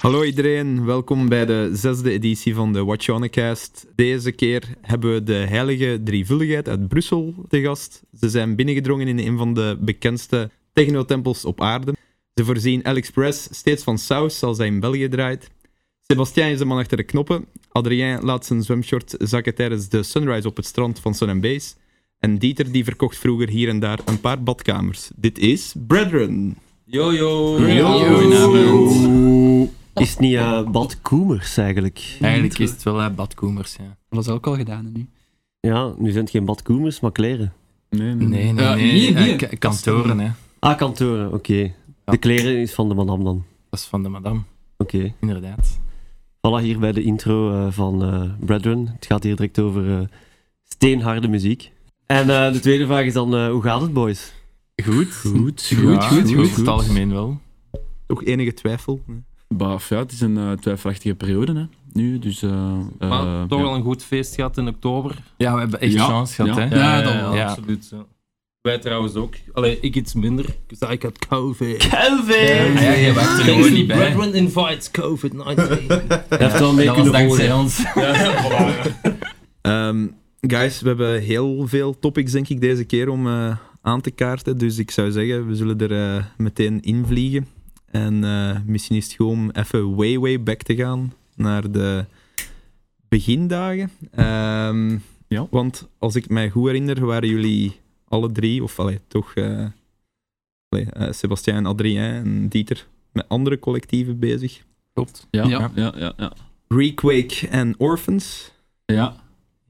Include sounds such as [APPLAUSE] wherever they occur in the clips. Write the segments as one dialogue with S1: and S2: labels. S1: Hallo iedereen, welkom bij de zesde editie van de Watchonecast. Deze keer hebben we de heilige drievuldigheid uit Brussel te gast. Ze zijn binnengedrongen in een van de bekendste technotempels op aarde. Ze voorzien Alex Press steeds van saus als hij in België draait. Sebastien is de man achter de knoppen. Adrien laat zijn zwemshort zakken tijdens de sunrise op het strand van Sun Base. En Dieter die verkocht vroeger hier en daar een paar badkamers. Dit is Brethren.
S2: Yo, yo.
S3: Is het niet eh, Bad Koemers eigenlijk?
S2: Eigenlijk is het wel eh, badkoemers, ja.
S4: Dat was ook al gedaan hè, nu.
S3: Ja, nu zijn het geen Bad Koemers, maar kleren.
S1: Nee,
S2: Nee, nee,
S4: Ja,
S2: nee.
S4: hier,
S2: eh,
S4: hier.
S2: ka- kantoren, hè.
S3: Ah, kantoren, oké. De kleren is van de madame dan.
S2: Dat is van de madame,
S3: Oké.
S2: inderdaad.
S3: Voilà, hier bij de intro eh, van eh Brethren. Het gaat hier direct over eh, steenharde muziek. En eh, de tweede vraag is dan, eh, hoe gaat het, boys?
S2: Goed.
S5: Goed,
S4: Goed, goed, goed,
S2: In het algemeen wel.
S1: Toch enige twijfel. Nee.
S5: Baaf, ja, het is een eh, twijfelachtige periode hè, nu, dus... eh,
S6: Maar
S5: eh,
S6: toch
S5: ja.
S6: wel een goed feest gehad in oktober.
S2: Ja, we hebben echt
S5: Ja,
S2: chance gehad,
S5: ja.
S2: hè.
S4: Ja, dat wel.
S2: Ja.
S6: absoluut. ja. Wij trouwens ook. Allee, ik iets minder. Ik zei, ik had COVID.
S3: Kelvin!
S2: Ja, jij wacht er gewoon
S6: Kingsley
S2: niet bij.
S6: Brethren invites
S1: [LAUGHS]
S6: COVID-19.
S3: Dat heeft wel mee
S2: Dat was
S3: kunnen
S2: dankzij
S3: volgen.
S2: ons.
S1: [LAUGHS] Ehm, guys, we hebben heel veel topics, denk ik, deze keer om eh, aan te kaarten. Dus ik zou zeggen, we zullen er eh, meteen invliegen. En eh, misschien is het goed om even way, way back te gaan naar de begindagen. Ehm,
S5: Ja.
S1: Want als ik mij goed herinner, waren jullie alle drie, of allee, toch eh allee, eh, Sebastien, Adrien en Dieter, met andere collectieven bezig.
S2: Klopt.
S5: Ja, ja,
S4: Ja.
S5: ja, ja. ja.
S1: Requake en Orphans.
S5: Ja,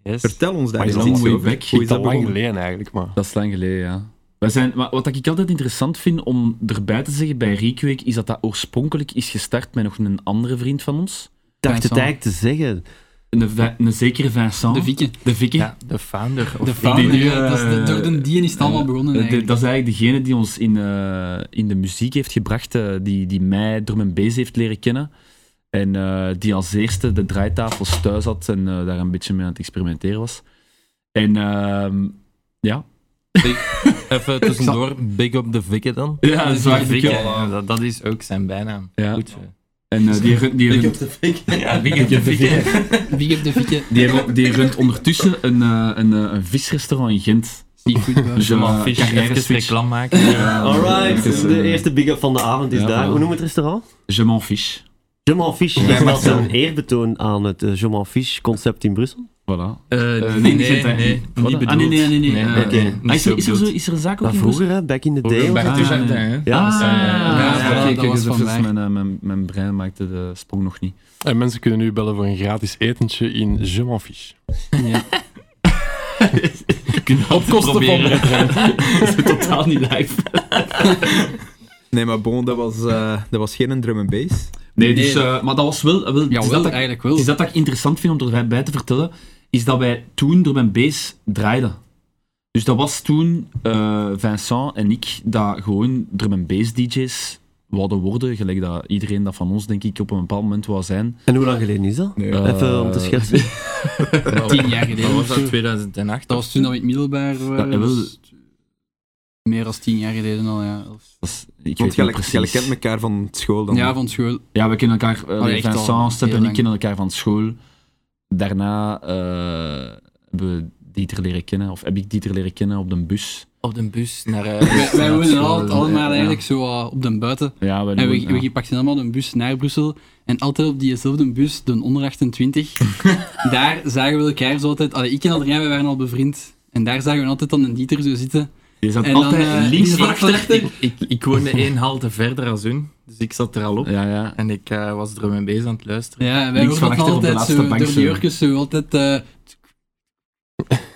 S2: Yes.
S1: Vertel ons daar
S5: Maar is
S1: eens
S5: dat
S1: iets
S5: way
S1: over.
S5: back?
S1: Hoe is dat begonnen?
S3: geleden eigenlijk, maar...
S5: dat is lang geleden, ja. Wij zijn, maar wat ik altijd interessant vind om erbij te zeggen bij Requake, is dat dat oorspronkelijk is gestart met nog een andere vriend van ons.
S3: Ik dacht het
S4: Vincent.
S3: eigenlijk te zeggen.
S5: Een, vi- een zekere Vincent.
S4: De Vieke.
S5: De Vieke.
S2: Ja, de founder. Of
S4: De
S5: die
S4: founder,
S5: nu,
S4: ja, dat is de,
S5: eh,
S4: door de dien is het allemaal
S5: eh,
S4: begonnen
S5: Eh, de-
S4: eigenlijk.
S5: dat is eigenlijk degene die ons in, eh, in de muziek heeft gebracht, eh, die, die mij door mijn beest heeft leren kennen. En eh, die als eerste de draaitafels thuis had en eh, daar een beetje mee aan het experimenteren was. En ehm, ja.
S6: Even tussendoor, big up de Vikke dan.
S5: Ja,
S2: de Vic, ja, dat, dat is ook zijn bijnaam.
S5: Ja.
S2: Goed zo.
S5: En eh, die, runt, die, runt,
S2: Ja, Vic de Vic.
S4: Big up de Fieke.
S5: die, runt, die runt ondertussen een, eh, een, eh, een visrestaurant in Gent. [LAUGHS]
S6: eh,
S4: Seafood
S5: Zo,
S2: Zo'n
S5: ja,
S2: fish,
S5: ja,
S2: even
S5: switch.
S2: reclam maken.
S3: Alright,
S5: Even,
S3: de
S5: eh,
S3: eerste big-up van de avond is
S5: ja,
S3: daar.
S5: voilà.
S3: Hoe noemen we het restaurant?
S5: Je m'en fiche.
S3: Jamal Fish.
S1: Ja,
S3: Is
S1: maar
S3: dat
S1: zo.
S3: een eerbetoon aan het uh, Jamal Fish concept in Brussel?
S5: Voilà.
S2: Eh,
S5: nee,
S2: nee,
S5: Gent, hè.
S2: nee,
S5: Wat?
S2: niet
S5: Ah, nee, nee, nee, nee.
S2: bedoeld.
S5: Eh,
S2: Nee,
S3: oké.
S2: nee, niet
S5: Ah, is,
S2: zo
S5: er, is, er zo,
S2: bedoeld.
S5: is er een zaak ook
S3: Maar
S5: in Brussel?
S3: vroeger, hè, back in the
S2: Vroeger
S3: day.
S2: bij
S3: of-
S5: Ah,
S2: de
S5: nee.
S2: Jardin, hè.
S3: Ja,
S5: Ah,
S3: dat is-
S2: ja,
S5: oké,
S4: dat
S5: oké,
S4: was
S5: dus even
S4: vandaag.
S5: mijn, eh, mijn, mijn brein maakte de sprong nog niet.
S7: En mensen kunnen nu bellen voor een gratis etentje in Je m'en fiche.
S5: Op
S4: [LAUGHS]
S5: kosten
S2: proberen.
S5: Dat is totaal niet live.
S1: Nee, maar bon, dat was, eh, dat was geen drum and bass.
S5: Nee, dus, eh, maar dat was wel... wel, het
S4: Ja,
S5: is
S4: wel,
S5: dat ik,
S4: eigenlijk
S5: het
S4: wel.
S5: is dat ik interessant vind om erbij te vertellen, is dat wij toen door mijn bass draaiden. Dus dat was toen eh, Vincent en ik dat gewoon drum en bass DJ's wouden worden, gelijk dat iedereen dat van ons denk ik op een bepaald moment wou zijn.
S3: En hoe lang geleden is dat?
S1: Nee.
S3: Even om te
S5: Eh, [LAUGHS]
S3: schetsen.
S4: Tien jaar
S2: Dat
S4: geleden.
S2: was
S4: of
S2: dat
S4: zo.
S2: 2008.
S4: Dat was toen dat we in het middelbaar waren.
S5: Ja, wel.
S4: dus meer dan tien jaar geleden al, ja. Of-
S5: Dat is- ik
S1: Want
S5: weet
S1: jij
S5: niet precies.
S1: jij kent elkaar van school dan.
S4: Ja, van school.
S5: Ja, we kennen elkaar, eh,
S4: Allee, Oh, echt al
S5: Vincent, Step
S4: heel
S5: en ik
S4: lang.
S5: kennen elkaar van school. Daarna eh, hebben we Dieter leren kennen, of heb ik Dieter leren kennen op de bus.
S2: Op de bus naar... eh,
S4: Wij, wij
S2: naar
S4: woonden
S2: school.
S4: altijd
S5: ja.
S4: allemaal eigenlijk zo eh, op de buiten.
S5: Ja, we,
S4: En we,
S5: ja.
S4: we pakten allemaal een bus naar Brussel. En altijd op diezelfde bus, de onder
S5: [LAUGHS]
S4: 28, daar zagen we elkaar zo altijd. Allee, ik en Adrien, wij waren al bevriend. En daar zagen we altijd dan een Dieter zo zitten.
S5: Je zat
S4: En dan,
S5: altijd
S4: eh,
S5: links
S4: links
S5: van
S4: van
S5: achter.
S4: achter.
S2: Ik, ik woonde één halte verder als hun, dus ik zat er al op.
S5: Ja, ja.
S2: En ik eh, was drum en bass aan het luisteren.
S4: Ja, en wij
S5: Links
S4: hoorden
S5: van achter
S4: dat
S5: op de
S4: altijd
S5: laatste
S4: zo
S5: bank
S4: door
S5: zo.
S4: de jurkjes zo altijd...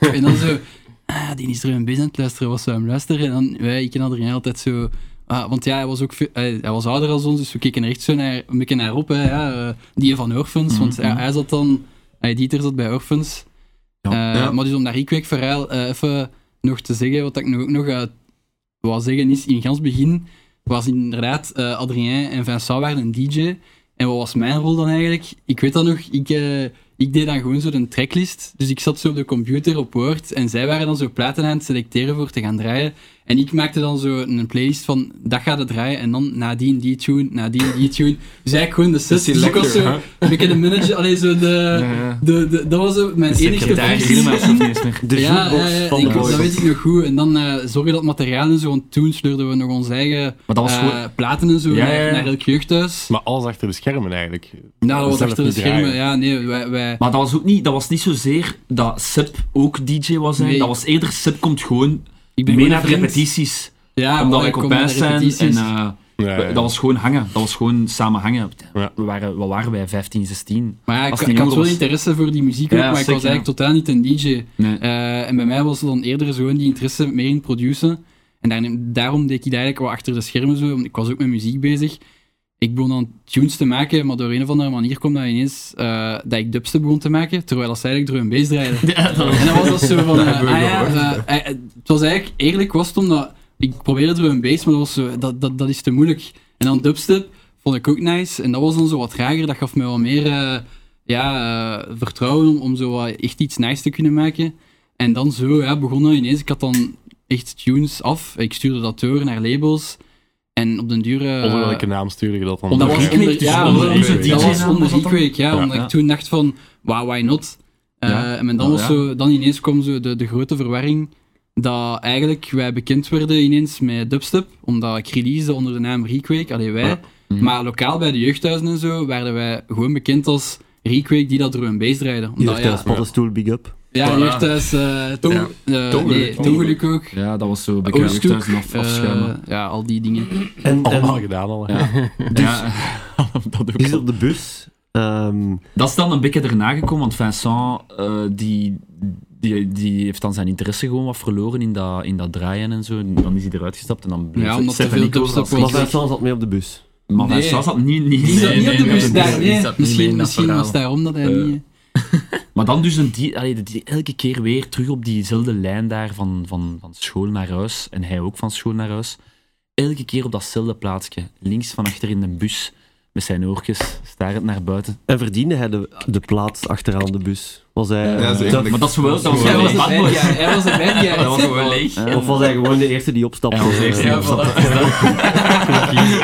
S4: eh, en dan zo... Ah, die is er een beetje aan het luisteren, was zo aan het luisteren. En dan wij, ik en Adrien altijd zo... ah, want ja, hij was ook veel- hij, hij was ouder als ons, dus we keken er echt zo naar, een beetje naar op. Hè, ja, eh, die van Orphans, want ja, hij zat dan... Hij, Dieter zat bij Orphans.
S5: Ja.
S4: Eh,
S1: Ja.
S4: Maar dus om dat Requake verhaal eh, even nog te zeggen, wat ik nog, ook nog eh, wou zeggen is, in gans begin was inderdaad eh, Adrien en Vincent waren een DJ. En wat was mijn rol dan eigenlijk? Ik weet dat nog, ik, eh, ik deed dan gewoon zo een tracklist. Dus ik zat zo op de computer op Word en zij waren dan zo platen aan het selecteren voor te gaan draaien. En ik maakte dan zo een playlist van, dat gaat het draaien, en dan nadien die tune, nadien die tune. Dus eigenlijk gewoon de set. Dus ik was zo, een beetje de manager, alleen zo de, de, de- dat was zo mijn enige functie.
S3: De
S4: Ja,
S3: zoekbox
S4: ja, ja,
S3: van
S4: ik-
S3: de boys.
S4: dat weet ik nog goed. En dan eh zorgen dat materiaal en zo, want toen sleurden we nog ons eigen
S5: Maar dat was
S4: eh,
S5: gewoon...
S4: platen en zo
S5: Ja,
S4: naar,
S5: ja, ja.
S4: naar elk jeugdhuis.
S7: Maar alles achter de schermen eigenlijk.
S4: Nou, dat was
S7: zelf
S4: achter de
S7: niet
S4: schermen.
S7: draaien.
S4: Ja, nee, wij, wij,
S5: Maar dat was ook niet, dat was niet zozeer dat Seb ook DJ was. Zijn.
S4: Nee.
S5: Dat was eerder Seb komt gewoon
S4: ik ben
S5: mee
S4: gewoon
S5: naar de
S4: vriend. Ah,
S5: repetities.
S4: Ja,
S5: omdat
S4: wij
S5: wij
S4: komen naar
S5: kopijs
S4: de
S5: zijn. En,
S4: repetities.
S5: eh,
S7: Ja,
S5: we-
S7: ja.
S5: Dat was gewoon hangen. Dat was gewoon samen hangen.
S7: Ja.
S5: We waren, wat waren wij? 15, 16?
S4: Maar ja,
S5: als
S4: ik,
S5: het
S4: ik
S5: niet
S4: had
S5: goed
S4: wel
S5: was.
S4: interesse voor die muziek
S5: Ja,
S4: ook, maar ik
S5: zeker,
S4: was eigenlijk
S5: ja.
S4: totaal niet een DJ.
S5: Nee.
S4: Eh, en bij mij was het dan eerder zo in die interesse meer in produceren. En daar- daarom deed ik dat eigenlijk wel achter de schermen zo. want Ik was ook met muziek bezig. Ik begon dan tunes te maken, maar door een of andere manier kwam dat ineens eh, dat ik dubstep begon te maken, terwijl dat ze eigenlijk drum and bass draaiden. En dan was [LAUGHS] dat zo van, eh, ah ja, eh, eh, het was eigenlijk, eerlijk was het omdat, ik probeerde drum and bass, maar dat, was zo, dat, dat, dat is te moeilijk. En dan dubstep vond ik ook nice, en dat was dan zo wat trager, dat gaf mij wel meer eh, ja, eh, vertrouwen om, om zo wat echt iets nice te kunnen maken. En dan zo ja, begonnen ineens, ik had dan echt tunes af, ik stuurde dat door naar labels, en op den duur... eh,
S7: Onder welke naam stuurde je dat dan?
S5: Onder
S4: dat was
S5: welke
S4: onder,
S5: klik, dus
S4: ja,
S5: onder
S4: onder,
S5: onze
S4: dat
S5: DJ
S4: was
S5: naam
S4: onder
S5: was dat dan?
S4: Geekweek, ja,
S7: Ja.
S4: omdat
S5: Ja.
S4: ik toen dacht van, wow, why not? Eh,
S5: Ja.
S4: En dan,
S5: Ja,
S4: was
S5: ja.
S4: Zo, dan ineens kwam zo de, de grote verwarring dat eigenlijk wij bekend werden ineens met dubstep, omdat ik release onder de naam Requake, alleen wij.
S5: Mhm.
S4: Maar lokaal bij de jeugdhuizen en zo werden wij gewoon bekend als Requake die dat drum and bass draaiden.
S3: Die
S4: Omdat,
S3: zegt thuis
S4: Nou ja, Oh
S3: paddenstoel, big up.
S4: ja, jeugdhuis, eh tong, eh, nee, Tongeluk ook,
S5: Ja, dat was zo
S4: Oh,
S5: bekend.
S4: Oosthoek,
S5: thuis en af- afschermen.
S4: eh, ja, al die dingen.
S3: En,
S7: Allemaal
S3: en
S7: gedaan al.
S5: Ja.
S4: dus-
S5: Ja.
S4: [LAUGHS]
S5: dat, ook
S3: die zit
S5: al.
S3: op de bus. Ehm,
S5: dat is dan een beetje erna gekomen, want Vincent eh, die, die, die heeft dan zijn interesse gewoon wat verloren in dat, in dat draaien en zo. En dan is hij eruit gestapt en dan
S4: Ja,
S5: blijft
S4: omdat
S5: Seb
S4: te
S5: en
S4: veel
S5: ik over
S4: dubstep
S5: als-
S3: maar
S4: was.
S3: Vincent zat mee op de bus.
S5: Maar
S4: Nee.
S5: Vincent zat niet... niet,
S4: Die zat
S5: nee,
S4: niet op de
S5: nee,
S4: bus
S5: nee,
S4: daar,
S5: nee.
S4: nee.
S6: die zat niet mee
S4: misschien
S6: in dat
S4: misschien was
S6: verhaal.
S4: daarom dat hij
S5: Eh,
S4: niet...
S5: Maar dan dus een die, allee, die elke keer weer terug op diezelfde lijn daar van, van, van school naar huis. En hij ook van school naar huis. Elke keer op datzelfde plaatsje. Links van achter in de bus. Met zijn oortjes, starend naar buiten.
S3: En verdiende hij de, de plaats achteraan de bus? Was hij,
S1: Ja,
S3: eh,
S1: zo
S3: tough?
S1: eigenlijk.
S5: Maar dat is wel... Dat was
S4: Hij
S5: wel
S4: was
S5: een
S4: een
S5: bad boy.
S4: bad guy, hij was een bad guy.
S6: Dat was wel leeg.
S5: Ja.
S3: Of was hij gewoon de eerste die opstapte?
S5: Ja, was de eerste die
S3: Eh,
S5: Ja, voilà.
S6: [LAUGHS]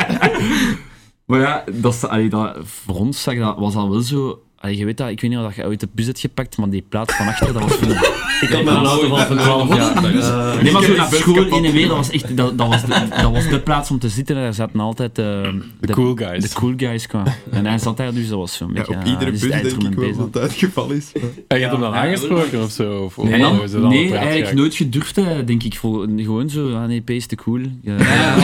S5: Maar ja, dat, is- allee, dat, voor ons zag dat, was dat wel zo... allee, je weet dat, ik weet niet of dat je uit de bus hebt gepakt, maar die plaats van achter, dat was... voor-
S3: Ik had mijn auto van van 12 jaar. Eh,
S5: Nee, maar
S6: Ik
S5: zo naar
S6: heb die bus
S5: school
S6: kapot.
S5: in en weer, dat was echt... Dat, dat, was de, dat was de plaats om te zitten, daar zaten altijd eh, de,
S7: De cool
S5: de
S7: guys.
S5: cool guys qua. En hij zat daar, dus dat was zo'n
S1: Ja,
S5: beetje...
S1: op
S5: ah,
S1: iedere
S5: dit is
S1: bus
S5: het
S1: denk ik wel dat
S5: eindtermen bezig.
S1: dat het geval is. maar-
S7: En je hebt hem dan
S6: Ja,
S7: aangesproken of zo? Of, of
S8: Oh,
S5: Nee,
S7: hoe is dat dan een
S5: nee
S7: praatje
S5: eigenlijk nooit gedurfd, hè, denk ik. Voor, gewoon zo, ah nee, P is te cool. Ja,
S4: Ja,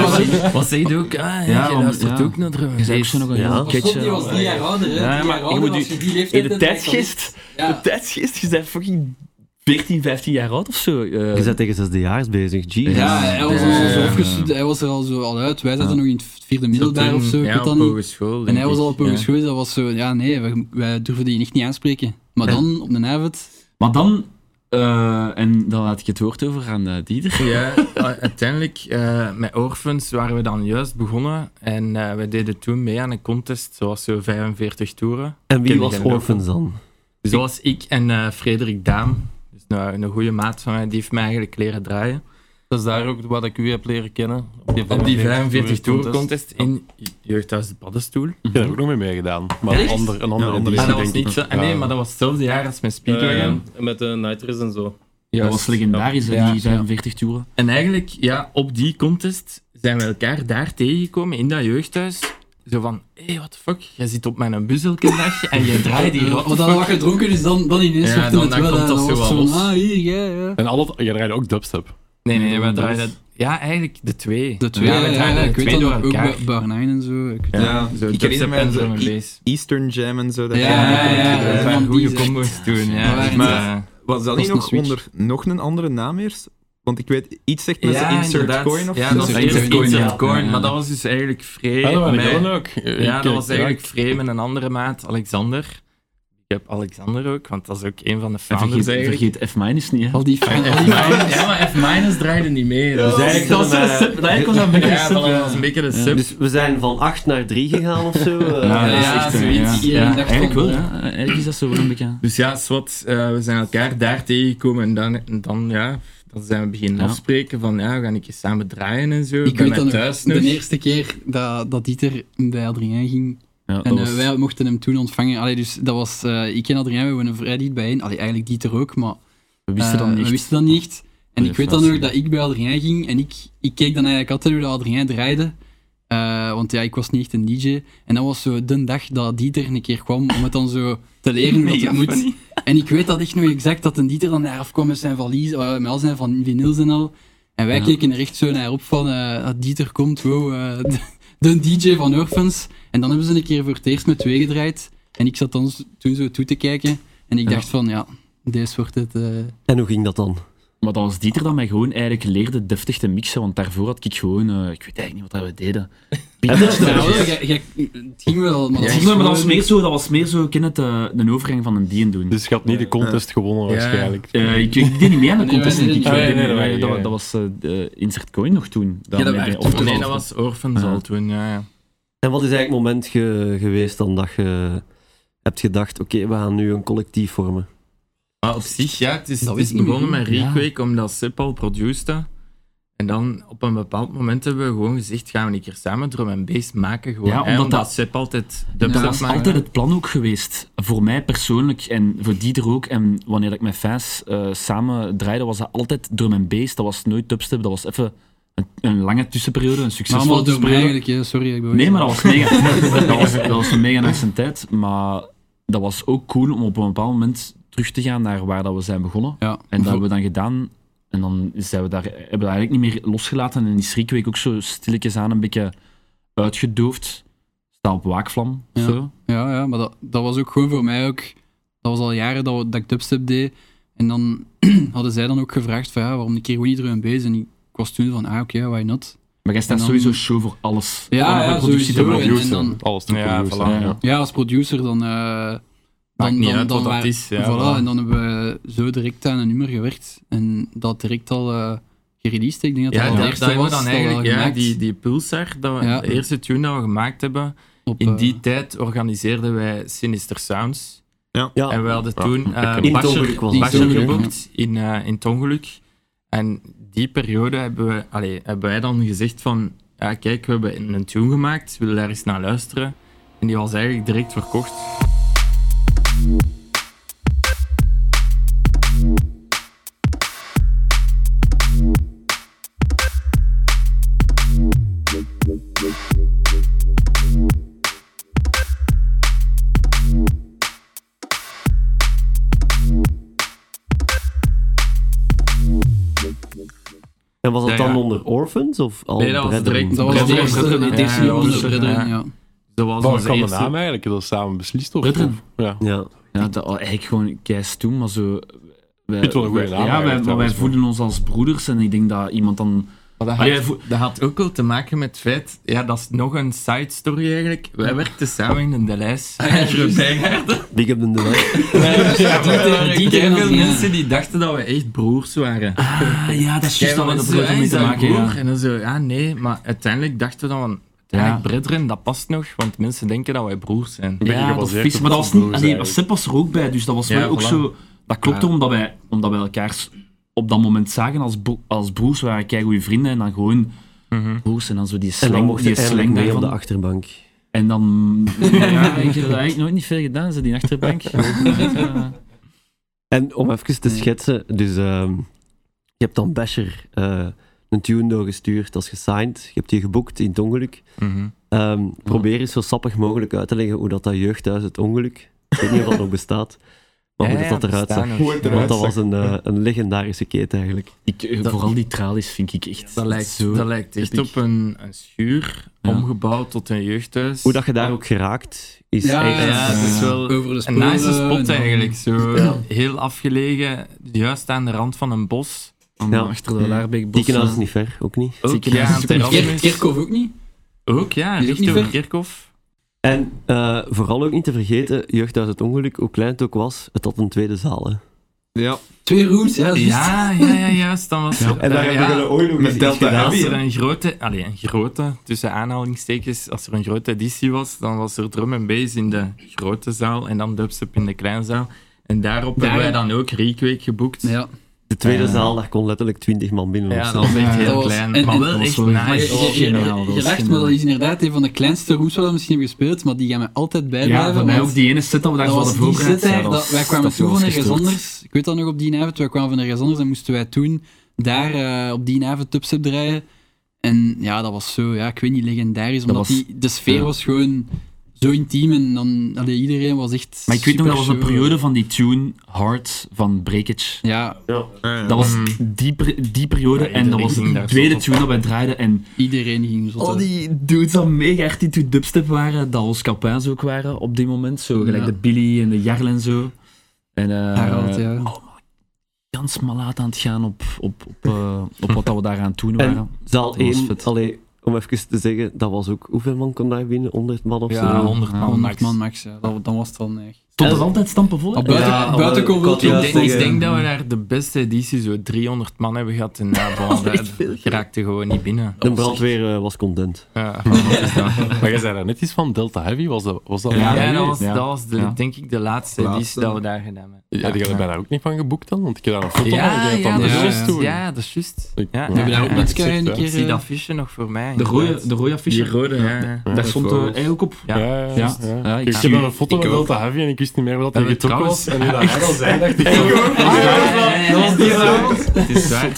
S4: was- die was-
S6: Wat zei je ook? Ah,
S5: Ja,
S6: ja, je
S5: om-
S6: luistert
S5: ja.
S6: ook naar drum.
S5: Je zei ook zo nog een
S3: Ja.
S5: heel
S4: Stop, die was
S5: ketje.
S4: drie jaar ouder, hè.
S5: eh, Ja,
S4: Drie
S5: maar
S4: jaar
S5: je
S4: ouder,
S5: moet
S4: als
S5: je-
S4: je die
S5: In
S4: leeftijd
S5: de
S4: hebt, dan is dat
S5: tijdgeest,
S4: niet. Ja.
S5: de tijdgeest, je bent fucking 14, 15 jaar oud of zo. eh.
S3: Je bent tegen zesdejaars bezig, jeez.
S4: Ja, hij was,
S6: Ja,
S4: al
S6: ja,
S4: zo
S6: ja.
S4: afgestudeerd, hij was er al zo al uit. Wij zaten nog in het vierde middelbaar of zo, ik
S6: Ja,
S4: weet
S6: op
S4: dat niet.
S6: hogeschool.
S4: En hij was al op
S6: denk ik.
S4: een school, dus dat was zo... Ja, nee, wij, wij durven die echt niet aanspreken. Maar
S5: Ja.
S4: dan, op de avond...
S5: Maar dan, eh, en dan laat ik het woord over aan eh, Dieter. [LAUGHS]
S4: ah,
S6: Ja, u- uiteindelijk, eh, met Orphans waren we dan juist begonnen. En eh, we deden toen mee aan een contest, zoals zo 45 toeren.
S3: En wie
S6: Ken
S3: was
S6: ik hem
S3: Orphans dan?
S6: Dus dat was ik en eh, Frederik Daam. Dus nou, een goede maat van mij, die heeft mij eigenlijk leren draaien.
S2: Dat is daar ook wat ik u heb leren kennen. Op die
S6: Op die 45 toeren
S2: toercontest.
S6: contest in Jeugdhuis de Paddenstoel.
S4: Dus
S7: Ik heb er ook nog mee meegedaan. Maar een, ander, een andere
S1: Ja, andere
S6: Maar dat
S7: editie,
S6: was
S7: denk ik.
S6: niet zo... ah, nee,
S4: eh,
S7: Ja.
S6: maar dat was hetzelfde jaar als mijn Speedwagon.
S2: met de Nitrous en zo.
S5: Dat was legendarisch, hè,
S6: Ja,
S5: die 45 toeren.
S6: En eigenlijk, ja, op die contest zijn we elkaar daar tegengekomen in dat jeugdhuis. Zo van, hé, hey, what the fuck, jij zit op mijn bus elke dag en jij draait
S4: [LAUGHS]
S6: hier.
S4: Want
S6: What the
S4: Eh, dan was
S6: fuck?
S4: gedronken, dus dan, dan ineens
S6: Ja,
S4: werd
S6: dan-
S4: het
S6: dan
S4: wel...
S6: komt
S4: hè.
S6: dat zo
S4: was
S6: wel
S4: van,
S6: los.
S4: Ah, hier, ja, ja.
S7: En alle, je rijdt ook dubstep. [LAUGHS]
S6: Nee, nee, wij
S5: Dat
S6: draaiden...
S5: is-
S6: Ja, eigenlijk de twee.
S4: De twee,
S6: ja,
S4: ja,
S6: we
S4: ja,
S6: draaiden de
S4: ik weet
S6: twee
S4: dat
S6: door
S4: nog, ook
S6: elkaar.
S4: bij Bar 9 en zo. ik weet
S1: Ja,
S6: zo
S1: ik
S6: dubstep
S1: herinner me
S6: en
S1: zo-
S6: drum and
S1: i-
S6: bass.
S1: Eastern Jam en zo. Dat
S4: Ja,
S1: je-
S4: ja, ja, ja.
S6: dat waren
S4: van
S6: goede
S4: die is
S6: combo's toen,
S4: Maar
S6: ja. eh,
S4: waar-
S1: Maar-
S6: Maar-
S1: Was dat
S6: Dat
S1: niet
S6: is een
S1: nog
S6: switch.
S1: onder nog een andere naam eerst? Want ik weet, iets zegt me
S6: Ja,
S1: ze Insert
S6: inderdaad.
S1: Coin of
S6: Ja,
S1: zo.
S6: dat was
S5: Insert
S6: eerst
S5: Coin,
S6: Insert
S5: ja.
S6: Coin,
S5: Ja, ja.
S6: maar dat was dus eigenlijk Free.
S7: Ja, dat waren
S6: mij-
S7: Dylan ook. Eh,
S6: Ja,
S7: ik-
S6: dat was
S7: ik-
S6: eigenlijk Frame en een andere maat, Alexander. Ik heb Alexander ook, want dat is ook een van de
S5: En
S6: founders
S5: vergeet,
S6: eigenlijk.
S5: vergeet F-minus niet, hè.
S4: Al die fans. al die fans.
S6: Ja, maar F-minus draaide niet mee.
S3: Dus eigenlijk
S5: dat was
S3: zijn
S5: een
S3: we-
S5: sub- eigenlijk was dat een beetje een
S6: Ja,
S5: sub,
S6: voilà,
S5: ja.
S6: dat was een beetje de
S5: Ja.
S6: sub.
S3: Dus we zijn van 8 naar 3 gegaan of zo. eh.
S5: Ja, dat is
S6: ja,
S5: echt, eh,
S6: zoiets.
S5: ja.
S4: Iedereen
S5: Ja,
S4: dacht
S5: eigenlijk
S4: van- "Oh,
S5: wel, Eh, ja. Eigenlijk is dat zo wel een beetje...
S6: Dus ja, zwart, eh we zijn elkaar daar tegengekomen en dan, en dan ja, Dan zijn we beginnen
S5: Ja.
S6: afspreken van ja, we gaan een keer samen draaien en zo.
S4: Ik
S6: Bij
S4: weet
S6: mij
S4: dat nog,
S6: thuis dus-
S4: de
S6: nog.
S4: eerste keer dat, dat Dieter bij Adrien ging.
S5: Ja, Ah, dat
S4: En eh,
S5: was-
S4: wij mochten hem toen ontvangen. Allee, dus dat was, eh, ik en Adrien, we waren vrij dicht bijeen. Allee, eigenlijk Dieter ook, maar
S5: we wisten
S4: eh,
S5: dan niet.
S4: we wisten dat niet echt. En
S5: Nee,
S4: ik weet dan
S5: Frans.
S4: nog dat ik bij Adrien ging en ik, ik keek dan eigenlijk altijd hoe de Adrien draaide. Eh, want ja, ik was niet echt een DJ. En dat was zo de dag dat Dieter een keer kwam om het dan zo te
S5: [LAUGHS]
S4: leren wat het moet. En ik weet dat echt nog exact dat een Dieter dan daar afkwam met zijn valies, eh, met al zijn van vinyls en al. En wij
S5: Ja.
S4: keken er echt zo naar op van, eh, dat Dieter komt, wow, eh, de, de DJ van Orphans. En dan hebben ze een keer voor het eerst met twee gedraaid. En ik zat dan zo- toen zo toe te kijken. En ik
S5: Ja.
S4: dacht van, ja, deze wordt het... eh,
S3: En hoe ging dat dan?
S5: Maar dat was Dieter dat mij gewoon eigenlijk leerde deftig te mixen, want daarvoor had ik gewoon, eh, ik weet eigenlijk niet wat dat we deden.
S4: [LAUGHS] Ja, wel, jij- jij- het ging wel, maar
S5: Ja,
S4: dat
S5: ik maar
S4: was
S5: dat
S4: gewoon-
S5: was meer zo, dat was meer zo, ken het, eh, een overgang van een dien doen.
S7: Dus je had niet de contest gewonnen
S6: Ja.
S7: waarschijnlijk.
S5: Eh, ik, ik deed niet mee aan de
S4: Nee,
S5: contest,
S4: wij
S5: denk ik.
S4: deden-
S7: Ah, nee, nee,
S5: Eh,
S7: nee,
S5: dat,
S7: nee.
S5: wa- dat was eh, de Insert Coin nog toen. Dat
S4: Ja, dat
S5: met-
S4: waren
S5: of
S4: toen
S6: nee,
S4: al.
S6: dat was Orphans
S5: Ja.
S6: al toen, ja. ja.
S3: En wat is eigenlijk het moment ge- geweest dan dat je hebt gedacht, oké, we gaan nu een collectief vormen?
S6: Maar op zich, ja, het is,
S4: Dat
S6: het
S4: weet
S6: is
S4: ik niet
S6: begonnen
S4: meer.
S6: met
S4: Ja.
S6: Requake omdat Sip al produceerde. En dan op een bepaald moment hebben we gewoon gezegd: gaan we een keer samen drum en bass maken. Gewoon,
S5: Ja,
S6: hè,
S5: omdat
S6: omdat,
S5: dat-
S6: Sip altijd de
S5: Dat was altijd het plan ook geweest. Voor mij persoonlijk en voor Dieter ook. En wanneer ik met fans eh, samen draaide, was dat altijd drum en bass. Dat was nooit dubstep. Dat was even een, een lange tussenperiode, een
S4: Maar allemaal
S5: succesvolle
S4: door mij
S5: tussenperiode.
S4: eigenlijk, hè. sorry. Ik ben
S5: Nee, maar dat was mega. dat, was, dat was een mega naar zijn tijd. Maar dat was ook cool om op een bepaald moment terug te gaan naar waar dat we zijn begonnen.
S4: Ja,
S5: En dat
S4: voor-
S5: hebben we dan gedaan. En dan zijn we daar, hebben we dat eigenlijk niet meer losgelaten. En is Riekweek ook zo stilletjes aan een beetje uitgedoofd. Staat op waakvlam. of
S4: Ja.
S5: Zo.
S4: Ja, ja, maar dat, dat was ook gewoon voor mij ook... Dat was al jaren dat, we- dat ik dubstep deed. En dan [CLEARS THROAT] hadden zij dan ook gevraagd van, ja, waarom een keer gewoon niet erom bezig? En ik was toen van, ah, oké, why not?
S5: Maar jij staat
S4: En dan-
S5: sowieso show voor alles.
S4: Ja,
S5: Alle
S4: ja,
S5: productie
S4: sowieso.
S5: te
S4: en- en
S5: produceren.
S4: dan-
S7: Alles te
S6: Ja,
S7: produceren.
S6: voilà.
S5: Ja.
S4: Ja, als producer dan... eh
S6: Maakt niet uit wat dat
S4: waren-
S6: is, ja,
S4: voilà,
S6: voilà.
S4: en dan hebben we zo direct aan een nummer gewerkt. En dat direct al eh gereleased. Ik denk dat
S6: Ja,
S4: dat
S6: daar
S4: al
S6: daar
S4: het
S6: hebben we
S4: eerste was
S6: dan
S4: dat
S6: eigenlijk
S4: we
S6: ja,
S4: gemaakt
S6: die, die Pulsar, dat we,
S4: Ja.
S6: de eerste tune dat we gemaakt hebben.
S4: op,
S6: In
S4: eh,
S6: die tijd organiseerden wij Sinister Sounds.
S3: Ja,
S6: En we hadden toen eh
S3: In het
S6: Basher,
S3: ongeluk was
S4: die
S3: dat.
S6: Basher
S4: Basher, ja.
S6: geboekt in, eh, in het ongeluk. En die periode hebben, we, allee, hebben wij dan gezegd van... Ja, kijk, we hebben een tune gemaakt, we willen daar eens naar luisteren. En die was eigenlijk direct verkocht.
S3: En was dat
S6: Ja,
S3: dan
S6: ja.
S3: onder Orphans of al
S6: Nee, dat was
S3: Brethren?
S6: direct-
S4: Dat was de
S6: Brethren,
S4: eerste
S6: Brethren,
S4: het eerste
S6: ja,
S4: nummer onder
S6: Brethren,
S4: Brethren,
S6: ja.
S4: ja.
S6: Dat was
S7: Maar
S6: onze
S7: kwam de
S6: eerste-
S7: naam eigenlijk? Dat samen beslist? Of,
S5: Brethren.
S7: of- ja.
S3: Ja.
S5: Ja, dat was eigenlijk gewoon keis toen, maar zo... Wij,
S7: Vind wel een goede
S5: wij-
S7: naam
S5: Ja, wij,
S7: eigenlijk,
S5: maar wij
S7: trouwens,
S5: voelen ons als broeders en ik denk dat iemand dan...
S6: Maar dat, had,
S5: Allee, wij vo-
S6: dat had ook wel te maken met het feit... Ja, dat is nog een side story eigenlijk. Wij werkten samen in een Delijs. [LAUGHS]
S3: Big Up the [LAUGHS] Delight.
S4: Dieter-
S6: Die
S4: Dieter en
S6: veel
S4: Adrien.
S6: mensen die dachten dat we echt broers waren.
S5: Ah, ja, dat is juist dat we dat
S6: Jij
S5: probleem mee
S6: was
S5: te
S6: zo, "Ah,
S5: maken
S6: is dat
S5: ja.
S6: broer?" En dan zo, ja, nee. Maar uiteindelijk dachten we dan van, uiteindelijk brethren, dat past nog, want mensen denken dat wij broers zijn.
S7: beetje
S5: Ja, dat
S7: gebaseerd
S5: vies,
S7: op
S5: maar dat
S7: de
S5: was niet...
S7: broers
S5: Nee, maar Sip
S7: eigenlijk.
S5: was er ook bij, dus dat was
S6: Ja,
S5: wel ook
S6: voilà.
S5: zo... Dat klopte
S6: Ja.
S5: omdat, wij, omdat wij elkaar s- op dat moment zagen als, bro- als broers. We waren keigoede vrienden en dan gewoon broers en dan zo die
S3: En dan
S5: slang,
S3: mocht
S5: die
S3: je eindelijk
S5: slang
S3: mee op de
S5: daarvan.
S3: achterbank.
S5: En dan... Ja, ik heb dat eigenlijk nooit niet veel gedaan, ze die achterbank. Eh,
S3: En om even te
S4: Nee.
S3: schetsen, dus ehm, je hebt dan Basher eh, een tune doorgestuurd als gesigned. Je hebt die geboekt in het ongeluk.
S6: Mhm.
S3: Ehm, Probeer eens zo sappig mogelijk uit te leggen hoe dat, dat jeugdhuis het ongeluk, ik weet niet of dat nog bestaat, maar hoe dat, dat eruit zag. Want dat was een, eh, een legendarische keten eigenlijk.
S5: ik, eh, vooral die tralies vind ik echt
S6: Dat lijkt,
S5: zo...
S6: dat lijkt echt
S5: epic.
S6: op een, een schuur,
S5: Ja.
S6: omgebouwd tot een jeugdhuis.
S3: Hoe dat je daar ook geraakt is
S4: Ja,
S3: echt...
S6: Ja, het is wel
S4: Over de
S6: een
S4: sporen
S6: nice
S4: en
S6: spot
S4: dan-
S6: eigenlijk. Zo heel afgelegen, juist aan de rand van een bos.
S5: Aan
S3: Ja.
S5: Achter de Laarbeekbos.
S3: Diekenhuis is niet ver, ook niet.
S6: Ook ja, aan het
S4: Kerk-
S6: Erasmus.
S4: Kerkhof ook niet?
S6: Ook ja,
S4: Die ligt
S6: recht
S4: niet
S6: over
S4: ver.
S6: Kerkhof.
S3: En eh, vooral ook niet te vergeten, jeugdhuis het ongeluk, hoe klein het ook was, het had een tweede zaal. Hè.
S1: Ja,
S4: Twee rooms, ja. juist.
S6: Ja, ja, ja, juist. Dan was er,
S3: En daar
S6: eh,
S3: hebben
S6: ja,
S3: we ooit nog
S1: met
S3: eens iets
S1: Delta
S3: gedaan.
S6: als
S1: Heavy.
S6: er
S1: hè.
S6: een grote, allee, een grote, tussen aanhalingstekens, als er een grote editie was, dan was er drum en bass in de grote zaal en dan dubstep in de kleinzaal. En daarop
S4: Daar-
S6: hebben wij dan ook Requake geboekt.
S4: Ja.
S3: De tweede
S5: Ja.
S3: zaal, daar kon letterlijk 20 man binnen. of
S6: Ja,
S3: zo.
S6: dat was echt
S5: Ja,
S4: dat
S6: heel
S4: was-
S6: klein.
S4: en-
S6: maar
S4: en-
S6: wel
S5: dat
S6: echt
S5: was wel-
S4: Je-
S6: nice.
S5: Dat was
S4: je-
S5: geniaal, dat
S4: Je
S5: was eh,
S4: lacht, maar
S5: geniaal.
S4: dat is inderdaad een van de kleinste rooms waar we misschien hebben gespeeld, maar die gaan mij altijd bijblijven.
S5: Ja, voor mij
S4: want
S5: ook die ene set dat we daar
S4: dat was
S5: hadden
S4: die
S5: voorbereid.
S4: zit daar,
S5: Ja,
S4: dat, wij kwamen
S5: dat
S4: toe
S5: was
S4: van ergens
S5: gestoord.
S4: anders. Ik weet dat nog op die avond, wij kwamen van ergens anders en moesten wij toen daar eh, op die avond tubstep draaien. En ja, dat was zo, ja, ik weet niet, legendarisch, omdat
S5: was-
S4: die, de sfeer
S5: ja.
S4: was gewoon zo intiem en dan, allee, iedereen was echt
S5: Maar ik weet nog, dat was een
S4: supershow.
S5: periode van die tune Hard van Breakage.
S4: Ja,
S5: Dat was die, per- die periode en dat
S6: iedereen
S5: was
S6: ging
S5: de
S6: daar
S5: tweede
S6: zot op.
S5: tune dat wij draaiden. En
S4: iedereen ging zo.
S5: al die dudes dat mega echt die dubstep waren, dat ons Capins ook waren op die moment. Zo gelijk
S4: Ja.
S5: de Billy en de Jarl en zo. En eh,
S4: Harald, ja.
S5: allemaal Jans malaat aan het gaan op, op, op, eh, op wat dat we daar aan het doen
S3: En
S5: waren.
S3: Zaal
S5: Dat was
S3: 1,
S5: vet.
S3: allee, om even te zeggen, dat was ook... Hoeveel man kon daar binnen? 100 man of
S6: Ja,
S3: zo?
S6: 100 man.
S4: 100 man
S6: max.
S4: max, ja. Dat, dan was het dan echt.
S5: Tot
S3: En-
S5: er altijd stampen vol.
S4: Ah, buiten
S6: Ja,
S4: buiten kon wel
S3: ik had
S4: tot-
S3: juist
S6: Ik denk, ik
S3: zeggen-
S6: denk dat we daar de beste editie zo 300 man hebben gehad. En ja, bon, dat geraakte gewoon niet binnen.
S3: De brandweer eh, was content.
S6: Ja, wat is dat?
S7: Maar jij zei daar net iets van Delta Heavy, was dat... Was dat
S5: Ja,
S6: Ja, dat was,
S5: ja.
S6: dat was de,
S5: Ja.
S6: denk ik de laatste
S1: Laatste.
S6: editie dat we daar gedaan hebben.
S7: Ja, die hadden daar ook niet van geboekt dan, want ik heb daar een foto van
S6: Ja,
S7: gezien
S6: ja,
S7: van
S6: dat
S7: de
S6: is
S4: ja,
S7: shows
S6: juist.
S7: toen.
S6: Ja, dat is juist.
S7: Ik-
S6: Ja,
S7: We
S4: hebben daar ook met Sky een
S7: Ja,
S6: Ik
S4: keer...
S6: zie
S4: eh,
S6: dat visje nog voor mij.
S5: De rode,
S6: inderdaad.
S5: de rode affiche.
S6: Ja, ja.
S5: Daar stond eh, hij ook op.
S7: Ja, ja, ja.
S5: Ja.
S7: ja.
S5: Ja, ik
S7: ik
S5: zie-
S7: heb daar een foto
S1: ik
S7: van
S1: ook.
S7: Delta Heavy en ik wist niet meer wat dat
S6: we
S7: getrokken was.
S6: trouwens-
S7: En nu dat hij al
S6: [LAUGHS]
S7: zei, dacht ik...
S6: Ja,
S5: Dat was die
S6: ja,
S5: avond.
S6: Het is waar.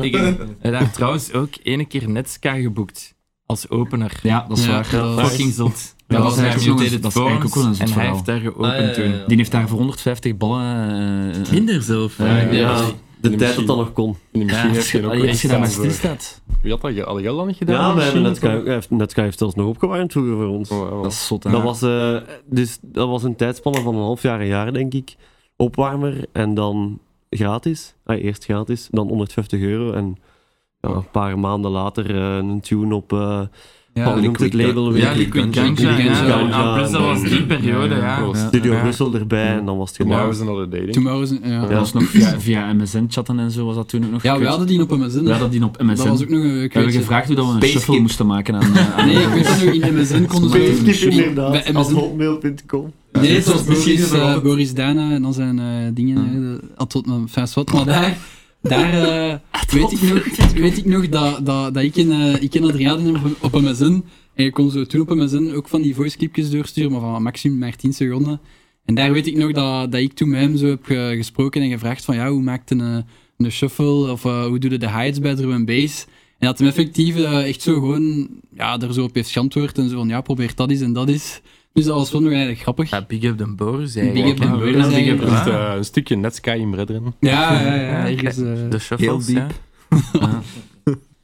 S6: Ik- ik- En daar trouwens ook ene keer Netska geboekt. Als opener.
S5: Ja, dat is
S4: Ja,
S5: waar.
S4: dat was-
S6: Fucking zot.
S5: dat was
S6: bij
S5: eigenlijk ook
S6: Mutated
S5: een- dat is eigenlijk
S6: Forums
S5: ook wel een zot
S6: En hij
S5: verhaal.
S6: heeft daar
S8: Ah, ja,
S6: geopend
S8: ja, ja.
S6: toen.
S5: Die heeft daar voor 150 ballen. eh, eh,
S6: Minder zelf.
S5: Ja, ja.
S3: Ja, de tijd
S7: Die
S3: dat dat
S7: machine.
S3: nog kon.
S7: Die machine heeft geen ook
S5: Allee, als je daar maar
S7: opgestaan.
S5: stilstaat.
S7: Wie had dat? ge- Had jij dat niet gedaan?
S3: Ja, we
S7: die
S3: hebben
S7: machine?
S3: Netsky- eh, Netsky heeft zelfs nog opgewarmd vroeger voor ons.
S7: Oh, oh.
S5: Dat is zot. hè.
S3: Dat was, eh, dus, dat was een tijdspanne van een half jaar, een jaar denk ik. Opwarmer en dan gratis. Ah, eerst gratis, dan 150 euro. En ja, een paar maanden later eh, een tune op. eh
S4: Ja,
S3: wat noemt het
S1: Liquid
S3: label
S1: Gun-
S3: weer?
S6: Ja, Liquid Ganja.
S4: Liquid
S6: ja.
S3: Ganja.
S6: Ah, Plus dat was die periode, ja.
S7: Proost.
S3: Studio
S6: Ja.
S3: Brussel erbij en dan was het gedaan.
S7: Tomorrow is another dating.
S4: Tomorrow's... Ja.
S5: Dat was nog via, via MSN-chatten en zo was dat toen ook nog.
S4: Ja, we
S5: gekut.
S4: hadden die op MSN.
S5: We hadden die op MSN.
S4: Dat was ook nog een
S5: we hebben
S4: kweetje.
S5: gevraagd hoe dat we een
S1: Space
S5: shuffle
S1: Kid.
S5: moesten maken aan. eh, aan
S4: [LAUGHS] Nee, ik weet dat nog in MSN konden ze...
S3: Basecamp
S4: in-
S3: inderdaad,
S4: Bij
S3: als
S4: MSN...
S3: hotmail.com.
S4: Nee, het was
S1: misschien
S4: Boris,
S1: nog
S4: eh,
S1: altijd.
S4: Boris Dana en dan zijn eh, dingen...
S5: Ja.
S4: hè, de- Ad tot mijn fast wat, maar daar... Daar [LAUGHS] eh, weet, ik nog, weet ik nog dat, dat, dat ik en, eh, ik en Adriaan op, op MSN... En je kon zo toen op MSN ook van die voice clipjes doorsturen, maar van maximum maar 10 seconden. En daar weet ik nog dat, dat ik toen met hem zo heb eh, gesproken en gevraagd van ja, hoe maakt een, eh, een shuffle of eh, hoe doe je de highs bij drum en bass? En dat hem effectief eh, echt zo gewoon ja, er zo op heeft geantwoord en zo van ja, probeer dat is en dat is. Dus dat was wel nog eigenlijk grappig.
S6: Ja, Big Up Den Boris
S4: Big Up
S6: eigenlijk.
S4: Den
S6: Ja,
S4: Boris
S6: weer een Big Up
S4: eigenlijk.
S7: Dat
S6: Den
S7: is het,
S6: Boris.
S7: eh, een stukje Netsky in Brederen.
S4: Ja, ja, ja.
S6: Ja,
S4: [LAUGHS] ergens, eh,
S6: De shuffles,
S1: heel
S6: ja.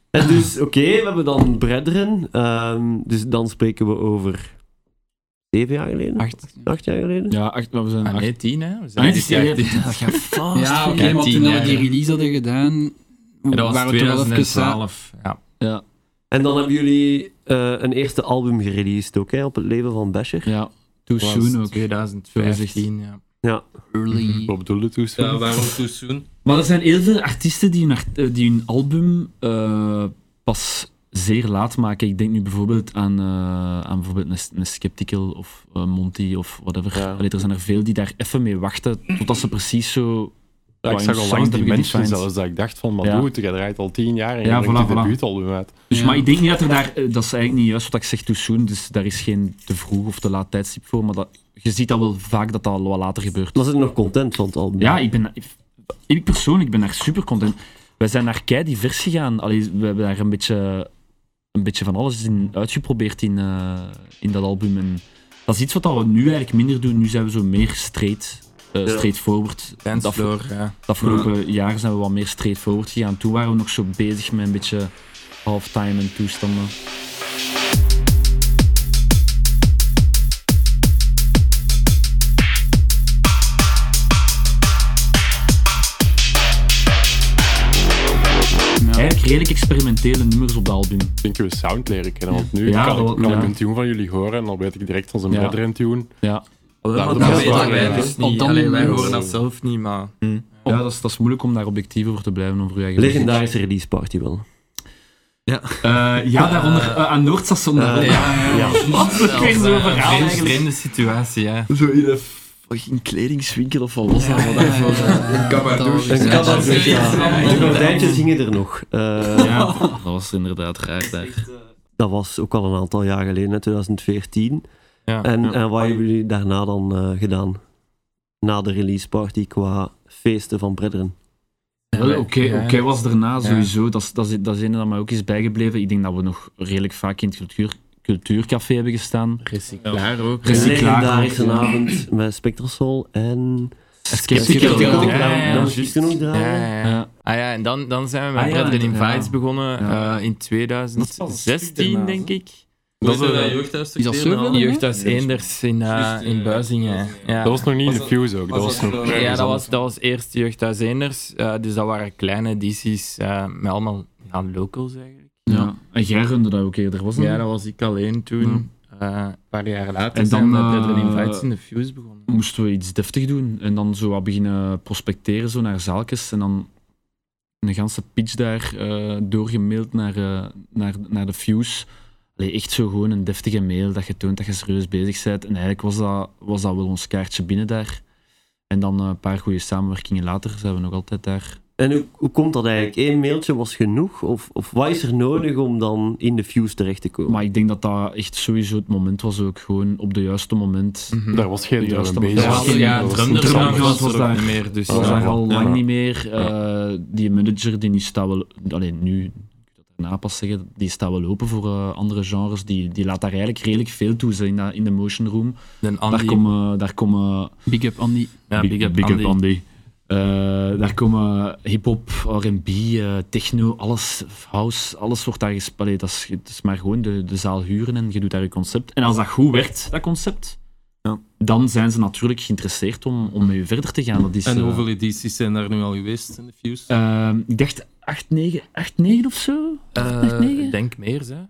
S3: En dus, oké, we hebben dan Brethren. ehm, dus dan spreken we over. zeven jaar geleden?
S4: acht.
S3: Acht jaar geleden?
S5: Ja, echt, maar we zijn
S6: Ah
S5: echt.
S6: nee, tien hè. We zijn
S5: Ah, nee,
S6: dit
S5: het is-
S6: jaar tien.
S5: Dat gaat vast.
S4: Ja, oké,
S6: Ja,
S4: maar
S6: tien
S4: toen we
S6: jaar,
S4: die
S6: ja.
S4: release hadden gedaan,
S6: En Dat was
S4: waren we toch wel even eh, samen.
S6: 2012. Ja.
S3: En dan hebben jullie eh, een eerste album gereleased ook, hè, op het leven van Basher.
S5: Ja, too
S6: Was
S5: soon ook.
S6: 2015, ja.
S4: Early.
S8: Mhm.
S7: Wat bedoelde toen?
S8: Ja, waarom too soon?
S5: Maar er zijn heel veel artiesten die hun, art- eh, die hun album eh, pas zeer laat maken. Ik denk nu bijvoorbeeld aan, eh, aan bijvoorbeeld een, een Skeptical of eh, Monty of whatever.
S7: Ja.
S5: Allee, er zijn er veel die daar even mee wachten totdat ze precies zo...
S7: Ja, ik
S5: qua
S7: zag
S5: hun
S7: al
S5: sound
S7: langs die
S5: hebben
S7: mensen
S5: gedefined.
S7: zelfs dat ik dacht van, maar
S5: Ja.
S7: doe het, jij draait al tien jaar en
S5: Ja,
S7: je brengt
S5: voilà,
S7: je
S5: voilà.
S7: debuutalbum uit.
S5: Dus,
S4: Ja.
S5: Maar ik denk niet dat er daar... eh, dat is eigenlijk niet juist wat ik zeg, too soon. Dus daar is geen te vroeg of te laat tijdstip voor. Maar dat, je ziet dat wel vaak dat dat al wat later gebeurt.
S3: Was het nog content van het album?
S5: Ja, ik ben... Ik, ik persoonlijk ben daar super content. Wij zijn naar kei divers gegaan. Allee, we hebben daar een beetje, een beetje van alles in uitgeprobeerd in, eh, in dat album. En dat is iets wat we nu eigenlijk minder doen. Nu zijn we zo meer straight, eh
S3: Ja.
S5: straightforward.
S6: Dance
S5: Dat-
S6: floor, ja.
S5: De afgelopen jaren zijn we wat meer straightforward gegaan. Toen waren we nog zo bezig met een beetje halftime en toestanden. Eigenlijk redelijk experimentele nummers op dat album.
S7: Ik denk dat we sound leren kennen, want nu
S5: Ja,
S7: kan, ik,
S5: wel,
S7: kan
S5: ja.
S7: ik een tune van jullie horen en dan weet ik direct van zijn
S5: Ja.
S7: Brethren tune.
S5: Ja,
S7: Ja,
S6: Maar
S7: dat
S6: dat
S7: was
S6: weten
S7: waar,
S6: wij
S7: ja.
S6: dus
S4: Op
S6: niet.
S4: dat
S6: Allee, wij
S4: moment-
S6: horen dat zelf niet, maar...
S5: ja dat, is, dat is moeilijk om daar objectief over te blijven. Over je eigen
S3: Legendarische release party wel.
S5: Eh, ja, daaronder eh, aan Noordstation. daaronder.
S6: Ja,
S3: ja.
S6: Dat
S5: Wat?
S6: is
S5: Dat is weer zo'n verhaal
S6: een
S5: eigenlijk.
S6: vreemde situatie, ja.
S5: Zo in een een kledingswinkel of wat was dat?
S4: Ja,
S5: Wat
S4: ja,
S5: daarvoor?
S4: ja.
S1: Kabardouche.
S4: Dat was-
S3: Een kabardouche,
S4: Ja.
S3: De gordijntjes hingen er nog. Eh,
S5: Ja, dat was inderdaad raar daar.
S3: Dat was ook al een aantal jaar geleden, hè, 2014.
S6: Ja.
S3: En, en wat hebben jullie daarna dan eh, gedaan? Na de release party qua feesten van Brethren.
S5: Wel, Oké oké was daarna
S6: Ja.
S5: sowieso, dat, is- dat, is- dat is een dat mij ook is bijgebleven. Ik denk dat we nog redelijk vaak in het cultuur, cultuurcafé hebben gestaan.
S6: Recyclaar ook.
S5: Recyclaar.
S3: Legendarische avond met Spectrosol en...
S5: Skeptical.
S6: Skeptical.
S3: ook
S6: Ja, ja, ja,
S3: nog-
S6: juist.
S3: toen ook draaien.
S6: Ja, ja, ja.
S5: Ja.
S6: Ah ja, en dan, dan zijn we met
S5: Ah ja,
S6: Brethren Invites
S5: ja.
S6: begonnen
S5: Ja.
S6: eh, in
S7: Dat was een stuk
S6: 2016,
S7: daarnaast,
S6: denk ik.
S7: Dat
S6: was,
S7: was
S6: eh,
S7: dat jeugdhuis
S4: is dat
S7: terug
S4: Survelen,
S7: gedaan?
S4: hè?
S6: Jeugdhuis Eenders in, eh,
S7: Juist, eh,
S6: in Buizingen. Ja.
S7: Dat was nog niet in de
S1: Was
S7: Fuse ook. Dat was nog...
S6: Ja, dat was, dat was eerst Jeugdhuis Eenders. eh, dus dat waren kleine edities eh, met allemaal ja, locals eigenlijk.
S5: Ja. En jij runde dat ook eerder, was het?
S6: Ja, dat was ik alleen toen. eh, een paar jaar later
S5: En
S6: zijn we
S5: dan,
S6: met Brethren
S5: eh,
S6: Invites in de Fuse begonnen.
S5: moesten we iets deftig doen. En dan zo wat beginnen prospecteren, zo naar zaaltjes. En dan een ganse pitch daar eh, doorgemaild naar, eh, naar, naar de Fuse. Allee, echt zo gewoon een deftige mail dat je toont dat je serieus bezig bent. En eigenlijk was dat, was dat wel ons kaartje binnen daar. En dan eh, een paar goede samenwerkingen later zijn we nog altijd daar.
S3: En hoe, hoe komt dat eigenlijk? Eén mailtje was genoeg? Of, of wat is er nodig om dan in de views terecht te komen?
S5: Maar ik denk dat dat echt sowieso het moment was ook gewoon op de juiste moment.
S7: Daar was geen drum
S5: Juist,
S7: en
S5: dat
S7: bass.
S5: was-
S7: Dat was
S5: ja,
S7: geen-
S5: ja,
S7: dat was
S5: drum-
S7: geen
S5: drum-
S7: drum-
S5: was daar-
S6: niet meer. Dus
S5: Dat was
S7: Ja.
S5: daar al
S7: Ja.
S5: lang niet meer. Eh, die manager die nu staat wel. Alleen nu, ik wil dat daarna pas zeggen, die staat wel open voor eh, andere genres. Die, die laat daar eigenlijk redelijk veel toe ze in, dat- in de motion room.
S6: Dan
S5: Daar
S6: Andy.
S5: komen, daar komen
S4: Big up Andy.
S6: ja, big up Andy.
S5: Eh, daar komen hip-hop, RB, eh, techno, alles, house, alles wordt daar gespeeld. Dat is, het is maar gewoon de, de zaal huren en je doet daar je concept. En als dat goed werkt, dat concept,
S1: Ja.
S5: dan zijn ze natuurlijk geïnteresseerd om, om mee verder te gaan. Dat is,
S7: En
S5: eh,
S7: hoeveel edities zijn daar nu al geweest in de Fuse?
S5: Ehm, ik dacht 8, 9, 8, 9 of zo?
S6: Eh,
S5: negen?
S6: denk meer, hè?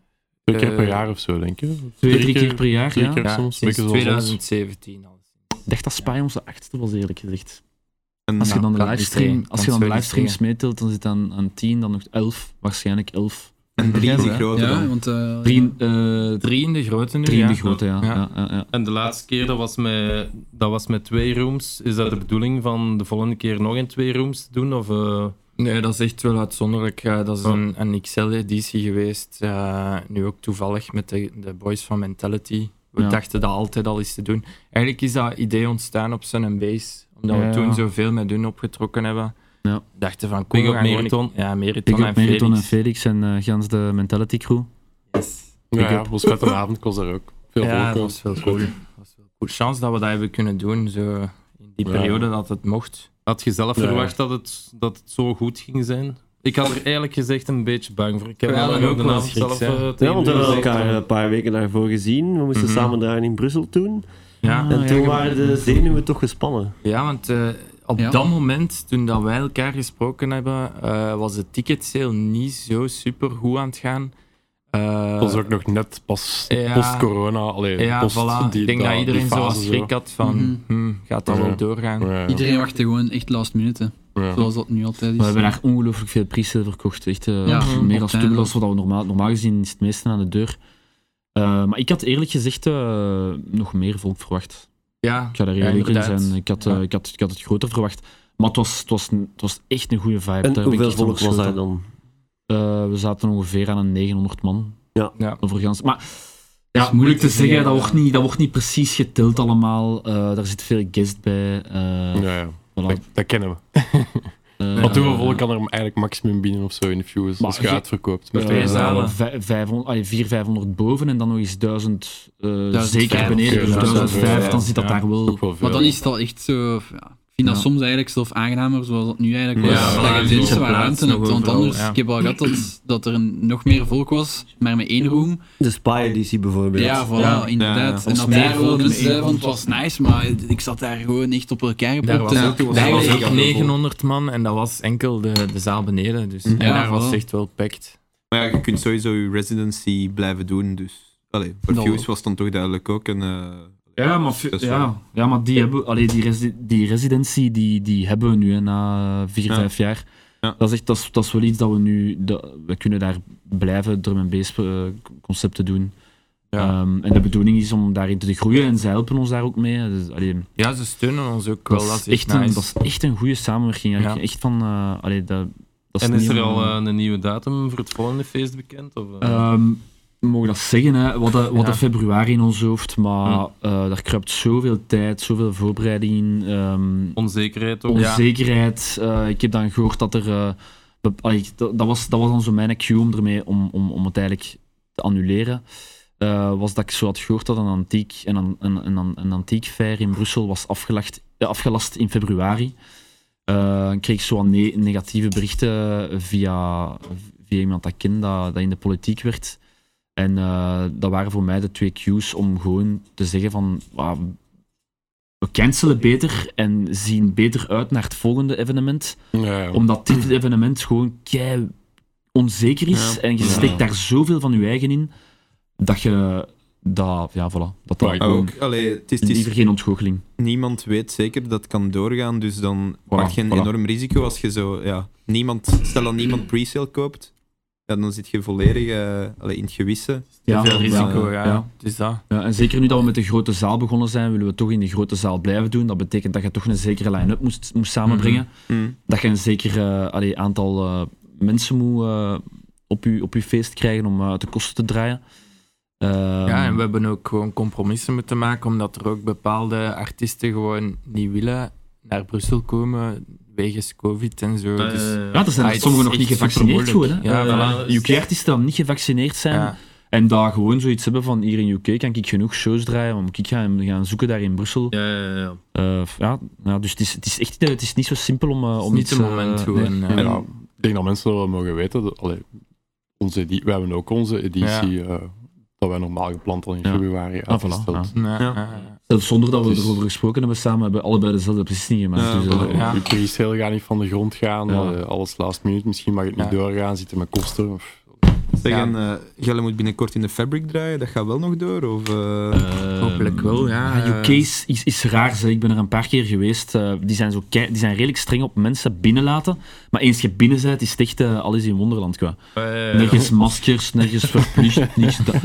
S7: Twee keer per
S6: eh,
S7: jaar of zo, denk je?
S5: Twee, drie keer per jaar.
S7: Twee
S5: Ja.
S7: keer soms.
S6: sinds
S7: een beetje zoals ons.
S6: 2017 al.
S5: Ik dacht dat Spy onze achtste was, eerlijk gezegd.
S1: En
S5: Als je dan de
S6: kan niet
S5: livestream,
S6: zeggen.
S5: als je dan de
S6: Kan
S5: livestreams
S6: zeggen.
S5: meetelt, dan zit aan, aan 10, dan nog 11, waarschijnlijk 11.
S1: en drie is die grote
S4: Ja,
S1: dan.
S4: want... eh,
S5: Drie, eh
S6: Drie in de grote nu,
S5: drie
S6: ja.
S5: in de grote, ja.
S6: Ja.
S5: ja. ja, ja.
S7: En de laatste keer, dat was, met, dat was met twee rooms. Is dat de bedoeling van de volgende keer nog in twee rooms te doen? Of, eh,
S6: Nee, dat is echt wel uitzonderlijk. Eh, dat is
S7: Oh.
S6: een, een XL-editie geweest. eh, nu ook toevallig met de, de Boys van Mentality. We
S5: Ja.
S6: dachten dat altijd al eens te doen. Eigenlijk is dat idee ontstaan op Sun Base. Omdat
S5: Ja.
S6: we toen zoveel met hun opgetrokken hebben.
S5: Ja.
S6: Dachten van, kom,
S7: Big
S6: we
S7: up
S6: gaan gewoon-
S7: Meriton.
S6: Ja, Meriton
S5: Big
S6: en
S5: up Meriton en
S6: Felix.
S5: Felix en eh gans de Mentality Crew.
S7: ja, ja, was vet een avond, kost daar ook veel
S6: ja, dat
S7: voorkomen.
S6: was wel cool. Dat was wel cool. Chance dat we dat hebben kunnen doen, zo in die
S7: Ja.
S6: periode dat het mocht.
S7: Had je zelf
S6: Ja.
S7: verwacht dat het, dat het zo goed ging zijn? Ik had er eigenlijk gezegd een beetje bang voor. Ik heb
S6: Ja,
S7: dat
S6: dat
S7: ook
S6: ook
S7: de
S6: wel
S7: avond
S6: schrik,
S7: zelf
S6: hè.
S7: eh,
S3: Ja,
S7: tegen
S3: want we
S7: u
S3: hebben
S7: gezegd,
S3: elkaar
S7: eh,
S3: een paar weken daarvoor gezien. We moesten
S6: Mhm.
S3: samen draaien in Brussel toen.
S6: Ja,
S3: en toen waren de zenuwen toch gespannen.
S6: ja want eh, op
S4: Ja.
S6: dat moment, toen dat wij elkaar gesproken hebben, eh, was de ticketsale niet zo super goed aan het gaan. Eh,
S7: Dat was ook nog net pas
S6: Ja.
S7: post-corona. Allee,
S6: ja,
S7: post
S6: voilà.
S7: die-
S6: ik denk dat
S7: die
S6: iedereen zo wat
S7: fase
S6: schrik had van,
S4: Mhm.
S6: hmm, gaat dat
S7: Ja.
S6: wel doorgaan?
S7: Ja, ja.
S4: Iedereen wachtte gewoon echt last minute, hè.
S7: Ja.
S4: zoals dat nu altijd is.
S5: We hebben daar ongelooflijk veel pre-sale verkocht. Echt eh,
S4: eh, Ja,
S5: pff, meer dan
S4: altijd.
S5: dubbel als wat we normaal, normaal gezien is het meeste aan de deur. Eh, maar ik had eerlijk gezegd eh, nog meer volk verwacht.
S6: Ja,
S5: Ik ga daar
S6: Ja,
S5: eerlijk in
S6: inderdaad.
S5: zijn. Ik had, eh,
S6: Ja.
S5: ik, had, ik had het groter verwacht. Maar het was, het was, het was echt een goede vibe. Daar
S3: En
S5: ben
S3: hoeveel
S5: ik echt van
S3: volk was daar
S5: geschoten.
S3: dan?
S5: Eh, we zaten ongeveer aan een 900 man.
S3: Ja.
S6: Ja.
S5: Overigens. Maar ja,
S4: moeilijk
S5: moeilijk
S4: te
S5: te zeggen.
S4: zeggen,
S5: Dat
S4: ja.
S5: wordt niet, dat wordt niet precies geteld allemaal. Eh, daar zit veel guest bij. eh,
S7: Ja, ja.
S5: voilà.
S7: Dat, dat kennen we.
S5: Eh,
S7: Want hoeveel volk kan er eigenlijk maximum bieden of zo in de views
S5: Maar
S7: als je
S5: ge-
S7: uitverkoopt? Met
S5: Eh,
S6: twee zalen.
S5: vij- 500, allee, 400, 500 boven en dan nog eens 1000 eh, zeker
S4: 1500.
S5: beneden. Dus 1005, dan
S7: Ja.
S5: zit dat daar wel.
S7: Ook wel veel.
S4: Maar dan is het al echt zo... Ja. Ik vind dat
S5: Ja.
S4: soms eigenlijk zelf aangenamer, zoals dat nu eigenlijk was.
S6: Ja, voilà,
S4: dat je
S6: dus
S4: tenminste
S6: op
S4: wat
S6: plaats
S4: ruimte
S6: nog
S4: hebt. Want
S6: overal,
S4: anders,
S6: ja.
S4: ik heb al gehad dat, dat er een- nog meer volk was, maar met één room.
S3: De Spy-editie bijvoorbeeld.
S4: Ja, voilà,
S1: Ja,
S4: inderdaad.
S1: ja.
S4: En
S1: Als
S4: dat
S1: meer
S4: daar wel
S1: volk
S4: mensen
S1: mee
S4: hè, want het was nice, maar ik zat daar gewoon echt op elkaar
S6: Daar was
S4: gepropt. Ja.
S6: ook, daar was ook 900 man en dat was enkel de, de zaal beneden. Dus en daar was
S4: voilà.
S6: echt wel packed.
S1: Maar ja, je kunt sowieso je residency blijven doen. Dus Allee, voor
S4: Dat
S1: Fuse
S4: ook.
S1: was dan toch duidelijk ook een. eh,
S5: Ja, maar,
S1: Dat is
S5: ja.
S1: waar.
S5: ja, maar die, hebben, allee, die, resi- die residentie die, die hebben we nu hè, na 4,
S1: Ja.
S5: 5 jaar.
S1: Ja.
S5: Dat, is echt, dat, is, dat is wel iets dat we nu. Dat, we kunnen daar blijven drum en bass eh, concepten doen.
S6: Ja.
S5: Ehm, en de bedoeling is om daarin te groeien en zij helpen ons daar ook mee. Dus, allee,
S6: Ja, ze steunen ons ook wel.
S5: dat,
S6: Dat
S5: is
S6: is echt
S5: echt een,
S6: nice.
S5: dat is echt een goede samenwerking. eigenlijk.
S6: Ja.
S5: Echt van, eh, allee, dat, dat
S7: En is
S5: niet
S7: er
S5: om-
S7: al eh, een nieuwe datum voor het volgende feest bekend? Of, eh?
S5: Ehm, we mogen dat zeggen, hè. wat hadden, we hadden
S6: Ja.
S5: februari in ons hoofd, maar eh, daar kruipt zoveel tijd, zoveel voorbereiding in, ehm,
S7: Onzekerheid ook.
S5: onzekerheid. Eh, ik heb dan gehoord dat er... eh, bep- allee, dat, dat was, dat was dan zo mijn cue om ermee om, om, om het eigenlijk te annuleren. Eh, was dat ik zo had gehoord dat een antiek, een, een, een, een, een antiek fair in Brussel was afgelacht, eh, afgelast in februari. Eh, ik kreeg zo wat ne- negatieve berichten eh, via, via iemand dat ik ken dat, dat in de politiek werd. En eh, dat waren voor mij de twee cues om gewoon te zeggen van "Ah, we cancelen beter en zien beter uit naar het volgende evenement. Omdat dit evenement gewoon kei onzeker is
S6: Ja.
S5: en je
S6: Ja.
S5: steekt daar zoveel van je eigen in dat je dat, ja, voilà, dat dat
S1: Maar
S5: gewoon
S1: Ah, ook, allee, het is, het is-
S5: liever geen ontgoocheling.
S1: niemand weet zeker dat het kan doorgaan, dus dan pak je een
S5: voilà.
S1: enorm risico als je zo, ja, niemand, stel dat niemand pre-sale koopt, ja, dan zit je volledig eh, allee, in het gewisse.
S5: Ja,
S6: Veel risico,
S5: ja.
S6: ja. ja. Dus dat.
S5: Ja, en zeker nu dat we met de grote zaal begonnen zijn, willen we toch in de grote zaal blijven doen. Dat betekent dat je toch een zekere line-up moest, moest samenbrengen.
S1: Hm.
S5: Dat je een zeker eh, allee, aantal eh, mensen moet eh, op, je, op je feest krijgen om eh, de kosten te draaien. Ehm,
S6: Ja, en we hebben ook gewoon compromissen moeten maken, omdat er ook bepaalde artiesten gewoon niet willen naar Brussel komen wegens COVID en zo.
S7: Eh,
S5: Ja,
S6: dus,
S5: er zijn
S6: Ah,
S5: er
S6: het
S5: sommigen
S6: is
S5: nog niet
S6: echt
S5: gevaccineerd gewoon.
S6: supermoeilijk.
S5: hè.
S6: Ja,
S5: Eh, UK-artiesten dan niet gevaccineerd zijn
S6: ja,
S5: en daar gewoon zoiets hebben van hier in UK kan ik genoeg shows draaien, om ik ga gaan zoeken daar in Brussel.
S7: ja, ja, ja.
S5: Eh, ja, nou, dus het is, het is echt eh, het is niet zo simpel om, eh,
S6: het is
S5: om
S6: niet
S5: iets,
S6: het
S5: eh,
S6: moment gewoon.
S5: nee.
S6: eh,
S8: Ja, ik denk dat mensen dat wel mogen weten. Dat, allee, onze edi- we hebben ook onze editie eh, dat wij normaal gepland hadden in
S5: Ja.
S8: februari
S5: Ah, voilà,
S8: uitgesteld.
S5: ja.
S6: ja,
S1: Ja.
S6: ja.
S5: Zelfs zonder dat we
S8: Het is-
S5: erover gesproken hebben samen, hebben we allebei dezelfde beslissing gemaakt.
S1: Ja,
S5: dus, eh,
S6: voilà. Dus- Ja.
S8: Je pre-sale gaat niet van de grond gaan,
S5: Ja.
S8: eh, alles last minute, misschien mag het niet
S6: Ja.
S8: doorgaan, zitten met kosten. Of,
S1: Zeg,
S6: Ja.
S1: en eh, Jelle moet binnenkort in de fabric draaien, dat gaat wel nog door? Of, eh,
S6: Hopelijk wel, ja. eh.
S5: Ah, UK is, is, is raar, zeg. ik ben er een paar keer geweest. Eh, die, zijn zo kei- die zijn redelijk streng op mensen binnenlaten. Maar eens je binnen bent, is het echt eh, alles in wonderland qua.
S6: Eh,
S5: Nergens
S6: oh.
S5: maskers, nergens
S6: [LAUGHS]
S5: verplicht, niks. Dat,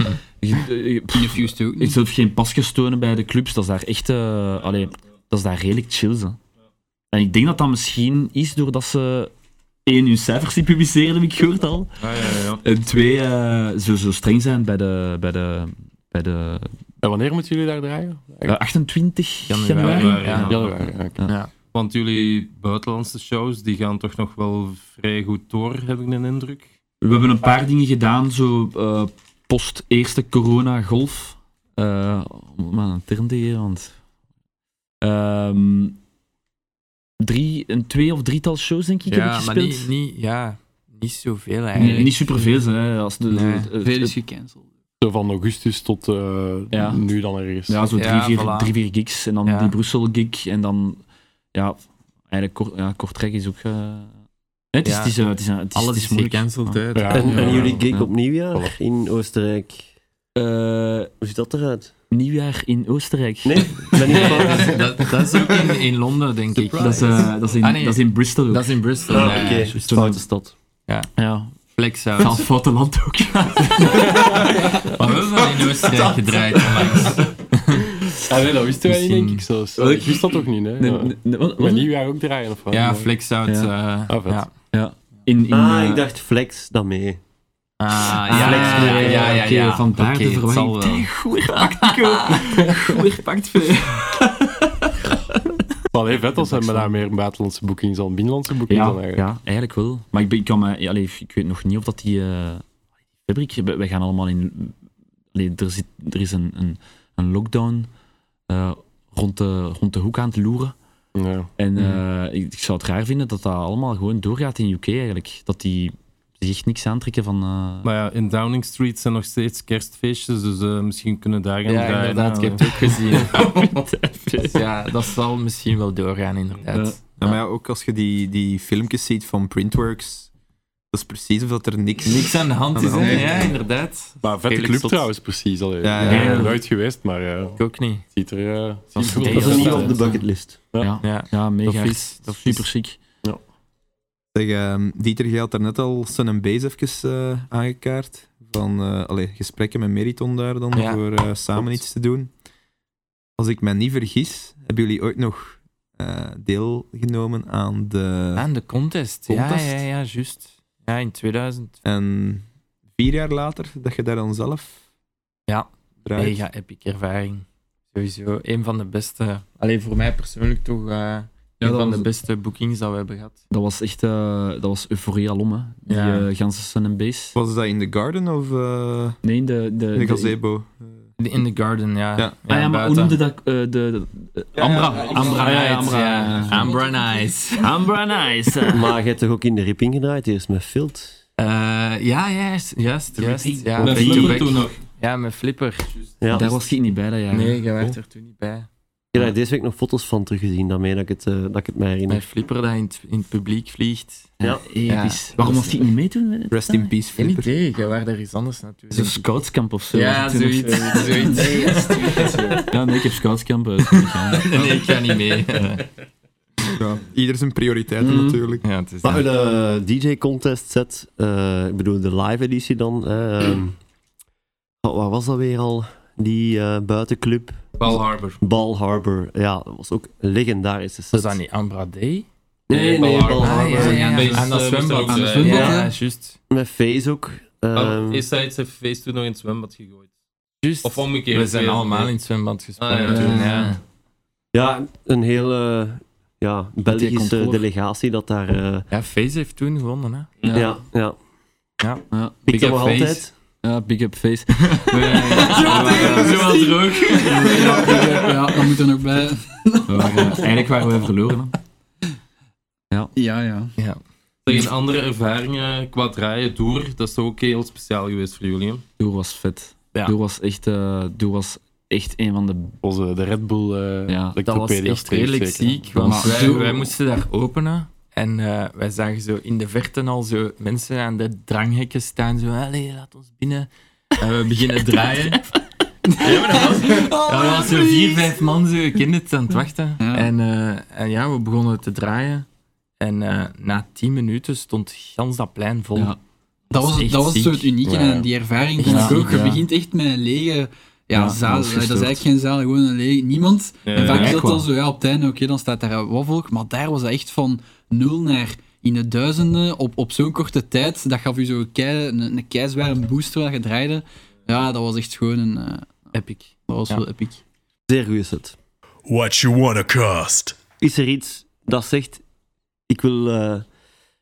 S5: je- eh, je- pff,
S4: Infused ook
S5: ik
S4: niet.
S5: zelf geen pasjes tonen bij de clubs. Dat is daar echt... eh, allee, dat is daar redelijk chill, hè. En ik denk dat dat misschien is doordat ze... één, hun cijfers die publiceren, heb ik gehoord al.
S7: Ah, ja, ja, ja.
S5: En twee, eh, zo, zo streng zijn bij de... Bij de bij de
S8: en wanneer moeten jullie daar draaien?
S5: eh, 28 januari.
S7: Januari,
S5: Ja.
S7: ja.
S8: Januari, oké.
S7: Want jullie buitenlandse shows die gaan toch nog wel vrij goed door, heb ik een indruk.
S5: We hebben een paar dingen gedaan, zo eh, post eerste corona golf. Eh, om maar een term te geven, want... Ehm, drie, een twee of drietal shows, denk ik, heb
S6: ja,
S5: ik
S6: maar
S5: gespeeld.
S6: niet, niet, ja, niet zoveel
S5: Nee,
S6: eigenlijk.
S5: niet superveel, hè. Als de,
S6: Nee,
S5: het- het-
S4: Veel is gecanceld.
S8: Zo van augustus tot eh,
S5: Ja.
S8: nu dan ergens.
S5: ja, zo drie,
S6: Ja,
S5: vier,
S6: voilà.
S5: drie, vier gigs. En dan
S6: Ja.
S5: die Brussel gig. En dan... Ja, eigenlijk kort, ja, Kortrijk is ook... eh, het, is,
S6: Ja.
S5: het, is, eh, het is, een- het is,
S6: Alles
S5: het is
S6: is
S5: moeilijk.
S6: gecanceld, hè.
S8: Ja.
S3: En, en
S8: Ja.
S3: jullie gig
S5: Ja.
S3: op nieuwjaar in Oostenrijk.
S5: Eh,
S3: Hoe ziet dat eruit?
S5: nieuwjaar in Oostenrijk.
S3: Nee, ik ben niet fout.
S6: dat, dat is ook in, in Londen, denk ik.
S5: Dat is, eh, dat, is in,
S6: Ah, nee.
S5: dat is in Bristol ook.
S6: Dat is in Bristol.
S3: Ah,
S6: ja.
S3: Oké,
S5: juist.
S3: foute stad.
S5: Ja.
S6: Flex out.
S5: Van het foute land ook.
S6: Maar we hebben wel in Oostenrijk gedraaid onlangs.
S8: Ah, nee, dat wisten wij niet,
S6: Misschien-
S8: denk ik zelfs. Ik wist dat ook niet, hè.
S5: Nee,
S8: Ja.
S5: nee, nee, wat-
S8: Maar
S5: wat?
S8: nieuwjaar ook draaien, of wat?
S6: Ja, flex out.
S5: Ja.
S6: eh,
S8: Ah, vet.
S6: ja.
S5: In, in,
S3: Ah,
S5: eh,
S3: ik dacht flex dan mee.
S6: Ah,
S5: Ah,
S6: ja, ja, ja, ja, ja,
S5: oké,
S6: ja.
S5: Vandaar
S6: Oké,
S5: de
S6: het
S5: verwarring.
S6: zal wel.
S5: Tij, Goed gepakt, Nico. Goed gepakt, Fee.
S8: Maar allee, vet als ze met daar meer buitenlandse boekings dan binnenlandse boekings dan eigenlijk.
S5: ja, eigenlijk wel. Maar ik, ben, ik, kan me, ja, allee, ik weet nog niet of dat die eh, fabriek... we- Wij gaan allemaal in... allee, er, zit, er is een, een, een lockdown eh, rond, de, rond de hoek aan het loeren.
S8: Ja.
S5: En eh, ik, ik zou het raar vinden dat dat allemaal gewoon doorgaat in UK eigenlijk. Dat die zich echt niks aantrekken van... eh,
S7: Maar ja, in Downing Street zijn nog steeds kerstfeestjes, dus eh, misschien kunnen daar gaan
S6: Ja,
S7: draaien.
S6: inderdaad, ik
S7: hè.
S6: heb het ook gezien. Dus [LAUGHS] ja, dat zal misschien wel doorgaan, inderdaad.
S1: ja, maar ja, ook als je die, die filmpjes ziet van Printworks, dat is precies of dat er niks...
S6: Niks aan de hand
S1: Aan de
S6: is,
S1: hand,
S6: hè?
S1: ja.
S6: Ja, inderdaad.
S8: Maar vette
S6: Redelijk
S8: club
S6: zot.
S8: trouwens, precies. Allee.
S1: Ja, ja,
S8: Ik ben
S5: ja.
S8: er nooit geweest, maar eh,
S6: Ik ook niet.
S8: het ziet er... eh, het
S6: Dat
S8: ziet
S6: is
S8: er
S3: Dat
S8: goed
S3: is
S6: heel
S3: niet
S8: uit.
S3: op de bucketlist.
S8: Ja.
S6: Ja.
S5: Ja, mega.
S6: Dat is- dat
S5: dat
S6: is-
S5: super ziek.
S1: Zeg, ehm, Dieter, jij had daarnet al Sun and Base even eh, aangekaart. van eh, allee, gesprekken met Meriton daar dan,
S6: Ja.
S1: voor eh, samen iets te doen. Als ik me niet vergis, hebben jullie ooit nog eh, deelgenomen aan de...
S6: Aan de contest.
S1: Contest?
S6: Ja, ja, ja, juist. Ja, in 2000.
S1: En vier jaar later, dat je daar dan zelf
S6: Ja.
S1: draait.
S6: Mega epic ervaring. Sowieso een van de beste, alleen voor mij persoonlijk toch, eh, een
S5: dat
S6: van
S5: was-
S6: de beste boekings dat we hebben gehad.
S5: Dat was echt, eh, dat was euforie alom, hè. Die
S6: Ja.
S5: eh, ganse Sun and Base.
S1: Was dat in de garden of eh,
S5: Nee, de... de,
S1: in de
S5: de-
S1: gazebo?
S6: De- In the Garden, ja.
S1: Ja.
S5: Ah ja, maar hoe
S6: buiten.
S5: noemde dat? eh, de, de- eh,
S1: Ja,
S5: Ambra.
S1: ja, ja,
S5: Ambra,
S6: Ambra
S5: ja,
S6: Nights,
S5: Ambra.
S6: ja.
S5: ja.
S6: Ambra Nights.
S5: Ambra Nice. eh.
S3: [LAUGHS] Maar je hebt toch ook in de ripping gedraaid, eerst met Filt?
S6: Eh, ja, juist, juist, juist. Ja,
S7: Met
S6: back to
S7: Flipper
S6: back.
S7: toen nog.
S6: Ja, met Flipper.
S3: Ja.
S5: Daar was ik niet bij dat jaar.
S6: Nee, jij werd er toen niet bij.
S3: Ik heb daar deze week nog foto's van teruggezien, daarmee dat ik het, eh, dat ik het mij
S6: Met
S3: herinner.
S6: Flipper dat in het, in het publiek vliegt.
S5: Ja, episch. Waarom was ik niet mee toen?
S1: Rest in peace,
S6: Geen
S1: Flipper.
S6: idee, jij werd ergens anders
S5: Zo'n
S6: natuurlijk.
S5: scoutskamp of zo.
S6: Ja,
S5: was het toen of
S6: zoiets.
S5: zo.
S6: zoiets. [LAUGHS]
S5: Ja, nee, ik heb scoutskamp. eh, toen niet gedaan.
S6: nee, ik ga niet mee.
S1: Ja. Ieder zijn prioriteiten
S6: Mm.
S1: natuurlijk.
S6: [LAUGHS] Ja, het is
S3: Maar de DJ-contest set, eh, ik bedoel de live editie dan. eh, ehm, [CLEARS THROAT] wat- waar was dat weer al? Die eh, buitenclub,
S7: Paul Harbor.
S3: Ball Harbor. Ja, dat was ook een legendarische set.
S6: Was dat niet Ambra Day?
S3: Nee, nee,
S7: Ball
S3: Ball
S7: Harbor.
S3: Harbor.
S7: ja, ja. Feest,
S6: Aan dat
S7: eh,
S6: zwembad.
S7: moest er ook
S6: eh,
S7: zijn.
S6: Ja,
S4: Ja.
S6: juist.
S3: Met Face ook.
S7: Maar
S3: ehm,
S7: Is hij zijn feest toen nog in het zwembad gegooid?
S6: Juist.
S7: Of omgekeerd. eh,
S6: We zijn
S7: weer.
S6: allemaal in het zwembad
S7: Ah,
S6: gesprongen
S7: ja.
S6: toen,
S7: Ja.
S6: eh, ja.
S3: Ja, een hele ja, Belgische
S5: controle.
S3: delegatie dat daar... eh,
S6: Ja, Face heeft toen gewonnen, hè.
S3: ja, ja. ja.
S6: Ja.
S5: Ja.
S3: Pikt dat
S6: up
S3: nog
S6: Face.
S3: altijd?
S5: Ja, big up face.
S2: Zo droog.
S4: ja, dat moet er nog bij.
S5: We waren, eigenlijk waren we verloren. hè.
S4: Ja, ja.
S7: Zeg, een andere ervaring eh, qua draaien, door, dat is toch ook heel speciaal geweest voor jullie. hè?
S5: Doer was vet.
S6: Ja.
S5: Doer was echt, eh Doer was echt een van de.
S8: Onze, de Red Bull eh
S5: Ja, dat
S6: Dat was
S8: Electropedia
S6: echt
S8: Stage
S6: redelijk
S8: zeker, hè.
S6: ziek, want
S5: Maar
S6: wij,
S5: zo-
S6: wij moesten daar openen en eh, wij zagen zo in de verte al zo mensen aan de dranghekken staan, zo, allee, laat ons binnen. En we [LAUGHS] beginnen draaien. Ja, maar dat was, [LAUGHS] Oh, ja, dat was zo vier, vijf man, zo, je kent het, aan het wachten.
S4: Ja.
S6: En, eh, en ja, we begonnen te draaien. En eh, na tien minuten stond gans dat plein vol.
S5: Ja.
S4: Dat was,
S6: Dat is
S4: dat was
S6: echt
S4: zo
S6: ziek.
S4: het unieke
S8: Ja.
S4: en die ervaring
S6: Echt
S4: vond ik
S6: ziek,
S4: ook. Je
S6: ja.
S4: begint echt met een lege ja,
S5: Ja,
S4: zaal.
S5: dat
S4: Dat
S5: is
S4: is, eigenlijk
S5: gestoord.
S4: geen zaal, gewoon een lege niemand. en vaak is
S5: echt
S4: dat dan
S5: waar.
S4: zo, ja, op het einde, oké, dan staat daar wat volk. Maar daar was dat echt van nul naar in de duizenden op, op zo'n korte tijd. Dat gaf u zo kei, een, een keizware boost terwijl je draaide. Ja, dat was echt gewoon een... eh,
S6: Epic.
S4: dat was
S6: Ja.
S4: wel epic.
S3: Zeer goede set.
S9: What you wanna cost?
S3: Is er iets dat zegt, ik wil eh,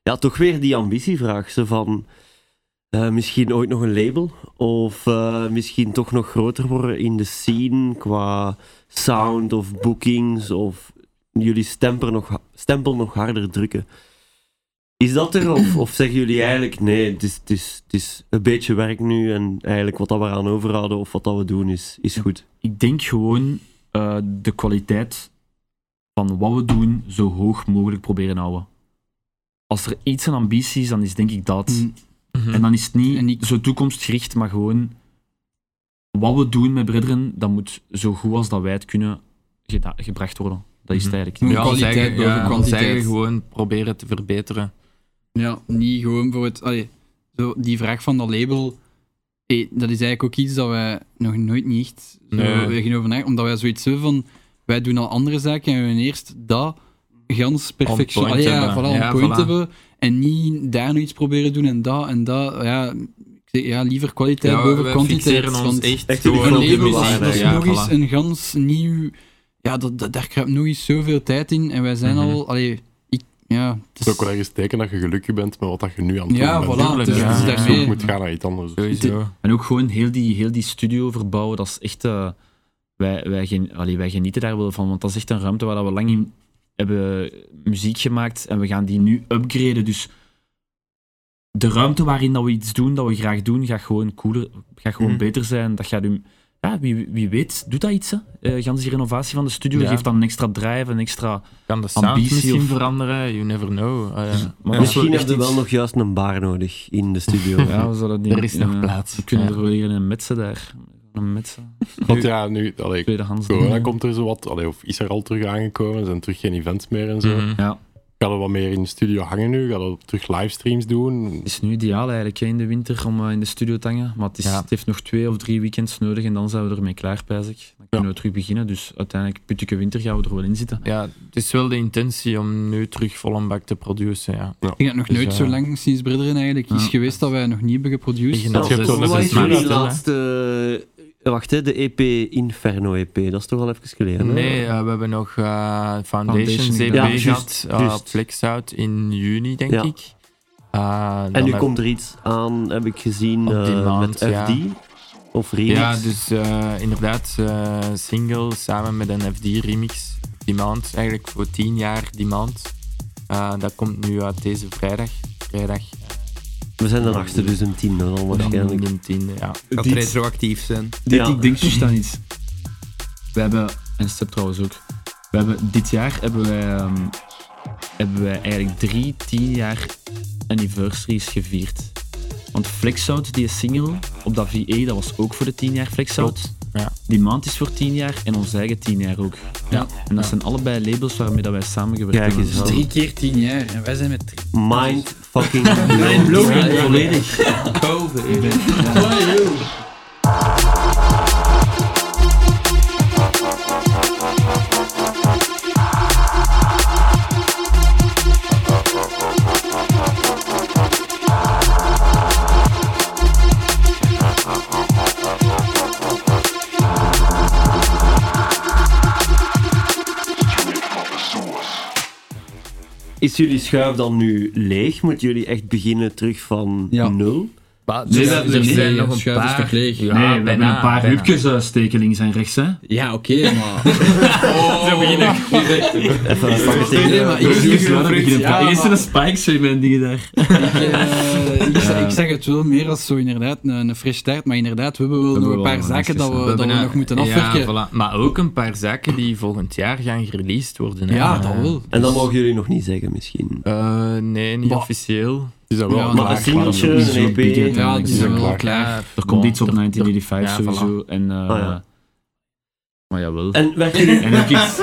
S3: ja, toch weer die ambitievraag, zo van eh, misschien ooit nog een label of eh, misschien toch nog groter worden in de scene qua sound of bookings of jullie stemper nog, ha- stempel nog harder drukken. Is dat er of, of zeggen jullie eigenlijk nee, het is, het, is, het is een beetje werk nu en eigenlijk wat dat we aan overhouden of wat dat we doen is, is goed.
S5: Ik denk gewoon eh, de kwaliteit van wat we doen zo hoog mogelijk proberen houden. Als er iets aan ambitie is, dan is denk ik dat.
S4: Mm.
S5: En dan is het niet,
S4: En niet-
S5: zo toekomstgericht, maar gewoon wat we doen met Brederen, dat moet zo goed als dat wij het kunnen geda- gebracht worden. Dat is het
S1: Mhm.
S5: eigenlijk.
S4: Ja,
S5: Ja.
S4: kwaliteit
S6: zeggen-
S4: boven
S6: ja,
S4: kwantiteit.
S6: zeggen gewoon proberen te verbeteren.
S4: Ja, niet gewoon voor het. Allee, zo, die vraag van dat label. hé, dat is eigenlijk ook iets dat wij nog nooit niet echt zo
S1: Nee.
S4: nee. over na- Omdat wij zoiets hebben van. Wij doen al andere zaken en we willen eerst dat gans perfectie.
S6: point
S4: Allee, ja,
S6: hebben.
S4: voilà,
S6: Ja,
S4: on point
S6: voilà.
S4: hebben. En niet daar nog iets proberen doen en dat en dat. Ja, ik zeg, ja liever kwaliteit boven
S6: we
S4: kwantiteit.
S6: fixeren ons
S4: Want
S6: echt,
S3: echt
S6: gewoon
S4: een
S6: op de
S4: label
S6: muziek.
S4: dat is
S6: Ja,
S4: nog
S6: voilà.
S4: eens een gans nieuw. Ja, dat, dat, daar kruipt nog eens zoveel tijd in. En wij zijn
S6: Mhm.
S4: al. Allee, ik, ja, het
S8: Het is
S4: is,
S8: ook wel ergens teken dat je gelukkig bent met wat dat je nu aan het
S4: ja,
S8: doen
S4: voilà.
S8: bent.
S6: Natuurlijk,
S4: dus
S6: ja.
S4: het is
S6: Ja, ja.
S8: Dus je
S4: daarmee.
S8: moet gaan naar iets anders.
S6: Sowieso.
S5: En ook gewoon heel die, heel die studio verbouwen, dat is echt... eh, wij, wij, gen- allee, wij genieten daar wel van, want dat is echt een ruimte waar dat we lang in hebben muziek gemaakt en we gaan die nu upgraden. Dus de ruimte waarin dat we iets doen, dat we graag doen, gaat gewoon cooler, gaat gewoon
S1: Mhm.
S5: beter zijn. Dat gaat u, ja, wie, wie weet, doet dat iets, hè? Eh, gans die renovatie van de studio
S6: Ja.
S5: geeft dan een extra drive, een extra...
S6: Kan de sound
S5: Ambitie
S6: misschien
S5: of-
S6: veranderen, you never know. Eh,
S5: Maar
S1: Ja.
S5: dat is
S3: Misschien
S5: echt
S3: hebben we
S5: iets-
S3: wel nog juist een bar nodig in de studio.
S5: Ja, we zullen die-
S6: er is nog
S5: eh,
S6: plaats.
S5: We kunnen
S6: Ja.
S5: er wel hier een metsen daar. Een metsen.
S8: Want ja, nu, allee,
S5: Tweedehands.
S8: corona komt er zo wat, allee, of is er al terug aangekomen, er zijn terug geen events meer en zo.
S6: Mhm.
S5: Ja.
S8: Kan er wat meer in de studio hangen nu? Gaat er terug livestreams doen?
S5: Het is nu ideaal eigenlijk hè, in de winter om eh, in de studio te hangen. Maar het, is,
S6: Ja.
S5: het heeft nog twee of drie weekends nodig en dan zijn we ermee klaar, pijs ik. Dan kunnen we terug beginnen. Dus uiteindelijk, putteke winter, gaan we er wel in zitten.
S6: Ja, het is wel de intentie om nu terug vol een bak te produceren. Ja.
S4: Ik denk dat het nog
S6: Dus,
S4: nooit zo
S6: eh,
S4: lang sinds Brederen eigenlijk is
S6: ja.
S4: geweest dat wij nog niet hebben geproduced.
S6: Beginnen
S8: je hebt zo'n
S6: zes
S8: zes
S3: Wat is
S8: maanden
S3: jullie
S6: maanden, hè?
S3: laatste... eh, Wacht, hè, de EP Inferno EP, dat is toch al even geleden? hè?
S6: Nee, eh, we hebben nog eh Foundation
S5: Foundation,
S6: CB
S3: ja. Ja,
S6: gehad,
S3: juist,
S6: eh,
S3: juist.
S6: Flex Out in juni, denk
S3: Ja.
S6: ik. Eh, dan
S3: En nu
S6: heb-
S3: komt er iets aan, heb ik gezien,
S6: Op die
S3: eh,
S6: maand,
S3: met
S6: ja.
S3: FD. Of Remix.
S6: Ja, dus eh, inderdaad, eh, single samen met een FD-remix. Die maand, eigenlijk voor tien jaar die maand. Eh, dat komt nu uit deze vrijdag. Vrijdag.
S3: We zijn er achter, dus een tien dan waarschijnlijk.
S6: De tiende, ja.
S1: Gaat
S5: Dit-
S1: retroactief zijn.
S5: Dit,
S3: Ja.
S5: ik denk juist aan iets. We hebben, en Step trouwens ook, we hebben, dit jaar hebben wij, ehm, hebben wij eigenlijk drie, tien jaar anniversaries gevierd. Want Flexout, die single op dat VE, dat was ook voor de 10 jaar Flexout.
S6: ja.
S5: Die maand is voor 10 jaar en ons eigen 10 jaar ook. Ja. En dat zijn allebei labels waarmee dat wij samengewerkt
S3: Kijk
S5: hebben.
S3: eens,
S5: Dus
S4: Drie keer tien jaar en wij zijn met drie.
S3: Mind fucking blown.
S5: Ja, volledig.
S3: Is jullie schuif dan nu leeg? Moeten jullie echt beginnen terug van
S4: Ja.
S3: nul?
S5: Nee,
S2: er
S5: Dus dat is-
S2: zijn
S5: nee,
S2: nog Ah, een
S4: schuif is
S2: paar.
S4: toch leeg?
S5: nee, we hebben een paar hupjes uh, steken links en rechts. Hè.
S4: Ja, oké,
S5: [LAUGHS]
S4: maar...
S3: Even een pak tegen.
S4: Nee, maar ik-
S5: Dus
S4: ik-
S5: juist, Oh. we beginnen
S4: ja,
S5: pa- Eerst
S4: maar-
S5: een spikes in mijn dingen daar.
S4: Ik, eh, ik, zeg-
S5: Ja.
S4: ik zeg het wel meer als zo inderdaad een, een fresh start, maar inderdaad, we hebben wel nog
S5: hebben
S4: een
S5: wel
S4: paar
S5: nog
S4: zaken
S5: niks
S4: dat we,
S5: gezien.
S4: dat we
S6: hebben,
S4: nog
S6: eh,
S4: moeten
S6: ja,
S4: afwerken.
S6: voilà. Maar ook een paar zaken die volgend jaar gaan gereleased worden. hè.
S4: Ja,
S6: Eh,
S4: dat wel.
S3: En dat mogen jullie nog niet zeggen misschien.
S6: eh, nee, niet
S4: Bah.
S6: officieel.
S8: Die zijn wel
S4: Ja,
S8: klaar.
S3: Maar een singeltje,
S5: is wel
S3: een
S5: big, hè. Ja,
S3: EP...
S5: dus-
S4: Ja, die
S8: is
S4: zijn
S8: ook
S4: wel
S8: klaar.
S4: klaar.
S6: Ja,
S5: Er komt
S6: bon,
S5: iets op
S6: er-
S5: 1985
S6: ja, voilà.
S5: sowieso. En, eh,
S3: Ah, ja.
S5: Maar jawel. En,
S3: En werken jullie...
S5: ook iets,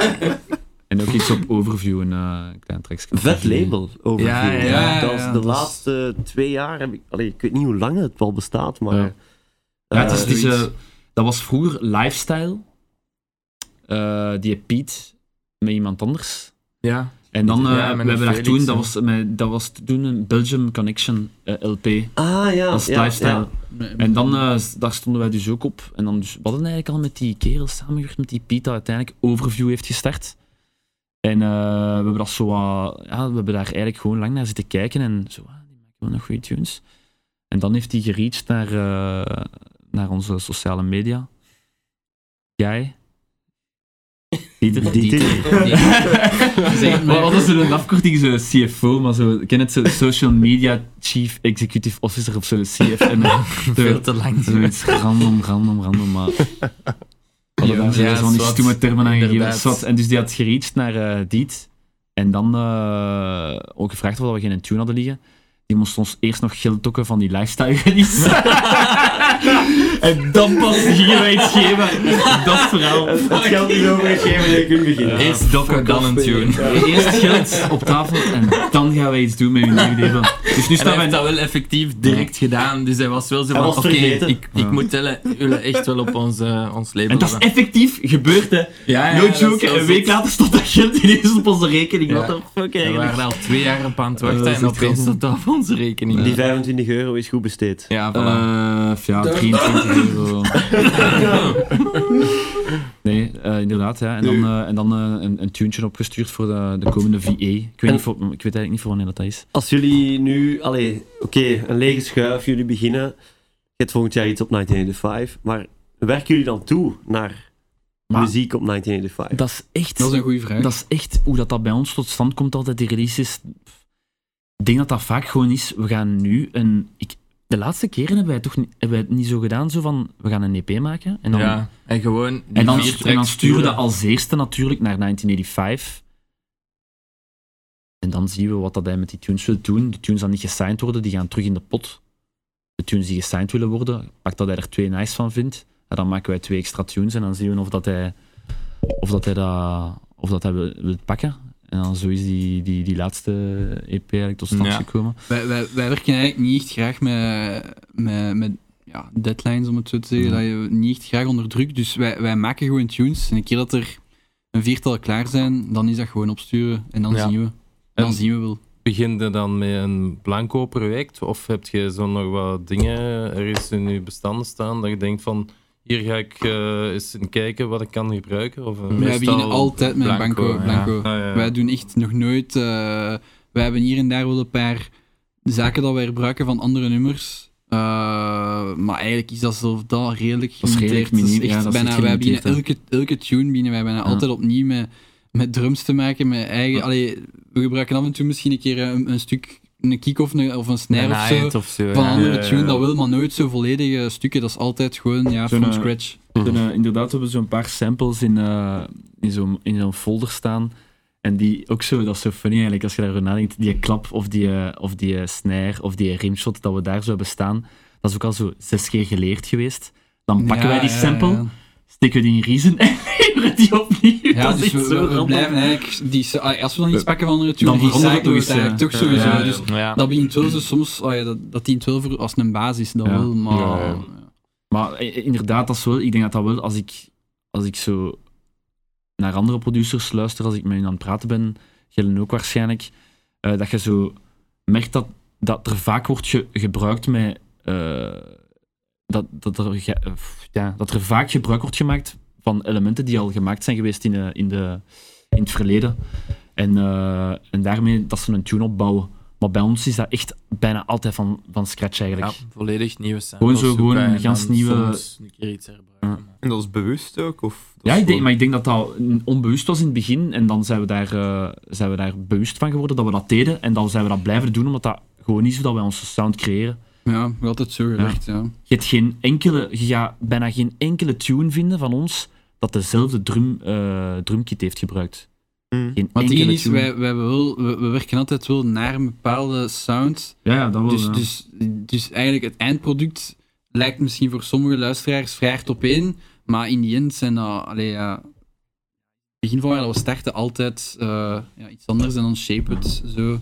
S5: [LAUGHS] en ook iets op overview, een eh, klein trekje.
S3: Vet label, overview.
S6: Ja, ja,
S4: ja,
S3: dat is
S4: ja,
S3: de
S4: dat is-
S3: laatste twee jaar heb ik... Allee, ik weet niet hoe lang het wel bestaat, maar...
S5: Ja. Ja, het is,
S3: eh,
S5: het is, eh,
S3: zoiets.
S5: dat was vroeger Lifestyle. Eh, die heeft Piet met iemand anders.
S6: Ja,
S5: En dan, eh,
S6: Ja, met
S5: we
S6: een
S5: hebben daar
S6: Felix,
S5: toen, dat
S6: hè.
S5: was, met, dat was toen een Belgium Connection eh, LP.
S3: Ah, ja.
S5: Dat is
S3: ja,
S5: Lifestyle.
S3: ja.
S5: En dan, eh, s- daar stonden wij dus ook op. En dan dus, we hadden eigenlijk al met die kerel samengewerkt, met die Piet, dat uiteindelijk Overview heeft gestart. En eh, we hebben dat zo wat- ja, we hebben daar eigenlijk gewoon lang naar zitten kijken en zo, ah, die maken wel nog goede tunes. En dan heeft hij gereached naar, eh, naar onze sociale media. Jij. Dieter.
S3: Dieter.
S5: Maar wat is er een afkorting, zo CFO, maar zo, ik ken het, zo Social Media Chief Executive Officer of zo, CFM. [LAUGHS]
S6: [LAUGHS] veel te lang.
S5: Zoiets random, random, random, maar... Hadden daar
S6: ja,
S5: ja, van die
S6: zwart.
S5: stomme termen aan gegeven.
S6: Inderdaad.
S5: Zwart. En dus die had gereached naar eh, Diet. En dan eh, ook gevraagd of we geen tune hadden liggen. Die moest ons eerst nog geld tokken van die lifestyle
S6: [LAUGHS]
S5: release. en dan pas gingen wij iets geven. Dat is het verhaal.
S3: Het geld is overgegeven en je kunt beginnen.
S6: Eerst dokken,
S5: eh.
S6: dan een tune.
S5: Eerst geld op tafel en dan gaan wij iets doen met hun nieuwe label. Dus nu
S6: En hij
S5: staan wij...
S6: heeft dat wel effectief direct gedaan, dus hij was wel zo
S3: Hij
S6: van,
S3: was
S6: oké,
S3: vergeten.
S6: ik, ik
S5: Ja.
S6: moet tellen, jullie echt wel op ons, eh, ons label
S5: En dat is
S6: hebben.
S5: effectief gebeurd, hè.
S6: Ja, ja,
S5: no
S6: dat is
S5: joke,
S6: wel
S5: een week
S6: zot.
S5: later stond dat geld ineens op onze rekening.
S6: Ja.
S5: What the fuck,
S6: We
S5: eigenlijk.
S6: waren daar al twee jaar op aan het
S5: Ja,
S6: wachten
S5: dat is
S6: en
S5: echt
S6: opeens
S5: grappig.
S6: stond dat op onze rekening.
S3: Die 25 euro is goed besteed.
S6: Ja, voilà.
S5: Eh, ja, 23 euro. nee, eh, inderdaad. Ja. En dan, eh, en dan eh, een, een tuntje opgestuurd voor de, de komende VE. Ik weet, niet voor, ik weet eigenlijk niet voor wanneer dat is.
S3: Als jullie nu, allee, oké, een lege schuif, jullie beginnen. Je hebt volgend jaar iets op 1985, maar werken jullie dan toe naar
S5: Maar-
S3: muziek op 1985?
S5: Dat is echt,
S4: Dat is een goede vraag.
S5: dat is echt hoe dat, dat bij ons tot stand komt, altijd die releases. Pff, Ik denk dat dat vaak gewoon is, we gaan nu een... Ik, de laatste keren hebben wij, toch, niet- hebben wij het niet zo gedaan, zo van, we gaan een EP maken. En dan,
S6: ja, en gewoon die
S5: en dan,
S6: vier
S5: en dan
S6: tracks
S5: sturen we
S6: sturen.
S5: als eerste natuurlijk naar 1985. En dan zien we wat dat hij met die tunes wil doen. De tunes die niet gesigned worden, die gaan terug in de pot. De tunes die gesigned willen worden, pakt dat hij er twee nice van vindt. En dan maken wij twee extra tunes en dan zien we of dat hij, of dat hij, dat, of dat hij wil, wil pakken. En En dan zo is die, die, die laatste EP eigenlijk tot stand
S6: Ja.
S5: gekomen.
S4: Wij, wij, wij werken eigenlijk niet echt graag met, met, met ja, deadlines, om het zo te zeggen. Dat je niet echt graag onder druk. Dus wij, wij maken gewoon tunes. En een keer dat er een viertal klaar zijn, dan is dat gewoon opsturen. En dan
S6: Ja.
S4: zien we. Dan
S7: En-
S4: zien we wel.
S7: Begin je dan met een blanco project? Of heb je zo nog wat dingen ergens in je bestanden staan dat je denkt van hier ga ik eh, eens in kijken wat ik kan gebruiken? Of, eh,
S4: Wij beginnen altijd met
S6: blanco,
S4: Blanco.
S6: ja.
S4: blanco.
S7: Ah, ja.
S4: Wij doen echt nog nooit. eh, wij hebben hier en daar wel een paar zaken dat wij gebruiken van andere nummers. Eh, maar eigenlijk is dat zelf dat redelijk
S5: Dat is redelijk
S4: gelimiteerd. Dat is
S5: miniem-
S4: echt
S5: ja, dat is
S4: bijna,
S5: echt
S4: wij beginnen
S5: gelimiteerd,
S4: elke, elke tune beginnen wij bijna altijd opnieuw met, met drums te maken. Met eigen, allee, we gebruiken af en toe misschien een keer een, een stuk, een kick of een, of een snare of zo.
S6: of zo.
S4: Van een
S6: ja.
S4: andere
S5: ja,
S4: tune,
S5: ja.
S4: dat wil, maar nooit zo volledige stukken. Dat is altijd gewoon ja,
S5: Zo'n,
S4: from
S5: eh,
S4: scratch.
S5: En, eh, inderdaad hebben we zo'n paar samples in, eh, in zo'n in zo'n folder staan. En die ook zo, dat is zo funny eigenlijk als je daarover nadenkt. Die klap of die, eh, of die eh, snare of die rimshot dat we daar zo hebben staan. Dat is ook al zo zes keer geleerd geweest. Dan pakken
S4: Ja,
S5: wij die
S4: ja,
S5: sample,
S4: ja.
S5: steken we die in Reason [LAUGHS] en leveren die [LAUGHS] opnieuw.
S4: Ja,
S5: dat
S4: dus
S5: is echt
S4: we,
S5: zo
S4: we- we
S5: random.
S4: blijven eigenlijk... Die, se- ah, als we dan iets pakken van andere tune,
S5: Dan verandert
S4: recyclen
S5: het nog
S4: we het
S5: eens,
S4: eigenlijk
S5: ja.
S4: toch sowieso.
S7: Ja, ja.
S4: Dus
S6: Ja.
S4: dat begint wel zo soms... ah ja, dat, dat dient wel voor, als een basis, dat
S5: Ja.
S4: wel, maar...
S8: Ja, ja.
S5: Maar eh, eh, inderdaad, dat is wel, ik denk dat dat wel, als ik, als ik zo naar andere producers luister, als ik met hen aan het praten ben, Gillen ook waarschijnlijk, eh, dat je zo merkt dat, dat er vaak wordt ge- gebruikt met... eh, dat, dat, er, ge- eh, pff, ja, dat er vaak gebruik wordt gemaakt van elementen die al gemaakt zijn geweest in, eh, in, de, in het verleden. En, eh, en daarmee dat ze een tune opbouwen. Maar bij ons is dat echt bijna altijd van, van scratch eigenlijk.
S6: Ja, volledig nieuwe
S5: Gewoon
S6: samples.
S5: zo, gewoon
S6: zoeken
S5: een
S6: en
S5: gans
S6: dan
S5: nieuwe-
S6: soms een keer iets herbruiken.
S5: Ja.
S6: maar-
S1: En dat is bewust ook? Of dat
S5: Ja,
S1: is
S5: ik denk,
S1: gewoon-
S5: maar ik denk dat dat onbewust was in het begin. En dan zijn we, daar, eh, zijn we daar bewust van geworden dat we dat deden. En dan zijn we dat blijven doen, omdat dat gewoon is hoe dat wij onze sound creëren.
S4: Ja, we altijd zo gedacht, ja.
S5: Je, hebt geen enkele, je gaat bijna geen enkele tune vinden van ons dat dezelfde drum, eh, drumkit heeft gebruikt.
S1: Mm.
S5: Geen
S4: Maar het ding
S5: enkele
S4: is,
S5: tune.
S4: wij, wij, hebben wel, we, we werken altijd wel naar een bepaalde sound.
S5: Ja, ja, dat wel.
S4: Dus,
S5: ja.
S4: dus, dus eigenlijk het eindproduct lijkt misschien voor sommige luisteraars vrij hard op één, maar in die end zijn dat... Allee, ja, het begin van waar we starten altijd eh, ja, iets anders en dan shape het zo.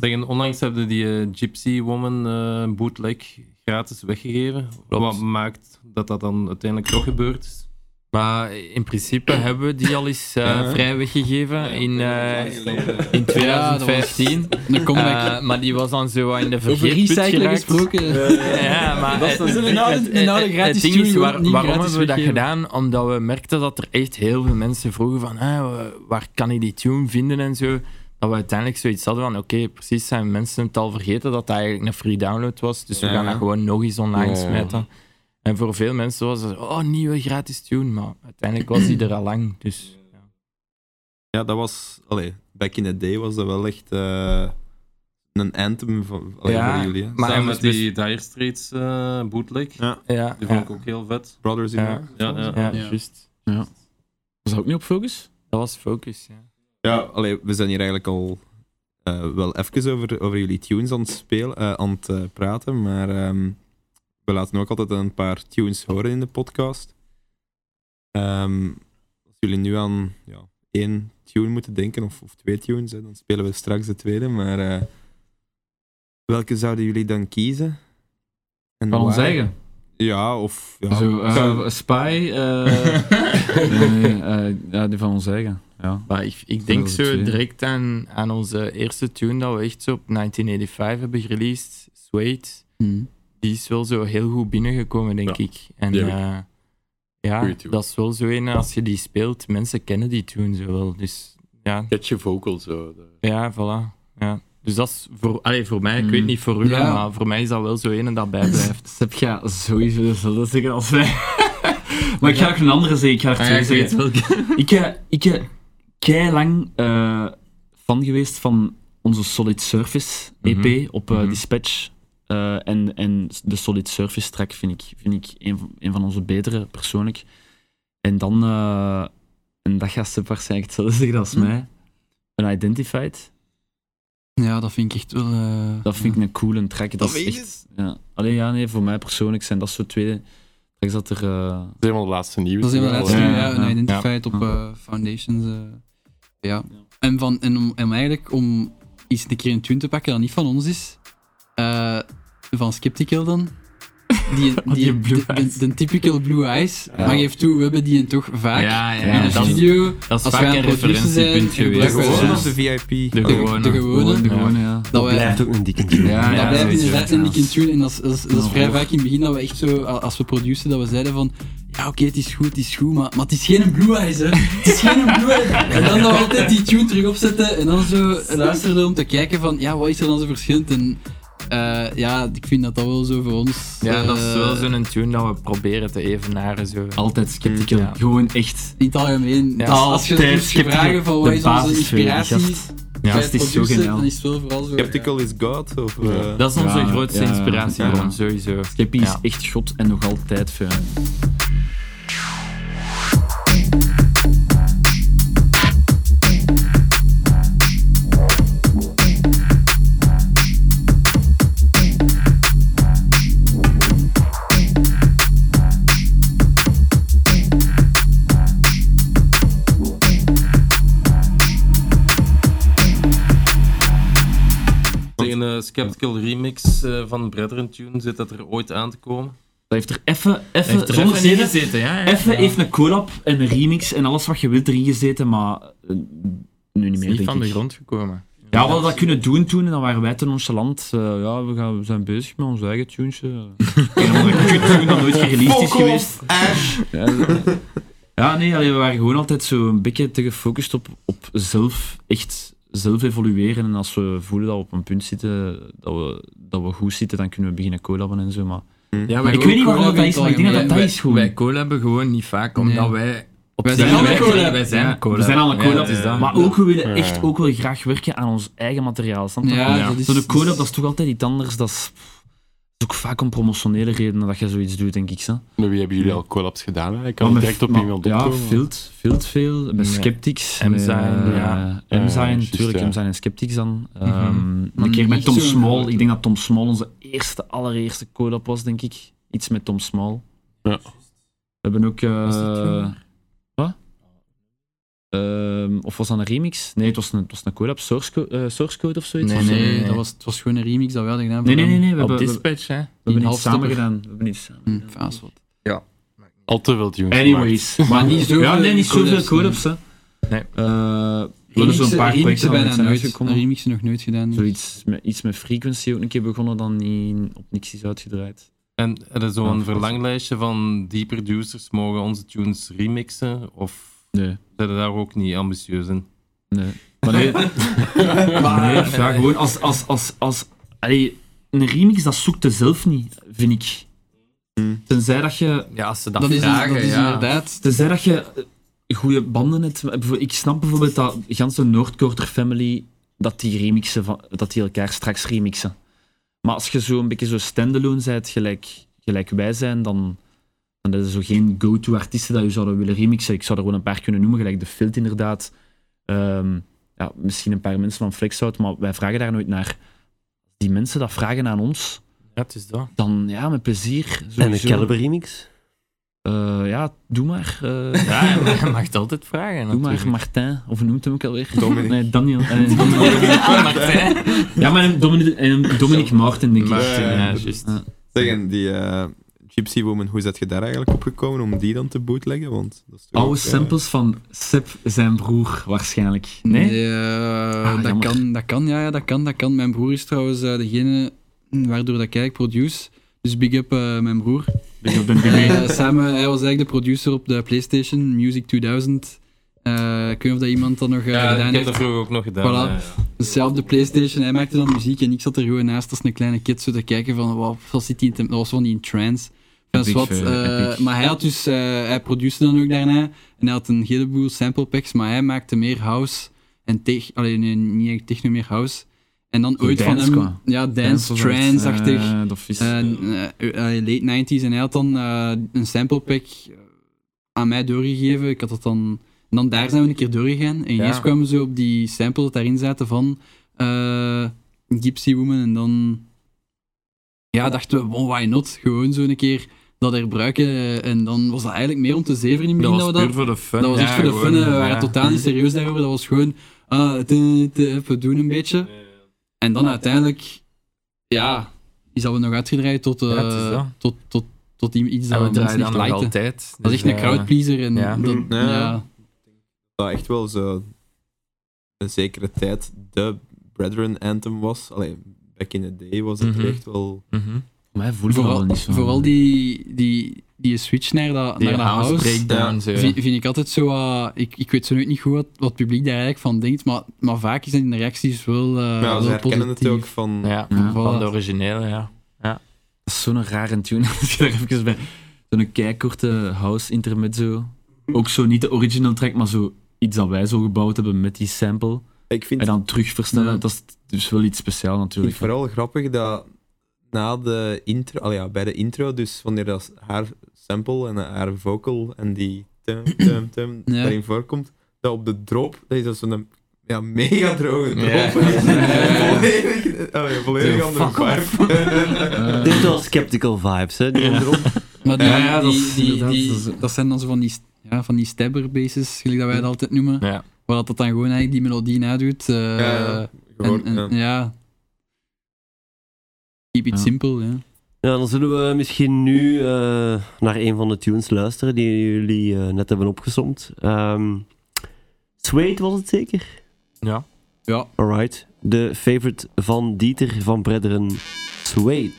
S7: Zeggen, onlangs hebben die eh, Gypsy Woman eh, bootleg gratis weggegeven. Wat maakt dat dat dan uiteindelijk toch gebeurd is?
S6: Maar in
S5: [CLEARS THROAT]
S6: principe hebben we die al eens eh,
S1: Ja.
S6: vrij weggegeven in, eh, in
S4: Ja, dat was-
S6: 2015.
S4: Een comeback.
S6: Eh, maar die was dan zo wat in de
S4: Over
S6: vergeetput
S4: recyclen
S6: geraakt.
S4: gesproken.
S6: Ja, maar
S4: Eh, Dat is- dat is een oude-
S6: het-
S4: een oude
S6: het-
S4: gratis
S6: het ding
S4: tune
S6: is,
S4: gewoon
S6: waar-
S4: niet
S6: waarom
S4: gratis
S6: hebben we dat
S4: weggeven.
S6: gedaan? Omdat we merkten dat er echt heel veel mensen vroegen van ah, wa- waar kan ik die tune vinden en zo. Dat we uiteindelijk zoiets hadden van oké, precies zijn mensen het al vergeten dat dat eigenlijk een free download was. Dus we
S1: Ja.
S6: gaan dat gewoon nog eens online
S8: Ja.
S6: smijten. En voor veel mensen was het oh, nieuwe gratis tune. Maar uiteindelijk was die er al lang. Dus
S1: Ja, dat was... Allee, back in the day was dat wel echt eh, een anthem van, allee,
S6: Ja,
S1: voor jullie. Hè?
S6: maar-
S7: Samen
S6: en
S7: met
S6: dus-
S7: die Dire Straits eh, bootleg.
S1: Ja.
S6: ja,
S7: Die
S6: ja,
S7: vond ik ook heel vet.
S1: Brothers in
S6: Ja.
S1: Arms.
S7: Ja, ja.
S6: ja,
S4: Ja.
S6: juist.
S5: Was dat ook niet op focus?
S6: Dat was focus. Ja.
S1: Ja, allee, we zijn hier eigenlijk al eh, wel even over, over jullie tunes aan het, spelen, eh, aan het eh, praten, maar ehm, we laten ook altijd een paar tunes horen in de podcast. Ehm, als jullie nu aan ja, één tune moeten denken, of, of twee tunes, hè, dan spelen we straks de tweede, maar eh, welke zouden jullie dan kiezen? En
S5: Van ons
S1: waar?
S5: eigen.
S1: Ja, of... Ja,
S5: Zo, eh,
S1: zou-
S5: Spy.
S4: [LAUGHS]
S5: eh, nee, eh, ja, die van ons eigen. Ja.
S6: Maar ik, ik
S5: Dat
S6: denk
S5: is
S6: zo
S5: het, ja.
S6: direct aan, aan onze eerste tune dat we echt zo op 1985 hebben gereleased, Suede. Die is wel zo heel goed binnengekomen, denk
S8: Mm. Ja.
S6: ik. En
S8: Die heb ik.
S6: eh, ja,
S8: Goeie tune.
S6: dat is wel zo een, als je die speelt, mensen kennen die tune zo wel. Dus ja,
S8: Catchy vocal zo. de-
S6: ja voilà. Ja. Dus dat is voor, allee, voor mij, ik
S5: Mm.
S6: weet niet voor u,
S4: Ja.
S6: maar voor mij is dat wel zo een dat bijblijft.
S5: Seb gaat sowieso dezelfde zeggen als wij. [LAUGHS] maar ik ga ook een andere zeggen. Ik ga er
S6: Ah
S5: twee zeggen. [LAUGHS] Ik, eh, ik eh, kei lang eh, fan geweest van onze Solid Surface EP
S6: Mhm.
S5: op eh,
S6: Mhm.
S5: Dispatch. Eh, en, en de Solid Surface track vind ik, vind ik een, van- een van onze betere, persoonlijk. En dan, eh, en dat gaat Seb waarschijnlijk hetzelfde zeggen als
S6: Mhm.
S5: mij. Een Identified.
S4: Ja, dat vind ik echt wel... eh,
S5: Dat vind ik een coole track. Dat, is echt. Ja. Alleen ja, nee, voor mij persoonlijk zijn dat zo twee tracks dat er. eh,
S8: Dat is een van de laatste nieuws.
S4: Dat is een van de laatste
S5: Ja,
S4: ja,
S5: ja,
S4: ja, een
S5: ja.
S4: identified op eh, Foundations. eh, ja. En, van, en om, en eigenlijk om iets een keer een tune te pakken dat niet van ons is, eh, van Skeptical dan.
S6: [LAUGHS]
S4: Die, die,
S6: blue
S4: de,
S6: eyes.
S4: de- de typical blue eyes. Maar geef toe, we hebben die een toch vaak
S6: Ja, ja,
S4: in de
S6: dat is-
S4: studio.
S6: Dat is
S4: Als
S6: vaak
S4: wij
S6: een
S4: aan het produceren zijn,
S6: referentiepunt
S4: Ja,
S1: De
S6: geweest.
S4: gewoon.
S1: gewone
S6: Ja.
S1: of de VIP?
S6: De
S1: Oké.
S6: gewone.
S4: de gewone.
S6: De gewone, ja.
S4: dat wij,
S3: blijft ook een dikke tune.
S6: Ja,
S4: dat
S6: ja,
S4: blijft
S6: sowieso.
S4: inderdaad in die tune. En dat is, dat is, dat is
S6: Ja,
S4: vrij
S6: hoor.
S4: vaak in het begin dat we echt zo, a- als we produceren, dat we zeiden van. Ja, oké, het is goed, het is goed, maar, maar het is geen Blue Eyes, hè. Het is geen Blue Eyes. En dan dat we altijd die tune terug opzetten en dan zo luisteren om te kijken van, ja, wat is er dan zo verschillend? En eh, ja, ik vind dat dat wel zo voor ons...
S6: Ja, dat is
S4: eh,
S6: wel zo'n tune dat we proberen te evenaren. Zo.
S5: Altijd sceptical.
S6: Mm, ja.
S5: Gewoon echt.
S4: In het algemeen,
S6: Ja,
S4: als, als je
S5: altijd
S4: moet
S5: sceptical.
S4: vragen van,
S5: De
S4: wat is onze
S5: basis voor die
S4: inspiratie
S5: gast.
S4: bij
S5: Ja,
S4: het
S5: het is zo
S4: produceren,
S5: geniaal.
S4: dan is het wel vooral zo...
S1: Skeptical is God? Of, eh,
S6: Dat is onze
S5: Ja,
S6: grootste
S5: ja,
S6: inspiratiebron,
S5: ja.
S6: sowieso.
S5: Skeppy is
S6: Ja.
S5: echt god en nog altijd eh, fijn.
S7: Tegen een Skeptical remix eh, van Brethren Tune zit dat er ooit aan te komen.
S5: Dat heeft er even,
S6: Heeft
S5: even,
S6: er
S5: zonder
S6: even in
S5: zin.
S6: gezeten, ja. ja.
S5: Even heeft een collab en een remix en alles wat je wilt erin gezeten, maar eh, nu niet
S6: Is
S5: meer.
S6: niet
S5: denk
S6: van de
S5: ik.
S6: grond gekomen.
S5: Ja, we hadden dat kunnen doen toen en dan waren wij te nonchalant. Eh ja, we, gaan, we zijn bezig met ons eigen eh.
S6: [LAUGHS]
S5: tunesje. Een of andere kuttune dat nooit gereleased is geweest. Ja, zo. Ja, nee, allee, we waren gewoon altijd zo een beetje te gefocust op, op zelf, echt zelf evolueren. En als we voelen dat we op een punt zitten, dat we, dat we goed zitten, dan kunnen we beginnen collaben en zo. Maar
S6: Ja,
S5: ik weet niet waarom dat is, maar ik denk dat dat is gewoon.
S6: Wij collab hebben gewoon niet vaak, omdat
S4: Nee.
S6: wij...
S4: Wij
S6: zijn
S4: zijn
S6: wij-
S4: allemaal collab.
S6: Wij zijn
S5: Ja,
S6: collab.
S5: We zijn allemaal
S6: Ja,
S5: collab,
S6: het is dat.
S5: maar
S6: Ja.
S5: ook we willen
S8: Ja.
S5: echt ook wel graag werken aan ons eigen materiaal. Snap je? dus
S4: Ja, dat is...
S5: Zo'n collab,
S4: dat
S5: dat is toch altijd iets anders. Dat is, pff, dat is ook vaak om promotionele redenen dat je zoiets doet, denk ik. Zo.
S8: Met wie hebben jullie al collabs gedaan? hè? Ik kan
S5: Maar met-
S8: direct op
S5: maar-
S8: iemand
S5: Ja,
S8: opkomen.
S5: Filt, Filt veel. Met
S6: Nee.
S5: Skeptics.
S6: M-Zine,
S5: met, eh,
S6: ja.
S5: M-Zine,
S8: Ja, juist,
S5: natuurlijk.
S8: ja.
S5: M-Zine en Skeptics dan. Ehm,
S4: Mm,
S5: Een keer met
S4: echt
S5: Tom
S4: zo'n
S5: Small.
S4: grote.
S5: Ik denk dat Tom Small onze eerste, allereerste collab was, denk ik. Iets met Tom Small.
S8: Ja.
S5: We hebben ook... eh,
S6: Was dat toen?
S5: wat? Ehm, of was dat een remix? Nee, het was een, het was een collab. Source, co- eh, source Code of zoiets?
S6: Nee,
S5: Of zo?
S6: nee,
S4: Nee, dat was, het was gewoon een remix dat we hadden gedaan.
S5: Nee, nee, nee, nee, We
S6: Op
S5: hebben, we, we
S6: dispatch, hè.
S5: hebben
S4: half
S5: iets samen
S4: stopper.
S5: gedaan. We hebben iets samen
S4: Hm,
S5: gedaan.
S4: faas wat.
S8: Al te veel tunes
S5: Anyways, maar
S4: niet
S5: niet
S4: zoveel
S5: zoveel [LAUGHS] ja, nee, niet zoveel
S4: collabs,
S5: collabs. hè.
S6: Nee.
S5: Eh, we hebben
S4: Remixen,
S5: zo'n paar projecten
S4: remixen
S5: al
S4: bijna
S5: zijn
S4: nooit.
S5: uitgekomen.
S4: Remixen nog nooit gedaan.
S5: Zoiets met, iets met frequency ook een keer begonnen, dan in, op niks is uitgedraaid.
S7: En er is zo'n
S5: Ja,
S7: verlanglijstje van die producers mogen onze tunes remixen of
S5: Nee.
S7: zijn ze daar ook niet ambitieus in?
S5: Nee. Maar nee, nee ja, gewoon als. als, als, als allee, een remix, dat zoekt je zelf niet, vind ik.
S1: Hmm.
S5: Tenzij dat je,
S6: Ja, als ze dat,
S4: Dat is,
S6: vragen,
S4: dat is
S6: ja.
S4: inderdaad.
S5: tenzij dat je eh, goede banden hebt. Maar bijvoorbeeld- Ik snap bijvoorbeeld dat de ganse Noordkorter family dat die, remixen van, dat die elkaar straks remixen. Maar als je zo een beetje zo standalone bent, gelijk, gelijk wij zijn, dan, dan is er zo geen go-to artiesten dat je zouden willen remixen. Ik zou er gewoon een paar kunnen noemen, gelijk de Filt inderdaad. Ehm, ja, misschien een paar mensen van Flexout, maar wij vragen daar nooit naar. Die mensen dat vragen aan ons,
S6: Ja, het is dat.
S5: dan ja, met plezier.
S3: En een
S5: sowieso.
S3: Caliber remix.
S5: Eh, ja, doe maar. eh,
S6: Ja, je mag het altijd vragen,
S5: Doe
S6: natuurlijk.
S5: maar Martin, of hoe noemt hem ook alweer?
S1: Dominic.
S5: Nee, Daniel. [LAUGHS] Eh, Dominic.
S6: Ja, Martijn.
S5: Ja, maar een Dominic, een Dominic Martin, denk ik.
S1: Maar-
S6: Martijn, ja,
S1: Ja.
S6: juist.
S1: Zeg, en die eh, Gypsy Woman, hoe zet je daar eigenlijk op gekomen om die dan te bootleggen? Want dat is toch ook,
S5: Oude
S1: eh,
S5: samples van Seb, zijn broer, waarschijnlijk. Nee?
S4: eh,
S5: Ah,
S4: dat,
S5: jammer.
S4: kan, dat kan, ja, ja, dat kan, dat kan. Mijn broer is trouwens eh, degene waardoor dat ik eigenlijk produce. Dus big up eh, mijn broer.
S5: Dus [LAUGHS] op de BB.
S4: Eh, samen, hij was eigenlijk de producer op de PlayStation Music 2000. Eh, ik weet niet of dat iemand dat nog eh,
S7: Ja,
S4: gedaan
S7: ik heb
S4: heeft.
S7: dat vroeger ook nog gedaan.
S4: Voilà.
S7: ja, ja.
S4: Dus ja, op de Playstation, hij maakte dan muziek en ik zat er gewoon naast als een kleine kid zo te kijken van, wow, wat zit die in, te- dat was van die in trance. Dat is
S5: Epic,
S4: wat,
S5: eh,
S4: eh,
S5: epic.
S4: maar hij had dus, eh, hij produceerde dan ook daarna en hij had een heleboel sample packs, maar hij maakte meer house en tech, alleen nee, niet echt techno, meer house. En dan ooit van
S5: dance
S4: hem,
S5: qua.
S4: ja, dance, trance-achtig.
S5: Eh, dat is-
S4: Eh, eh, eh, late 90s en hij had dan eh, een sample pack aan mij doorgegeven. Ik had dat dan. En dan daar zijn we een keer doorgegaan. En ineens
S6: Ja.
S4: kwamen ze op die sample dat daarin zaten van eh, Gypsy Woman. En dan ja, dachten we, well, why not? Gewoon zo een keer dat herbruiken. En dan was dat eigenlijk meer om te zeven in het
S6: Dat
S4: begin
S6: was
S4: dat we
S6: puur
S4: dat...
S6: voor de fun.
S4: Dat was echt
S6: Ja,
S4: voor de
S6: gewoon,
S4: fun, hè. we
S6: ja.
S4: waren totaal niet serieus daarover. Dat was gewoon, ah, te- te- we doen een beetje. En dan uiteindelijk, ja, is dat we nog uitgedraaid tot, eh,
S6: Ja, het is dat.
S4: tot, tot, tot i- iets
S6: En
S4: dat
S6: we
S4: mensen
S6: draaien
S4: echt
S6: dan nog
S4: likten.
S6: altijd.
S4: Dat is echt een crowdpleaser en
S6: ja.
S4: dat,
S1: Ja.
S4: ja.
S1: dat echt wel zo een zekere tijd de Brethren Anthem was. Allee, back in the day was het
S6: Mhm.
S1: echt wel...
S5: Voor mij voelde dat wel
S4: Vooral,
S5: niet zo.
S4: vooral die, die, die switch naar dat, naar
S6: Naar
S4: dat house,
S6: breakdown. zo.
S4: vi- vind ik altijd zo, eh, ik, ik weet zo nooit niet goed wat, wat het publiek daar eigenlijk van denkt, maar, maar vaak is dat in de reacties wel, eh
S1: Maar ja,
S4: wel
S1: ze herkennen
S4: positief.
S1: het ook van...
S6: Ja,
S5: Ja.
S6: van de originele, ja.
S5: Dat is zo'n rare tune, [LAUGHS] als je er even bij... Zo'n keikorte house intermezzo. Ook zo niet de original track, maar zo iets dat wij zo gebouwd hebben met die sample.
S1: Ik vind,
S5: En dan terugversnellen,
S4: Ja.
S5: dat is dus wel iets speciaals
S1: ik vind
S5: natuurlijk.
S1: het vooral grappig dat na de intro... Allee, ja, bij de intro, dus wanneer dat haar sample en haar vocal en die tum, tum, tum
S4: Ja.
S1: daarin voorkomt, dat op de drop, dat is dat zo'n ja, mega droge drop.
S6: Ja.
S1: [LAUGHS] volledig, oh ja, volledig andere [LAUGHS] vibe.
S5: Eh,
S3: Dit was skeptical vibes, hè? Die onderop.
S4: Maar die,
S5: Ja, ja, dat
S4: die-
S5: is
S4: die-
S5: inderdaad,
S4: die-
S5: dat is-
S4: dat zijn dan zo van die, st- ja, van die stabber bases, gelijk dat wij dat altijd noemen.
S6: Ja.
S4: Waar dat dan gewoon eigenlijk die melodie nadoet. eh,
S1: ja.
S4: en,
S1: Gewoon,
S4: en-
S1: ja.
S4: ja. Keep it
S5: Ja.
S4: simple, ja.
S3: Ja, dan zullen we misschien nu eh, naar een van de tunes luisteren die jullie eh, net hebben opgezomd. Ehm Suede was het zeker?
S6: Ja.
S4: Ja.
S3: Alright. De favorite van Dieter van Bredderen, Suede.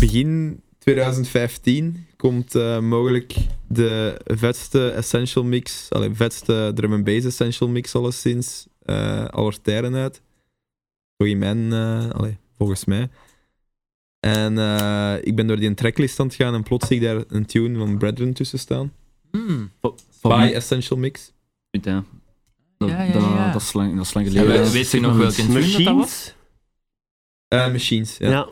S1: Begin 2015 komt eh, mogelijk de vetste Essential Mix, allee, vetste drum and bass Essential Mix alleszins, eh aller tijden uit. Voor in mijn, eh, allee, volgens mij. En eh, ik ben door die tracklist aan het gaan en plots zie ik daar een tune van Brethren tussen staan.
S6: Hmm.
S5: van
S1: By
S5: mij-
S1: Essential Mix.
S5: Goed, hè. Dat,
S6: Ja, ja,
S5: dat-
S6: ja.
S5: dat is lang, dat is lang
S6: Ja,
S5: geleden.
S6: we-
S5: Dat is
S6: weet je
S5: toch
S6: nog welke tune dat dat was?
S3: Machines?
S1: Eh, machines, ja.
S3: Ja.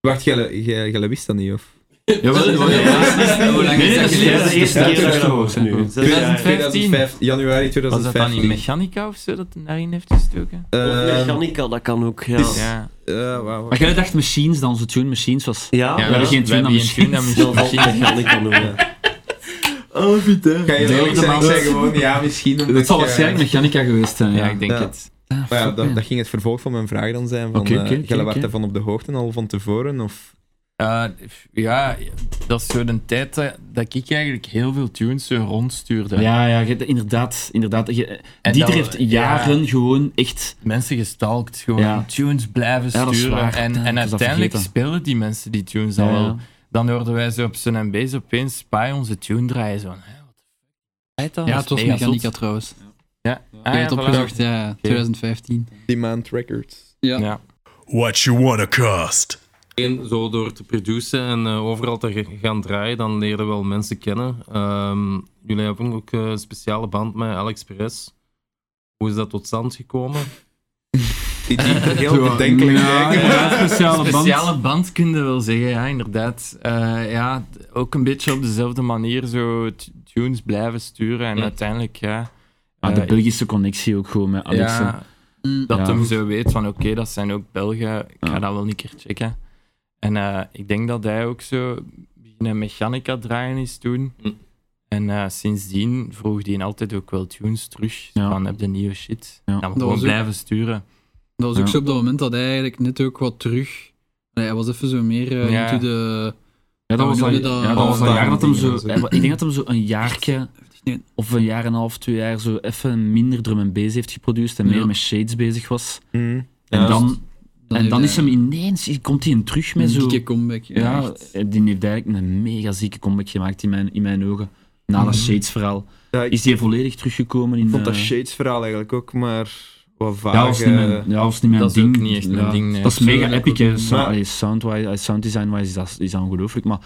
S1: Wacht, jij- jij jij wist dat niet, of?
S5: Jawel, jawel, jawel.
S6: Hoe lang
S5: Nee, nee,
S6: is dat
S5: dat is
S6: geleden?
S5: de eerste
S3: Ja,
S5: keer dat
S3: dat
S5: ik
S3: is
S5: dat hoor,
S3: nu.
S5: hè.
S6: 2015.
S1: 2015, januari
S6: Was dat dan in
S1: 2015.
S6: mechanica of zo dat hij daarin heeft gestoken?
S3: Of
S1: Eh,
S3: Mechanica, dat kan ook. Ja.
S1: is-
S6: Ja.
S1: eh, wauw.
S5: Maar jij dacht Machines, dan onze tune Machines was...
S3: Ja,
S5: we hebben geen tune aan Machines.
S3: dat valt Mechanica noemen.
S5: Oh, putain.
S1: Kan je eerlijk zijn? Ik zei gewoon, ja, misschien. omdat
S5: Het zal
S1: ik, eh,
S5: waarschijnlijk Mechanica geweest zijn,
S6: Ja,
S5: [LAUGHS] ja.
S6: ik denk
S1: Ja.
S6: het.
S5: Ah,
S1: Maar ja,
S5: fuck,
S1: dat,
S5: man.
S1: dat ging het vervolg van mijn vraag dan zijn. Van,
S5: Oké,
S1: eh
S5: oké, oké,
S1: Jij werd
S5: oké.
S1: daarvan op de hoogte al van tevoren? Of...
S6: Eh, ja, dat is zo de tijd dat, dat ik eigenlijk heel veel tunes zo rondstuurde.
S5: Ja, ja, je- inderdaad. inderdaad je,
S6: En
S5: Dieter
S6: dat-
S5: heeft jaren gewoon echt...
S6: Mensen gestalkt, gewoon
S5: Ja.
S6: tunes blijven
S5: Ja, dat is
S6: sturen.
S5: waar.
S6: En,
S5: Ik was
S6: en
S5: dat
S6: uiteindelijk
S5: vergeten.
S6: spelen die mensen die tunes al
S5: Ja, ja.
S6: wel. Dan hoorden wij zo op zijn MB's opeens Spy onze tune draaien. Zo, hè, wat de fuck is dat?
S4: Ja,
S6: Dat
S4: het was
S6: mega zot.
S4: Mechanica trouwens. Ik
S6: Ja, ah,
S4: heb
S6: ja,
S4: het
S6: voilà.
S4: opgezocht, ja, 2015.
S1: Demand Records.
S6: Ja.
S9: What you wanna cost?
S7: En zo door te produceren en eh, overal te ge- gaan draaien, dan leren we wel mensen kennen. Ehm, jullie hebben ook eh, een speciale band met Alex Perez. Hoe is dat tot stand gekomen?
S1: [LAUGHS] Die
S6: [LAUGHS]
S1: die heel bedenkelijk
S5: Ja,
S1: kijken. [LAUGHS]
S5: ja, speciale band.
S6: Speciale band kunnen wel zeggen, ja, inderdaad. Eh, ja, d- ook een beetje op dezelfde manier zo t- tunes blijven sturen en uiteindelijk, ja.
S5: Ah,
S6: eh,
S5: de Belgische connectie ook gewoon met Alex. hè.
S6: ja, dat
S5: Ja.
S6: hem zo weet van oké, dat zijn ook Belgen, ik ga
S5: Ja.
S6: dat wel een keer checken. En eh, ik denk dat hij ook zo beginnen mechanica draaien is toen.
S5: Hm.
S6: En eh, sindsdien vroeg hij altijd ook wel tunes terug.
S5: Ja.
S6: Van heb de nieuwe shit.
S5: Ja.
S6: Dat we
S4: Dat was
S6: gewoon
S4: ook-
S6: blijven sturen.
S4: Dat was ook
S5: Ja.
S4: zo op dat moment dat hij eigenlijk net ook wat terug... Nee, hij was even zo meer eh,
S6: Ja.
S4: into de...
S5: Ja, dat
S4: Oh,
S5: was
S4: noemde
S5: dat,
S4: dat-
S5: ja, dat was dat
S4: dat
S5: jaar dat hem zo...
S1: dingen en
S5: Ik denk dat hem zo een jaartje of een jaar en een half, twee jaar zo even minder drum en bass heeft geproduceerd en
S4: Ja.
S5: meer met shades bezig was.
S1: Mhm.
S5: En
S1: Ja.
S5: dan, en
S4: heeft
S5: dan is
S4: hij
S5: hem ineens... Komt hij in terug
S4: een
S5: met zo...
S4: dikke comeback.
S5: Ja, eh,
S4: Ja, echt.
S5: die heeft eigenlijk een mega zieke comeback gemaakt in mijn, in mijn ogen. Na dat Shades verhaal.
S1: Ja, ik
S5: Is hij volledig teruggekomen in...
S1: vond dat
S5: eh,
S1: Shades verhaal eigenlijk ook maar wat vaag.
S5: Ja, was niet mijn,
S1: eh,
S5: ja, was niet mijn
S6: Dat is
S5: ding.
S6: ook niet echt mijn
S5: Ja.
S6: ding, eh. nee.
S5: Dat is mega
S6: Zo,
S5: epic, hè. Sound-
S1: Maar-
S5: allee, sound-wise- allee, Sound design-wise is dat, is dat ongelooflijk, maar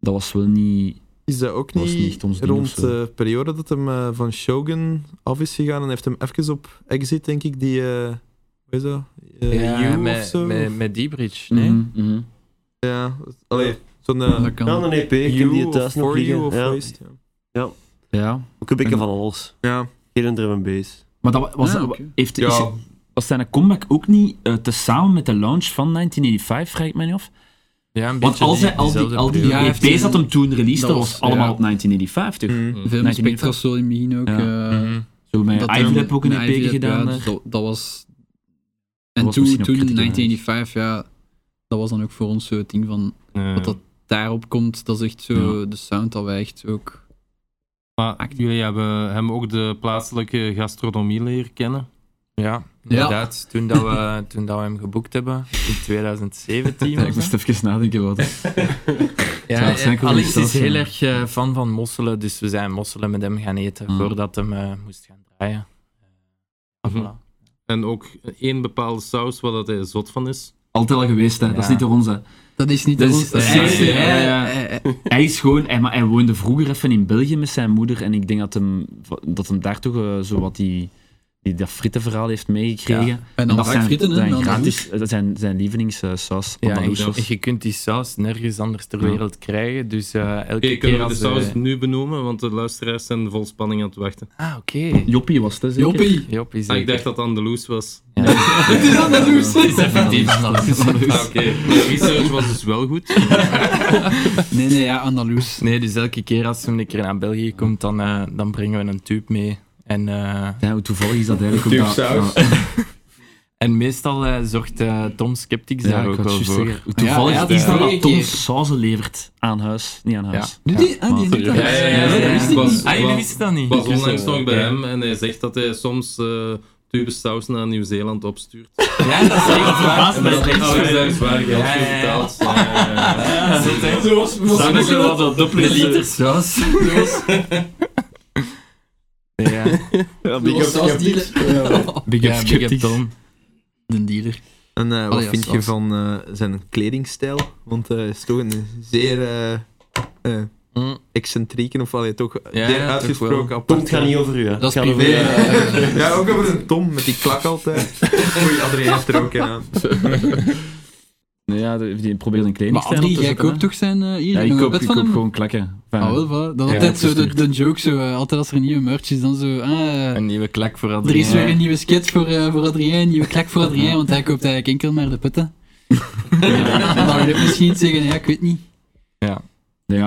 S5: dat was wel niet...
S1: Is dat ook
S5: Dat
S1: niet,
S5: was niet echt ons ding of
S1: rond
S5: zo.
S1: de periode dat hem eh, van Shogun af is gegaan en heeft hem even op Exit, denk ik, die... eh hoe is dat? Eh, You of Mm.
S6: met,
S1: zo?
S6: met, met die bridge, nee?
S5: Mhm, mhm.
S1: Ja, allee, zo'n... eh,
S4: Dat kan.
S3: Ja, een EP, ik heb
S1: You
S3: die
S1: of
S3: thuis nog
S1: For You
S3: liggen.
S1: of
S3: Ja,
S1: Waste, ja.
S5: Ja.
S3: ook een beetje
S5: En-
S3: van alles.
S1: Ja.
S3: Geen een drum en bass.
S5: Maar dat wa- was,
S4: Ah,
S5: dat-
S4: oké.
S5: heeft, is-
S1: Ja.
S5: was zijn comeback ook niet eh, tezamen met de launch van 1985, vraag ik mij niet af?
S6: Ja,
S5: Want
S6: een beetje
S5: al, zijn,
S6: die-
S5: al die,
S6: diezelfde
S5: al die
S6: periode.
S4: Ja, heeft hij-
S5: EP's dat hem toen released,
S4: dat
S5: dat
S4: was-
S5: was allemaal
S4: ja.
S5: op 1950.
S1: Mhm.
S4: Veel
S5: Nee, ik
S4: respect
S5: denk
S4: was zo in het begin ook.
S5: Ja.
S4: eh,
S6: Mhm.
S5: Zo met
S4: dat
S5: Ivan
S4: hem-
S5: heb ook een
S4: met
S5: EP
S4: Ivan,
S5: gedaan. eh.
S4: ja,
S5: hè.
S4: dus dat, dat was... En
S5: was
S4: toen,
S5: misschien ook
S4: toen
S5: kritiek, hè.
S4: 1985, ja, dat was dan ook voor ons zo het ding van...
S7: Eh,
S4: Wat dat daarop komt, dat is echt zo de sound dat wij echt ook...
S7: maar jullie hebben hem ook de plaatselijke gastronomie leren kennen.
S6: Ja, inderdaad. Toen, dat we, toen dat we hem geboekt hebben, in
S4: [LAUGHS]
S6: 2017.
S5: Ja,
S6: was
S5: ik
S6: dat?
S5: moest even nadenken wat. dat-
S6: Ja,
S5: dat zijn
S6: eh, Alex
S5: cool,
S6: is
S5: dat,
S6: heel
S5: ja.
S6: erg eh, fan van mosselen, dus we zijn mosselen met hem gaan eten
S5: Mm.
S6: voordat hem eh, moest gaan draaien. Ah,
S7: Mhm.
S6: voilà.
S7: En ook één bepaalde saus waar dat hij zot van is.
S5: Altijd al geweest, hè. dat is
S6: Ja.
S5: niet door ons. Hè.
S4: Dat is niet
S5: Dus-
S4: ons. dat is-
S5: Ja,
S4: eh,
S5: ja,
S4: eh,
S5: ja.
S4: eh, eh,
S5: Hij is gewoon, hij, maar hij woonde vroeger even in België met zijn moeder en ik denk dat hem, dat hem daar toch eh, zo wat die, die, dat frittenverhaal heeft meegekregen.
S6: Ja.
S4: En dan
S5: dat
S4: vaak frieten, hè.
S5: zijn,
S4: dan
S5: gratis, eh, dat zijn, zijn lievelingssaus.
S6: Ja, en
S5: Andaloussaus.
S6: je, je kunt die saus nergens anders ter
S5: Ja.
S6: wereld krijgen, dus eh, elke
S7: Oké,
S6: keer
S7: kunnen we de
S6: als, eh,
S7: saus nu benoemen? Want de luisteraars zijn vol spanning aan het wachten.
S6: Ah, oké.
S5: Joppie was het, hè, zeker?
S4: Joppie!
S6: Job is
S7: Ah, ik
S6: zeker.
S7: dacht dat het Andaloes was.
S4: Het is aan de loes!
S6: [LAUGHS]
S7: Ah, Oké, [LAUGHS] de research was dus wel goed.
S4: Nee, nee, ja, Andalus.
S6: Nee, dus elke keer als hij een keer naar België komt, dan, eh, dan brengen we een tube mee. En, eh,
S5: Ja, hoe toevallig is dat eigenlijk ook dat-
S1: Tubsaus.
S5: ja,
S6: en meestal eh, zorgt eh, Tom Skeptics
S5: ja,
S6: daar
S5: ik
S6: ook
S5: wou het
S6: wel
S5: juist
S6: voor.
S5: zeggen. Hoe toevallig
S4: Ja,
S5: is
S4: ja,
S5: dat
S4: die
S5: dat Tom
S4: keer.
S5: sauzen levert aan huis, niet aan huis.
S4: Doet die? Ah, die doet dat.
S8: Ja, ja, ja,
S4: Dat
S7: ja.
S4: wist ik
S7: Ik was-
S4: niet.
S6: Ah, jullie
S7: Wat-
S6: wisten dat niet?
S7: Ik was onlangs
S8: wel,
S7: nog bij
S6: ja.
S7: hem en hij zegt dat hij soms eh tube saus naar Nieuw-Zeeland opstuurt.
S6: Ja, dat is echt waar.
S7: En dat is echt zwaar, zwaar geld
S6: Ja,
S7: voor
S6: ja, ja.
S7: betaald. Ja, ja,
S6: Dat is echt-
S7: ja.
S6: Samen zo
S7: dat
S6: De liter saus. Ja,
S4: Zoals die- [LAUGHS]
S6: big up, big up Tom.
S4: De dealer.
S1: En eh, wat
S4: Allee, ja,
S1: vind je
S4: saus.
S1: van eh, zijn kledingstijl? Want hij is toch een zeer eh, eh,
S6: Mm.
S1: excentrieke, of allee, toch eh,
S6: Ja,
S1: zeer
S6: ja, toch
S1: uitgesproken
S3: Tom,
S1: apart.
S3: het gaat niet over u, hè.
S4: Dat is
S3: Het gaat over-
S4: privé. eh,
S1: Nee, ja, ook over een Tom met die klak altijd. Oei, Adrien heeft er ook een [LAUGHS] aan.
S5: Nee, ja, de- die probeert een kleding
S4: Maar Adrie, jij koopt toch zijn eh, hier?
S5: Ja, ik
S4: nog een
S5: koop,
S4: bed
S5: ik
S4: van
S5: koop
S4: hem?
S5: gewoon klakken. Enfin,
S4: Ah, wel, voilà. Dat is altijd zo de, de joke, zo, eh, altijd als er een nieuwe merch is, dan zo, ah,
S6: Een nieuwe klak voor
S4: er is
S6: Adrien.
S4: weer een nieuwe sketch voor, eh, voor Adrien, een nieuwe klak voor Adrien, want hij koopt eigenlijk enkel maar de putten. En dan wil je misschien zeggen, ja, ik weet niet.
S5: Ja,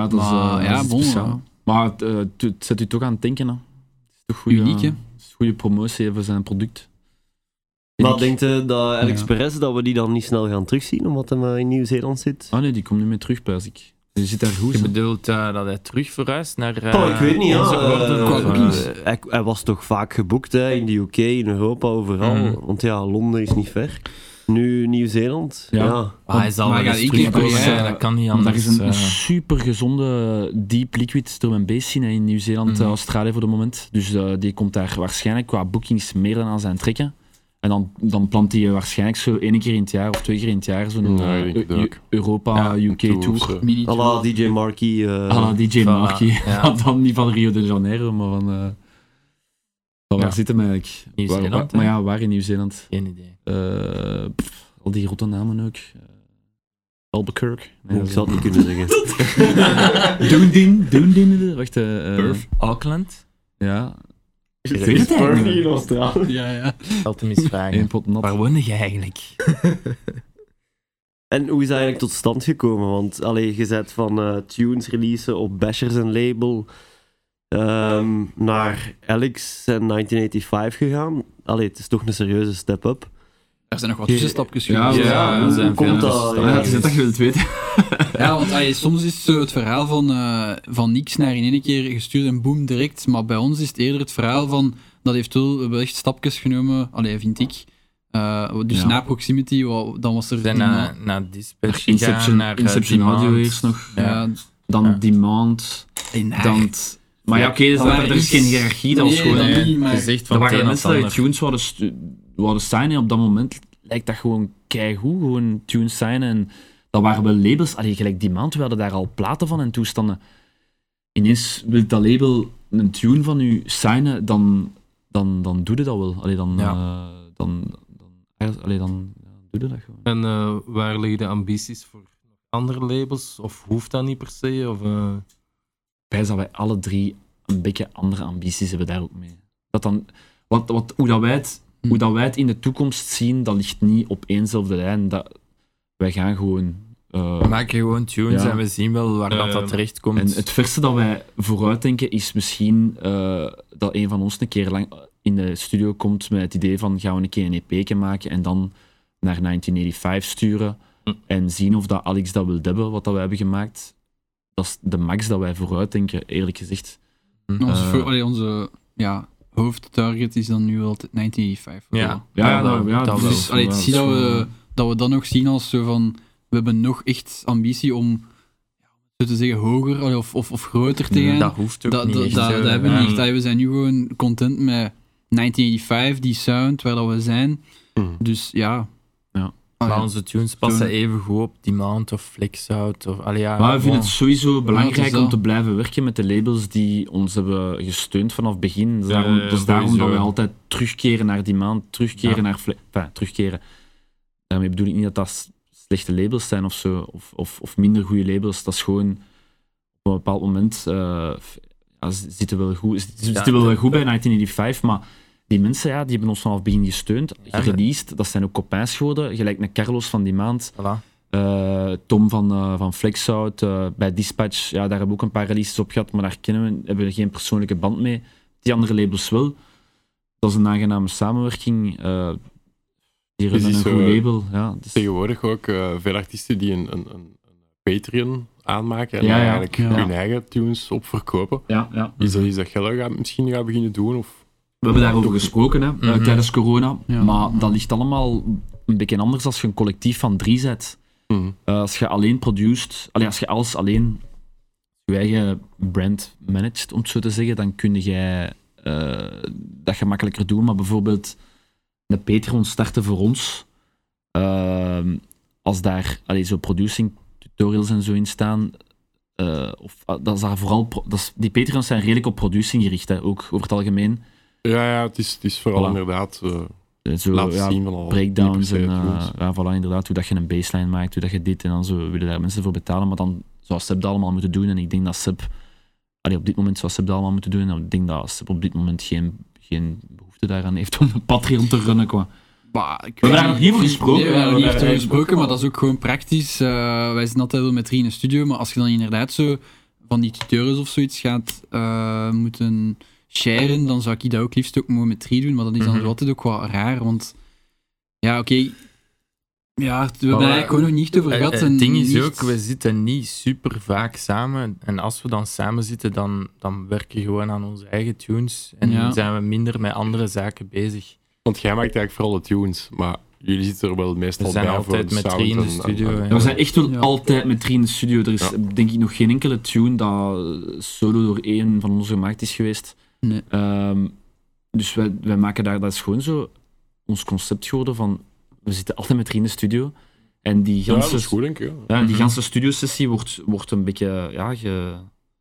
S5: dat is, eh,
S4: Maar,
S5: dat
S4: ja,
S5: is
S4: bon,
S5: speciaal.
S4: ja.
S5: Maar het, eh, het- het zet u toch aan het denken, hè. Het is toch goede,
S4: Uniek, hè?
S5: het is goede promotie hè, voor zijn product.
S3: [LAUGHS] Maar
S5: ik-
S3: denkt je dat Alex
S5: Ja.
S3: Perez, dat we die dan niet snel gaan terugzien, omdat hij maar in Nieuw-Zeeland zit?
S5: Ah nee, die komt niet meer terug, pijs ik. Die zit daar goed.
S6: Je
S5: hè.
S6: bedoelt eh, dat hij terug verhuist naar... eh,
S3: Oh, ik weet niet, ja.
S6: onze
S3: eh,
S6: woorden
S3: eh,
S6: of, eh,
S4: Quadrupedes.
S3: hij, hij was toch vaak geboekt hè, in de UK, in Europa, overal.
S6: Mhm.
S3: Want ja, Londen is niet ver. Nu Nieuw-Zeeland. Ja.
S5: Ja.
S6: ah, hij zal
S4: Maar
S6: wel
S4: ja,
S6: eens
S4: ik denk
S6: terugkomen,
S4: wel,
S6: hè,
S4: ja.
S6: dat kan niet
S5: Daar
S6: anders.
S5: is een,
S6: eh.
S5: super gezonde deep liquid storm en base scene hè, in Nieuw-Zeeland,
S6: Mhm.
S5: eh, Australië voor de moment. Dus eh, die komt daar waarschijnlijk qua boekings meer dan aan zijn trekken. En dan, dan plant hij waarschijnlijk zo één keer in het jaar of twee keer in het jaar zo'n
S8: Ja,
S5: eh,
S8: ik denk
S5: Eu-
S8: dat ook.
S5: Europa UK
S8: Tour of
S5: tour.
S4: eh,
S8: zo.
S5: Mini
S3: à la DJ Markey. eh,
S5: Ah, DJ
S6: Voilà,
S5: Marky.
S6: ja.
S5: dan niet van Rio de Janeiro, maar van... eh, van waar
S6: Ja.
S5: zit hem eigenlijk?
S6: Nieuw-Zeeland,
S5: Waar- waar-
S6: hè?
S5: Maar ja, waar in Nieuw-Zeeland?
S6: Geen idee.
S5: Eh, pff, al die rotte namen ook. Eh, Albuquerque. Nee,
S3: ik
S5: dat is-
S3: zou het niet kunnen zeggen.
S5: Dundin, Dundin, wacht. eh eh,
S6: Auckland?
S5: ja,
S3: Direct.
S8: in Australië.
S4: Ja, ja.
S6: Altijd misvragen.
S5: één pot nat.
S6: Waar woonde jij eigenlijk?
S3: En hoe is dat eigenlijk tot stand gekomen? Want allee, je zet van eh, tunes releasen op Bashers en label ehm, naar Alex en 1985 gegaan. Allee, het is toch een serieuze step-up.
S4: Er zijn nog wat
S3: Ja.
S4: tussenstapjes
S5: Ja,
S4: geweest.
S5: ja,
S3: hoe
S5: er zijn
S3: komt
S5: veel
S3: dat?
S5: Ah, het is net dat je wilt weten.
S4: Ja, want allee, soms is zo het verhaal van, eh, van niks naar in één keer gestuurd en boom, direct. Maar bij ons is het eerder het verhaal van, dat heeft wel, wel echt stapjes genomen, allee, vind ik. Eh, dus
S5: Ja.
S4: na Proximity, wa- dan was er...
S6: We zijn
S4: die
S6: naar,
S4: ma-
S6: naar Dispatch gegaan,
S5: Inception,
S6: naar, eh,
S5: Inception
S6: Demand.
S5: Audio eerst nog.
S4: ja,
S5: Dan Demand.
S4: eh, in haar.
S5: Dan... t- Maar ja, oké, dus
S4: Dat
S5: daar-
S4: waren
S5: er is
S4: iets-
S5: geen hiërarchie. Dat was
S4: Nee,
S5: gewoon...
S4: dat
S5: eh,
S4: niet, maar-
S6: Gezicht
S5: Er
S6: van het
S5: waren
S6: een of
S5: mensen die
S6: ander.
S5: tunes wouden, stu- wouden signen. Op dat moment lijkt dat gewoon keigoed, gewoon tunes signen. En dat waren wel labels. Allee, gelijk die maand, we hadden daar al platen van en toestanden. Ineens wil dat label een tune van u signen, dan, dan, dan doe je dat wel. Allee, dan,
S6: Ja.
S5: eh, dan, dan, allee, dan ja, doe je dat gewoon.
S7: En eh, waar liggen de ambities voor andere labels? Of hoeft dat niet per se? Of, eh,
S5: wijs dat wij alle drie een beetje andere ambities hebben daar ook mee. Dat dan, wat, wat, hoe, dat wij het,
S4: Hm.
S5: hoe dat wij het in de toekomst zien, dat ligt niet op éénzelfde lijn. Dat, wij gaan gewoon... eh,
S6: We maken gewoon tunes
S5: Ja.
S6: en we zien wel waar dat,
S7: Eh,
S6: dat terecht komt.
S5: en het verste dat wij vooruitdenken is misschien eh, dat een van ons een keer lang in de studio komt met het idee van gaan we een keer een EP'ke maken en dan naar 1985 sturen
S7: Hm.
S5: en zien of dat Alex dat wil hebben, wat dat wij hebben gemaakt. Dat is de max dat wij vooruitdenken, eerlijk gezegd.
S4: Onze,
S5: eh,
S4: voor- allee, onze ja, hoofdtarget is dan nu wel het 1985.
S6: Ja,
S5: Ja, ja,
S6: dat,
S5: nou, ja,
S6: dat
S5: dus
S6: wel.
S4: Dus allee, het
S5: Ja,
S4: zie
S5: dat
S4: dat
S5: is
S4: we,
S5: gewoon-
S4: dat we dan nog zien als zo van, we hebben nog echt ambitie om, zo te zeggen, hoger allee, of, of, of groter te gaan.
S6: Dat hoeft ook
S4: Dat,
S6: niet
S4: dat,
S6: echt,
S4: dat,
S6: eh,
S4: dat hebben we
S6: ja.
S4: niet
S5: Mm.
S4: echt. Allee, We zijn nu gewoon content met 1985, die sound waar dat we zijn.
S5: Mm.
S8: Mm.
S3: Mhm.
S4: Dus ja.
S5: Ja.
S4: Ah,
S6: Maar
S4: ja.
S6: onze tunes passen even goed op Demand of Flexout. Of, allee, ja,
S5: Maar we vinden
S6: bon.
S5: het sowieso
S4: het is
S5: belangrijk
S4: dat.
S5: om te blijven werken met de labels die ons hebben gesteund vanaf het begin. Dus
S7: Ja,
S5: daarom,
S7: ja, ja,
S5: dus daarom dat
S7: sowieso.
S5: wij altijd terugkeren naar die maand, terugkeren naar... Fle- enfin, terugkeren. Daarmee bedoel ik niet dat dat s- slechte labels zijn of zo, of, of, of minder goede labels. Dat is gewoon op een bepaald moment eh, f- ja, ze zitten wel goed, ze
S6: Ja,
S5: zitten wel
S6: de-
S5: goed bij 1985, maar die mensen ja, die hebben ons vanaf het begin gesteund,
S6: Ja,
S5: gereleased. Dat zijn ook copains geworden, gelijk naar Carlos van die maand.
S6: Voilà.
S5: Eh, Tom van, eh van Flexout, eh, bij Dispatch, ja, daar hebben we ook een paar releases op gehad, maar daar kennen we, hebben we geen persoonlijke band mee. Die andere labels wel. Dat is een aangename samenwerking. eh die
S8: Is
S5: hebben een
S8: die zo,
S5: goed
S8: eh,
S5: label. Ja, dus,
S8: Tegenwoordig ook eh, veel artiesten die een, een, een een Patreon aanmaken en
S5: Ja,
S8: daar
S5: ja.
S8: eigenlijk
S5: Ja. Mhm.
S8: hun eigen tunes op verkopen.
S5: ja, ja.
S8: Is dat iets dat Gelle gaat, misschien gaat beginnen doen? Of...
S5: We hebben daarover gesproken hè, eh,
S6: Mhm.
S5: tijdens corona,
S4: Ja.
S5: maar dat ligt allemaal een beetje anders als je een collectief van drie zet.
S8: Mhm.
S5: Eh, als je alleen produceert, allee, als je alles alleen je eigen brand managt, om het zo te zeggen, dan kun jij eh, dat gemakkelijker doen. Maar bijvoorbeeld een Patreon starten voor ons, ehm, als daar allee, zo producing tutorials en zo in staan, eh, of, ah, dat is daar vooral pro- dat is- die Patreons zijn redelijk op producing gericht, hè, ook over het algemeen.
S8: Ja, ja, het is, het is vooral
S5: Voilà.
S8: inderdaad eh
S5: Eh, Zo,
S8: laten
S5: ja,
S8: zien van al
S5: breakdowns en
S8: die
S5: eh,
S8: tunes.
S5: ja, voilà, inderdaad, hoe dat je een baseline maakt, hoe dat je dit en dan zo willen daar mensen voor betalen. Maar dan zou Seb dat allemaal moeten doen en ik denk dat Seb, allee, op dit moment zou Seb dat allemaal moeten doen en ik denk dat Seb op dit moment geen, geen behoefte daaraan heeft [LAUGHS] om een Patreon te runnen qua.
S4: Bah, ik
S5: hebben
S4: weet
S5: daar nog niet over gesproken.
S4: Nee, we hebben
S5: We
S4: daar niet
S5: hebben daar
S4: echt
S5: eigenlijk
S4: over gesproken, maar dat is ook gewoon praktisch. Eh, wij zijn altijd wel met drie in de studio, maar als je dan inderdaad zo van die tutorials of zoiets gaat eh, moeten sharen, dan zou ik dat ook liefst ook mogen met drie doen, maar dat is dan
S6: Mhm.
S4: zo altijd ook wel raar, want Ja, oké. Ja, we hebben eigenlijk gewoon nog niet
S5: eh,
S4: over gehad.
S6: Eh, Het,
S4: en
S6: ding is
S4: niet-
S6: ook, we zitten niet super vaak samen. En als we dan samen zitten, dan, dan werken we gewoon aan onze eigen tunes. En
S4: Ja.
S6: zijn we minder met andere zaken
S4: [LAUGHS]
S6: bezig.
S8: Want jij maakt eigenlijk vooral de tunes, maar jullie zitten er wel
S6: We
S8: meestal
S6: zijn
S8: bij voor
S6: altijd
S8: de
S6: met
S8: sound
S6: drie in de
S8: en-
S6: studio.
S8: en-
S6: hè.
S5: Ja, we zijn echt wel
S4: Ja.
S5: altijd met drie in de studio. Er is
S8: Ja.
S5: denk ik nog geen enkele tune dat solo door één van ons gemaakt is geweest.
S4: Nee.
S5: Ehm, dus wij, wij maken daar, dat is gewoon zo ons concept geworden van, we zitten altijd met drie in de studio. En die
S8: Ja, dat
S5: ganse,
S8: is goed, denk ik. ja.
S5: ja, die ganse studiosessie wordt, wordt een beetje, ja, ge-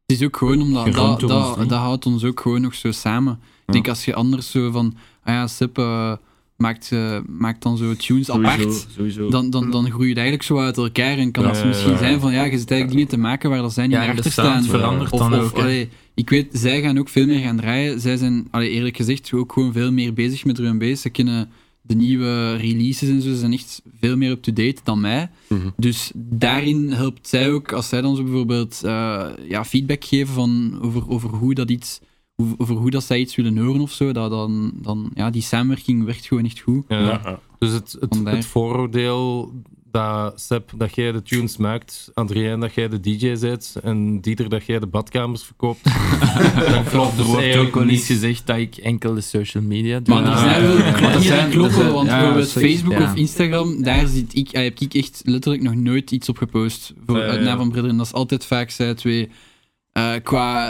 S4: Het is ook gewoon omdat
S5: Gerund
S4: dat,
S5: door ons
S4: dat,
S5: drie.
S4: dat houdt ons ook gewoon nog zo samen. Ik
S5: Ja.
S4: denk als je anders zo van, ah ja, Sip eh, maakt, eh, maakt dan zo tunes apart,
S5: sowieso, sowieso.
S4: dan, dan, dan groei je eigenlijk zo uit elkaar. En kan
S7: Ja,
S4: het
S7: ja,
S4: misschien
S7: ja, ja.
S4: zijn van, ja, je zit eigenlijk dingen te maken waar dat zij niet
S6: Ja,
S4: meer
S6: en de
S4: achter
S6: sound
S4: staan.
S6: verandert
S4: Of,
S6: dan
S4: of,
S6: ook. hè.
S4: allee, ik weet, zij gaan ook veel meer gaan draaien. Zij zijn, allee, eerlijk gezegd, ook gewoon veel meer bezig met drum bass. Ze kennen de nieuwe releases en zo. Ze zijn echt veel meer up-to-date dan mij.
S8: Mhm.
S4: Dus daarin helpt zij ook, als zij dan zo bijvoorbeeld eh, ja, feedback geven van over, over hoe dat iets... hoe- Over hoe dat zij iets willen horen of zo, dat dan, dan, ja, die samenwerking werkt gewoon echt goed.
S7: Ja. Dus het, het,
S4: Vandaar.
S7: het vooroordeel dat, Seb, dat jij de tunes maakt, Adrien dat jij de DJ bent en Dieter dat jij de badkamers
S6: [LAUGHS]
S7: verkoopt, dat klopt
S6: Er
S7: er
S6: wordt ook
S7: eigenlijk
S6: wel eens
S7: niet.
S6: gezegd dat ik enkel de social media doe.
S4: Maar er
S6: Ja.
S4: zijn wel
S6: Ja.
S4: maar er
S5: Ja,
S4: zijn
S5: er
S4: kloppen,
S5: zijn-
S4: want
S5: ja,
S4: bijvoorbeeld
S5: zeker.
S4: Facebook
S6: Ja.
S4: of Instagram, daar zit ik, ah, heb ik echt letterlijk nog nooit iets op gepost voor
S8: Eh.
S7: Nee,
S4: het
S7: ja.
S4: na van Brederen. Dat is altijd vaak zij twee. eh, qua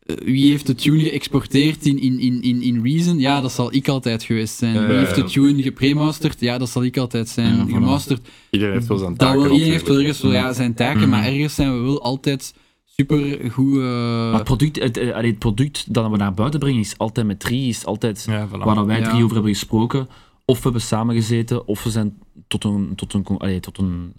S4: eh, wie heeft de tune geëxporteerd in, in, in, in, in Reason, ja, dat zal ik altijd geweest zijn.
S8: Eh.
S7: Ja,
S4: wie
S7: ja,
S4: heeft de
S7: ja.
S4: tune gepremasterd, ja, dat zal ik altijd zijn.
S5: Ja, voilà.
S4: gemasterd,
S8: Iedereen heeft wel zijn
S4: dat
S8: taken.
S4: wel, iedereen heeft wel
S8: natuurlijk.
S4: ergens wel ja, zijn taken,
S6: Mhm.
S4: maar
S5: Mm.
S4: ergens zijn we wel altijd super goed.
S5: Maar het product, het, eh, allee, het product dat we naar buiten brengen is altijd met drie, is altijd
S6: Ja, voilà.
S5: waar dat wij
S4: Ja.
S5: drie over hebben gesproken. Of we hebben samengezeten, of we zijn tot een, tot een, con- allee, tot een hoe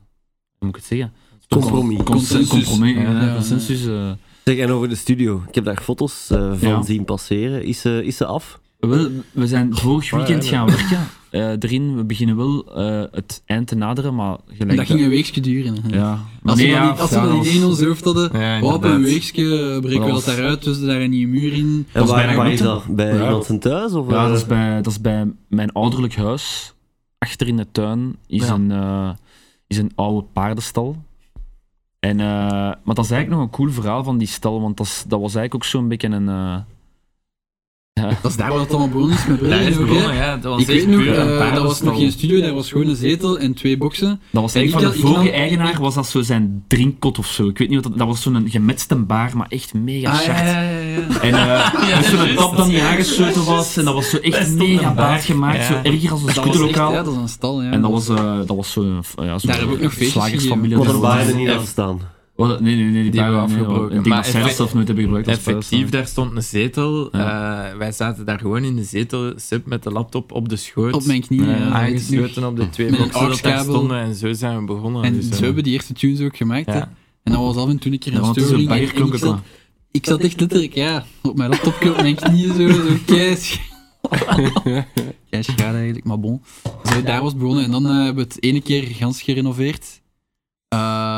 S5: moet ik het zeggen? Tot een
S3: Compromis.
S5: cons-
S4: Consensus.
S5: compromis, ja,
S4: Ja.
S5: consensus eh.
S3: Zeg, en over de studio. Ik heb daar foto's eh, van
S5: Ja.
S3: zien passeren. Is ze, is ze af?
S5: Wel, we zijn vorig weekend
S8: ja,
S5: gaan werken eh, erin. We beginnen wel eh, het eind te naderen, maar gelijk... eh,
S4: dat ging een weekje duren. hè.
S5: Ja.
S4: Als we
S5: Nee,
S4: dat
S5: ja,
S4: niet- als we
S5: ja,
S4: dat niet
S5: was-
S4: in ons hoofd hadden,
S6: Ja,
S4: Op een
S6: inderdaad.
S4: weekje eh, breken we dat
S5: Balans.
S4: daaruit, dus daar een nieuwe muur in.
S3: En
S5: is
S3: waar,
S5: bij
S3: waar is
S5: Rutte.
S3: dat? Bij
S8: Ja.
S3: iemand zijn thuis? Of,
S5: Ja,
S3: eh,
S5: dat is, bij, dat is bij mijn ouderlijk huis. Achter in de tuin is,
S6: Ja.
S5: een, eh, is een oude paardenstal. En, eh, maar dat is eigenlijk nog een cool verhaal van die stal, want dat, is- dat was eigenlijk ook zo'n beetje een... eh,
S4: Dat is daar waar het allemaal begonnen
S5: [LAUGHS]
S4: is met
S6: Daar
S4: Brillen.
S6: is
S4: ook, hè.
S6: begonnen, ja. Dat was
S4: Ik
S6: echt
S4: weet nog,
S6: puur een
S4: eh, dat was
S6: paardenstal.
S4: nog geen studio, daar was gewoon een zetel en twee boksen.
S5: dat was
S4: En
S5: eigenlijk
S4: ik
S5: van de
S4: kan- ik
S5: vorige
S4: kan-
S5: eigenaar, was dat zo zijn drinkkot of zo. Ik weet niet wat dat... Dat was zo'n gemetste baar, maar echt mega
S4: Ah,
S5: schacht.
S4: ja, ja, ja, ja.
S5: En eh
S6: [LAUGHS] Ja,
S5: dus zo'n
S6: juist.
S5: tap dat niet aangesloten was, en dat was zo
S6: Daar
S5: echt
S6: stond een
S5: mega
S6: baar.
S5: baard gemaakt,
S6: Ja.
S5: zo erger als een
S4: Dat was echt-
S5: scooterlokaal.
S4: Ja, dat is een stal, ja.
S5: En dat was, eh dat was zo'n ja, zo
S4: Daar hebben we ook nog feestjes
S5: slagersfamilie.
S3: Want
S5: dat
S3: er
S5: was-
S3: waren er niet
S6: Even-
S3: aan staan.
S5: Oh, nee, nee, nee, die,
S6: Die
S5: waren
S6: waren afgebroken.
S5: afgebroken. Ik denk
S6: Maar
S5: dat zij dat
S6: effe-
S5: zelf nooit hebben gebruikt. als
S6: Effectief,
S5: spelers.
S6: daar stond een zetel. Eh, wij zaten daar gewoon in de zetel, Sip met de laptop op de schoot.
S4: op mijn knieën. ja, dat weet ik nog.
S6: aangesloten op de twee
S4: Met een
S6: boxen dat daar
S4: aux-kabel.
S6: stonden en zo zijn we begonnen.
S4: En
S6: Dus, eh,
S4: zo hebben die eerste tunes ook gemaakt. hè.
S6: ja. [LAUGHS]
S4: En dat was af en toe een keer
S5: Ja,
S4: een
S5: want het is
S4: storing.
S5: dus een
S4: en- en
S5: baggerklok
S4: ik,
S5: ook
S4: zat,
S5: wel.
S4: ik zat echt letterlijk ja, op mijn laptopje, op mijn knieën, zo, zo
S5: [LAUGHS]
S4: keis. Ja, schade eigenlijk, maar bon. Zo, daar was het begonnen. En dan eh, hebben we het ene keer gans gerenoveerd. Eh,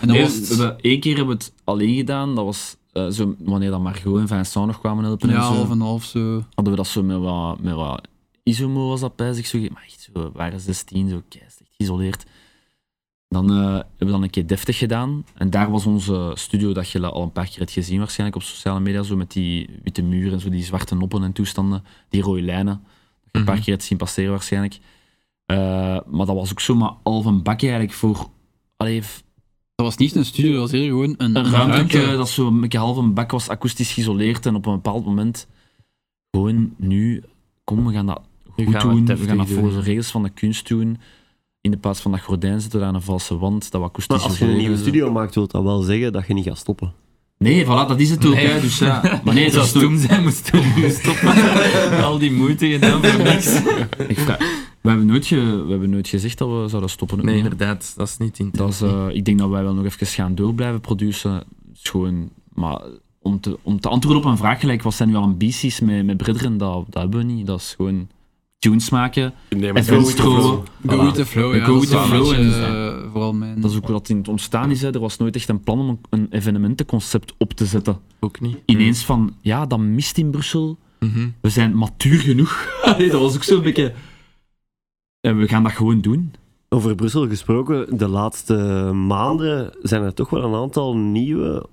S4: En dan
S5: Eerst,
S4: was
S5: we hebben- één keer hebben we het alleen gedaan. Dat was eh, zo, wanneer dat Margot en Vincent nog kwamen helpen.
S4: ja,
S5: en zo,
S4: half en half zo.
S5: Hadden we dat zo met wat, met wat isomo was dat bij zich. Zo, ge- maar echt zo, we waren 16, zo keist, echt geïsoleerd. Dan eh, hebben we dan een keer deftig gedaan. En daar was onze studio dat je al een paar keer hebt gezien waarschijnlijk op sociale media. Zo met die witte muren en zo, die zwarte noppen en toestanden. Die rode lijnen. een paar
S6: Mhm.
S5: keer het zien passeren waarschijnlijk. Eh, maar dat was ook zomaar al van bakje eigenlijk voor allee, f-
S4: Dat was niet een studio, dat was eerder gewoon een,
S5: een ruimte dat zo een beetje half een bak was, akoestisch geïsoleerd en op een bepaald moment gewoon nu, kom we gaan dat goed
S6: gaan we het
S5: doen, we,
S6: deftig
S5: gaan dat
S6: doen,
S5: volgens
S6: ja.
S5: de regels van de kunst doen. In de plaats van dat gordijn zetten we daar een valse wand, dat we akoestisch
S3: Maar als je een
S5: isoleren
S3: nieuwe
S5: en zo.
S3: studio maakt, wil dat wel zeggen dat je niet gaat stoppen.
S5: Nee, voilà, dat is het ook. hè, Dus, ja. Maar nee,
S6: Het
S5: dat
S6: zou
S5: is toen.
S6: stom zijn, moest toen nu stoppen. [LAUGHS] Al die moeite gedaan voor niks.
S5: Ik vraag- we, hebben nooit ge- we hebben nooit gezegd dat we zouden stoppen. ook
S6: Nee,
S5: niet, hè.
S6: inderdaad, dat is niet in.
S5: Dat is, eh, ik denk dat wij wel nog even gaan door blijven produceren. Is gewoon, maar om te, om te antwoorden op een vraag gelijk, wat zijn uw ambities met, met Brederen? Dat, dat hebben we niet. Dat is gewoon tunes maken.
S8: Nee, maar
S5: En veel
S8: dat is toch
S5: stromen.
S4: Go with the flow, ja.
S5: Go
S4: dat
S5: with
S4: is
S5: the
S4: wel een
S5: flow,
S4: beetje,
S5: en-
S4: eh, vooral mijn...
S5: Dat is ook hoe dat in het ontstaan is. Hè. Er was nooit echt een plan om een- een evenementenconcept op te zetten.
S6: ook niet.
S5: Ineens van, ja, dat mist in Brussel.
S6: Mhm.
S5: [LAUGHS] We zijn matuur genoeg. Allee, dat was ook zo'n beetje... En we gaan dat gewoon doen.
S3: Over Brussel gesproken, de laatste maanden zijn er toch wel een aantal nieuwe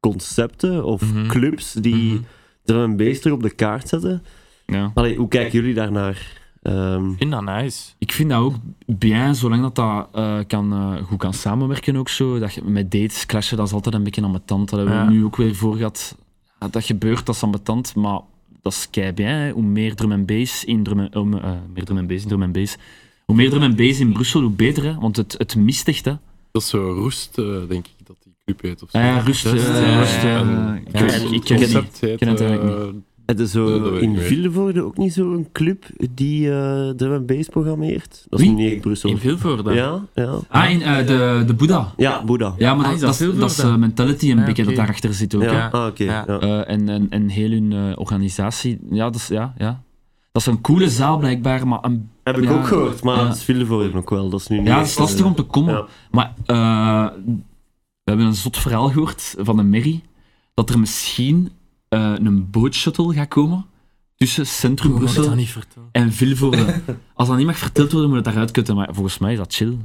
S3: concepten of
S6: Mhm.
S3: clubs die
S6: Mhm.
S3: drum and bass terug op de kaart zetten.
S5: Ja.
S3: Allee, hoe kijken jullie daarnaar? Ehm,
S6: vind dat nice.
S5: Ik vind dat ook bien, zolang dat, dat eh, kan, eh, goed kan samenwerken ook zo. Dat je met dates clashen, dat is altijd een beetje ambetant. Dat hebben
S6: Ja.
S5: we nu ook weer voor gehad. Ja, dat gebeurt, dat is ambetant, maar dat is kei bien. hè. Hoe meer drum en bass in drum en, om, eh, meer drum en bass in drum en bass. Hoe meer drum en bass in Brussel, hoe beter, hè? want het, het mist echt. Hè?
S8: Dat is zo roest, eh, denk ik, dat die club heet. Of zo.
S5: Ah ja, Rust,
S8: Rust,
S5: eh,
S8: ja,
S5: Rust,
S8: ja, ja.
S5: eh,
S8: En
S5: ik
S8: het
S5: ken- ik ken het
S8: concept heet,
S5: ken het eigenlijk
S8: eh,
S3: Het is
S8: Nee,
S3: zo
S8: dat weet ik
S3: in
S8: niet.
S3: Vilvoorde ook niet zo'n club die eh drum and bass programmeert. Dat is
S5: Wie?
S3: niet echt Brussel.
S6: In Vilvoorde.
S3: Ja, ja.
S5: Ah, in eh, de, de Boeddha.
S3: Ja, Boeddha.
S5: Ja, maar
S6: Ah,
S5: dat,
S6: is dat
S5: dat, is-
S6: veel
S5: dat is
S6: voor
S5: eh,
S6: dat?
S5: mentality een
S6: Ja,
S5: beetje dat
S6: oké.
S5: daarachter zit ook.
S3: Ja,
S5: hè.
S6: Ja.
S3: Ah, oké.
S6: Ja.
S3: ja.
S5: Eh, en, en, en heel hun eh, organisatie. Ja, dat is, ja, ja. Dat is een coole zaal blijkbaar, maar een,
S3: Heb ik
S5: Ja.
S3: ook gehoord, maar
S5: Ja.
S3: het is Vilvoorde ook wel. Dat is nu niet
S5: ja, het
S3: echt,
S5: is lastig
S3: eh,
S5: om te komen.
S3: ja.
S5: Maar eh, we hebben een zot verhaal gehoord van een Mary dat er misschien eh, een bootshuttle gaat komen tussen Centrum
S6: Ik moet
S5: Brussel
S6: dat niet vertellen.
S5: en
S6: [LAUGHS]
S5: Vilvoorde. Als dat niet mag verteld worden, moet het daaruit kutten, maar volgens mij is dat chill.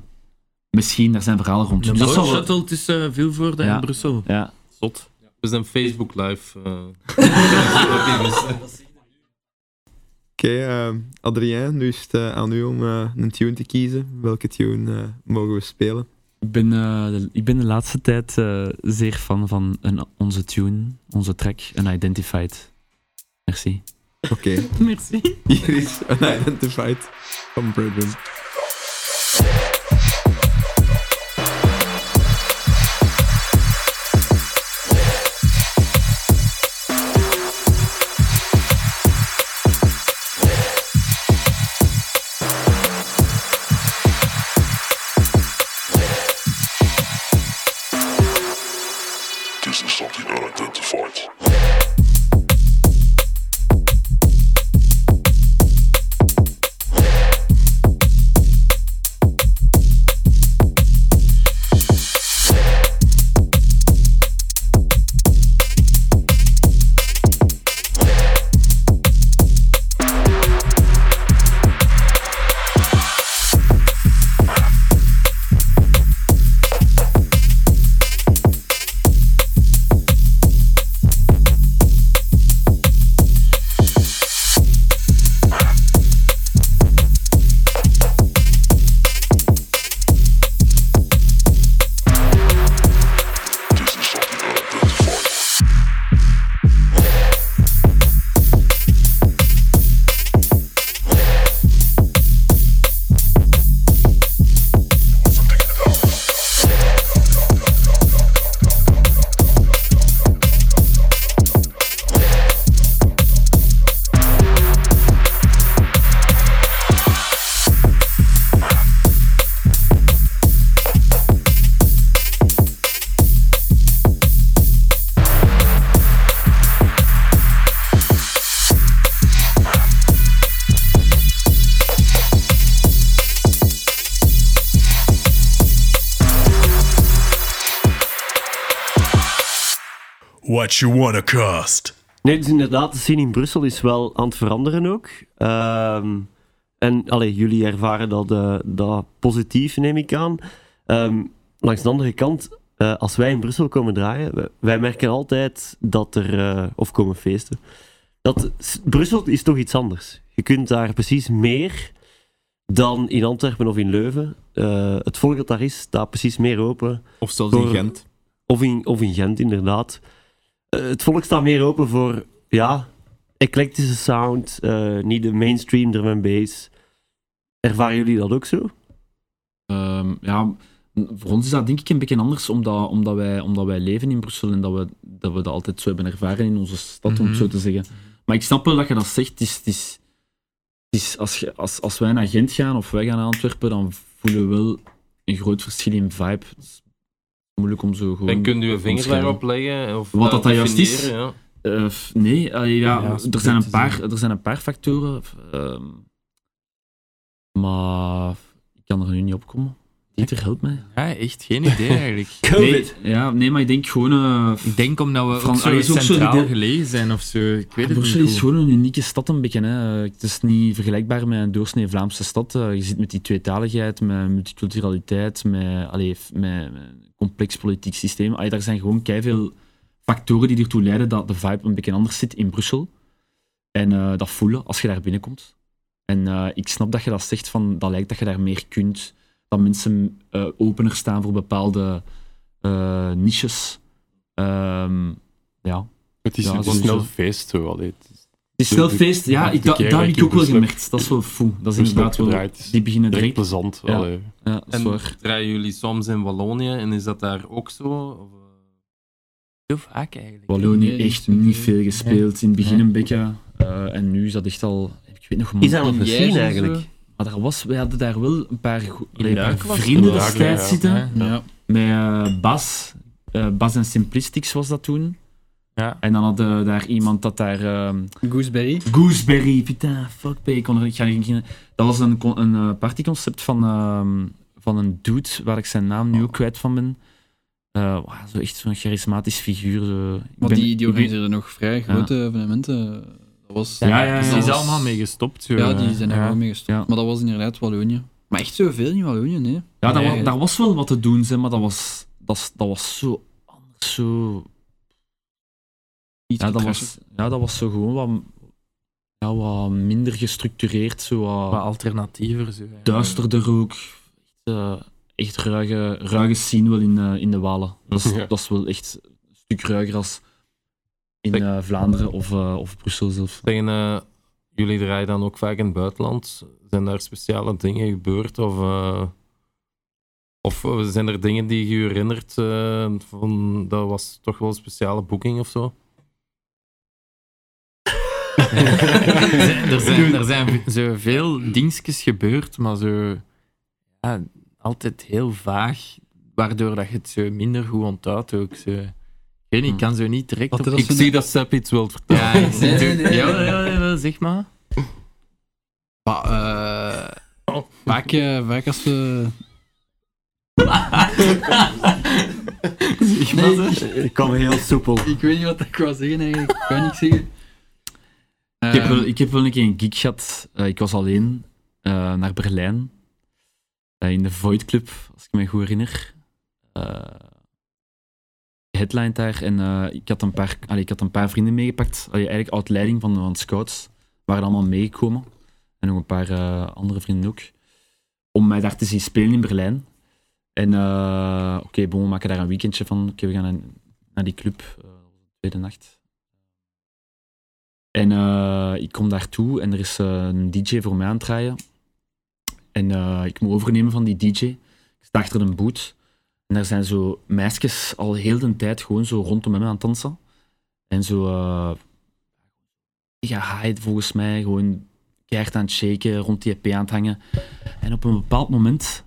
S5: Misschien, daar zijn verhalen rond.
S6: Een
S5: Dus dat zal wel-
S6: shuttle tussen Vilvoorde
S5: Ja.
S6: en Brussel.
S5: ja.
S7: Zot. We zijn Facebook live.
S6: [LAUGHS]
S7: eh. Dus
S1: eh, Adrien, nu is het eh, aan u om eh, een tune te kiezen. Welke tune eh, mogen we spelen?
S5: Ik ben, eh, de, ik ben de laatste tijd eh, zeer fan van een, onze tune, onze track, Unidentified. Merci.
S1: Oké. Hier is Unidentified van Birdman.
S9: This is something unidentified. This is something unidentified. What you wanna cost?
S3: Nee, dus inderdaad, de scene in Brussel is wel aan het veranderen ook. Ehm, en allee, jullie ervaren dat, eh, dat positief, neem ik aan. Ehm, langs de andere kant, eh, als wij in Brussel komen draaien, wij, wij merken altijd dat er, eh, of komen feesten, dat s- Brussel is toch iets anders. Je kunt daar precies meer dan in Antwerpen of in Leuven. Eh, het volk dat daar is, staat precies meer open.
S1: Of zelfs in
S3: Voor-
S1: Gent.
S3: Of in, of in Gent, inderdaad. Eh, het volk staat meer open voor, ja, eclectische sound, eh, niet de mainstream drum and bass. Ervaren jullie dat ook zo?
S5: Ehm, ja, voor ons is dat denk ik een beetje anders, omdat, omdat, wij, omdat wij leven in Brussel en dat we, dat we dat altijd zo hebben ervaren in onze stad, om het zo te zeggen. Maar ik snap wel dat je dat zegt. Het is, het is, het is als, je, als, als wij naar Gent gaan of wij gaan naar Antwerpen, dan voelen we wel een groot verschil in vibe. Het is moeilijk om zo gewoon...
S7: En kunt u uw vinger
S5: Omschrijven.
S7: daarop leggen? Of
S5: Wat dat
S7: eh,
S5: dan juist is?
S7: definiëren, Ja.
S5: Eh, f- nee, allee, ja,
S6: Ja,
S5: er,
S6: split
S5: zijn een
S6: is
S5: paar, er zijn een paar factoren. f- ehm, maar ik kan er nu niet op komen. Dieter, help mij.
S6: Ja, echt geen idee eigenlijk.
S5: Nee, ja, nee, maar ik denk gewoon... eh
S6: Ik denk omdat we
S5: Fran-
S6: ook
S5: Allee,
S6: zo
S5: is ook zo
S6: centraal
S5: die-
S6: gelegen zijn of zo. Ik weet het niet
S5: Brussel is
S6: goed.
S5: gewoon een unieke stad een beetje. Hè. Het is niet vergelijkbaar met een doorsnee Vlaamse stad. Eh, Je zit met die tweetaligheid, met multiculturaliteit, met, allee, f- met, met een complex politiek systeem. Allee, daar zijn gewoon veel factoren die ertoe leiden dat de vibe een beetje anders zit in Brussel. En eh, dat voelen als je daar binnenkomt. En eh, ik snap dat je dat zegt, van, dat lijkt dat je daar meer kunt. Dat mensen eh, opener staan voor bepaalde eh, niches. Ehm, ja.
S8: Het is
S5: Ja,
S8: een
S5: sowieso.
S8: snel feest zo. Allee, het is
S5: Het is wel feest, ja,
S8: Ja,
S5: ik,
S8: de
S5: da,
S8: keer
S5: daar
S8: dat
S5: heb
S8: ik
S5: ik ook wel
S8: Brussel heb-
S5: gemerkt. Dat is wel foe. Dat is
S8: Brussel
S5: inderdaad wel.
S8: opgedraaid, het is
S5: Die beginnen
S8: direct
S5: direct.
S8: plezant.
S5: Ja.
S6: Ah,
S8: allee.
S5: Ja, dat is
S7: En
S5: waar.
S7: draaien jullie soms in Wallonië en is dat daar ook zo? Of, eh?
S6: Heel vaak eigenlijk.
S5: Wallonië
S4: Nee,
S5: heeft niet veel gespeeld. In het begin een beetje. eh, en nu is dat echt al. Ik weet nog
S3: Is dat nog
S5: maar-
S3: een scene
S4: eh,
S3: eigenlijk?
S5: Maar daar was, we hadden daar wel een paar, go-
S6: In
S5: een paar
S6: Luik was het
S8: wel.
S5: vrienden destijds
S8: Ja,
S5: zitten.
S4: Ja.
S5: Met eh, Bas. Eh, Bas en Simplistics was dat toen.
S6: Ja.
S5: En dan hadden we daar iemand dat daar. ehm,
S4: Gooseberry.
S5: Gooseberry, putain, fuck, ben ik kon er, ik ga er niet in. Dat was een, con- een eh, partyconcept van, ehm, van een dude waar ik zijn naam
S4: Oh.
S5: nu ook kwijt van ben. Eh, wauw, zo echt zo'n charismatisch figuur. zo. Ik
S4: Want
S5: ben-
S4: die, die
S5: ik ben-
S4: organiseren nog vrij grote evenementen. Dat was,
S5: Ja, ja, ja.
S4: dat
S6: Die
S5: Dat
S6: is
S5: was-
S6: allemaal mee gestopt. zo. eh.
S4: Ja, die zijn er
S6: Ja.
S4: wel mee gestopt.
S5: eh, Ja.
S4: Maar dat was inderdaad Wallonië. Maar echt zoveel in Wallonië, nee.
S5: Ja, daar,
S4: Nee.
S5: wa- daar was wel wat te doen, zeg, maar dat was, dat, is- dat was zo anders. Zo,
S4: Iets
S5: ja, dat
S4: gecrashed.
S5: was, ja, dat was zo gewoon wat, ja, wat minder gestructureerd. Zo wat,
S6: Wat alternatiever. Zo, eigenlijk.
S5: duisterder ook. Eh, echt ruige, ruige scene wel in, eh, in de Walen. Dat is,
S8: Ja.
S5: dat is wel echt een stuk ruiger als in eh, Vlaanderen of, eh, of Brussel zelf.
S7: tegen, eh, jullie draaien dan ook vaak in het buitenland. Zijn daar speciale dingen gebeurd? Of, eh, of eh, zijn er dingen die je herinnert eh, van dat was toch wel een speciale boeking of zo?
S6: er zijn, er zijn, er zijn zo veel dingetjes gebeurd, maar zo, ja, altijd heel vaag, waardoor dat je het zo minder goed onthoudt ook. Zo. Ik weet niet, ik kan zo niet direct...
S4: Wat
S6: op-
S4: is
S6: ik
S4: dat
S6: zie...
S7: dat Sepp iets wilt vertellen.
S6: Ja, ik zie
S7: [LAUGHS]
S4: Nee, nee,
S6: zo-
S4: nee.
S6: ja, ja, ja, ja, zeg maar.
S4: Maar, eh, vaak, eh, vaak als we... nee, ik,
S3: Ik kwam Eh, heel soepel.
S4: ik weet niet wat ik wou zeggen eigenlijk. Ik kan niks zeggen. Eh,
S5: ik,
S4: Ehm.
S5: heb wel, ik heb wel een keer een gig gehad. Eh, ik was alleen eh, naar Berlijn. Eh, in de Void Club, als ik me goed herinner. Eh headline daar. En eh, ik, had een paar, allee, ik had een paar vrienden meegepakt. Allee, eigenlijk uit leiding van, van scouts. Waren allemaal meegekomen. En nog een paar eh, andere vrienden ook. Om mij daar te zien spelen in Berlijn. En eh, oké, bon, we maken daar een weekendje van. Oké, we gaan naar, naar die club. eh, tweede nacht. En eh, ik kom daartoe en er is eh, een DJ voor mij aan het draaien. En eh, ik moet overnemen van die DJ. Ik sta achter een boot. En daar zijn zo meisjes al heel de tijd gewoon zo rondom hem aan het dansen. En zo... eh ja, hyde volgens mij. Gewoon keihard aan het shaken, rond die EP aan het hangen. En op een bepaald moment...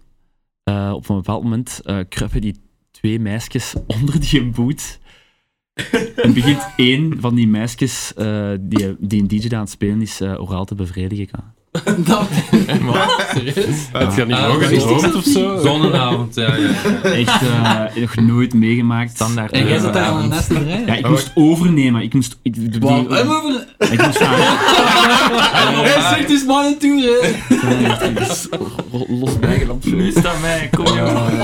S5: eh, op een bepaald moment eh, kruipen die twee meisjes [LAUGHS] onder die boot. En begint één van die meisjes eh, die, die een DJ daar aan het spelen is eh, oraal te bevredigen. kan.
S8: Het gaat niet
S7: Ah,
S8: hoog
S7: dat
S8: in
S7: wist ik
S5: [LAUGHS]
S8: hoofd of zo.
S7: Zonneavond, ja. ja, ja.
S5: Echt eh, nog nooit meegemaakt. Eh,
S6: Standaard.
S4: En jij zat daar
S6: Ja,
S4: al naast te rijden.
S5: Ja, ik moest overnemen. Ik moest... Ik, eh, die-
S4: Wow.
S5: ik moest aan...
S4: Hij zegt dus man en toer, hè.
S5: Los bijgeland.
S6: Nu is dat mij, kom jongen.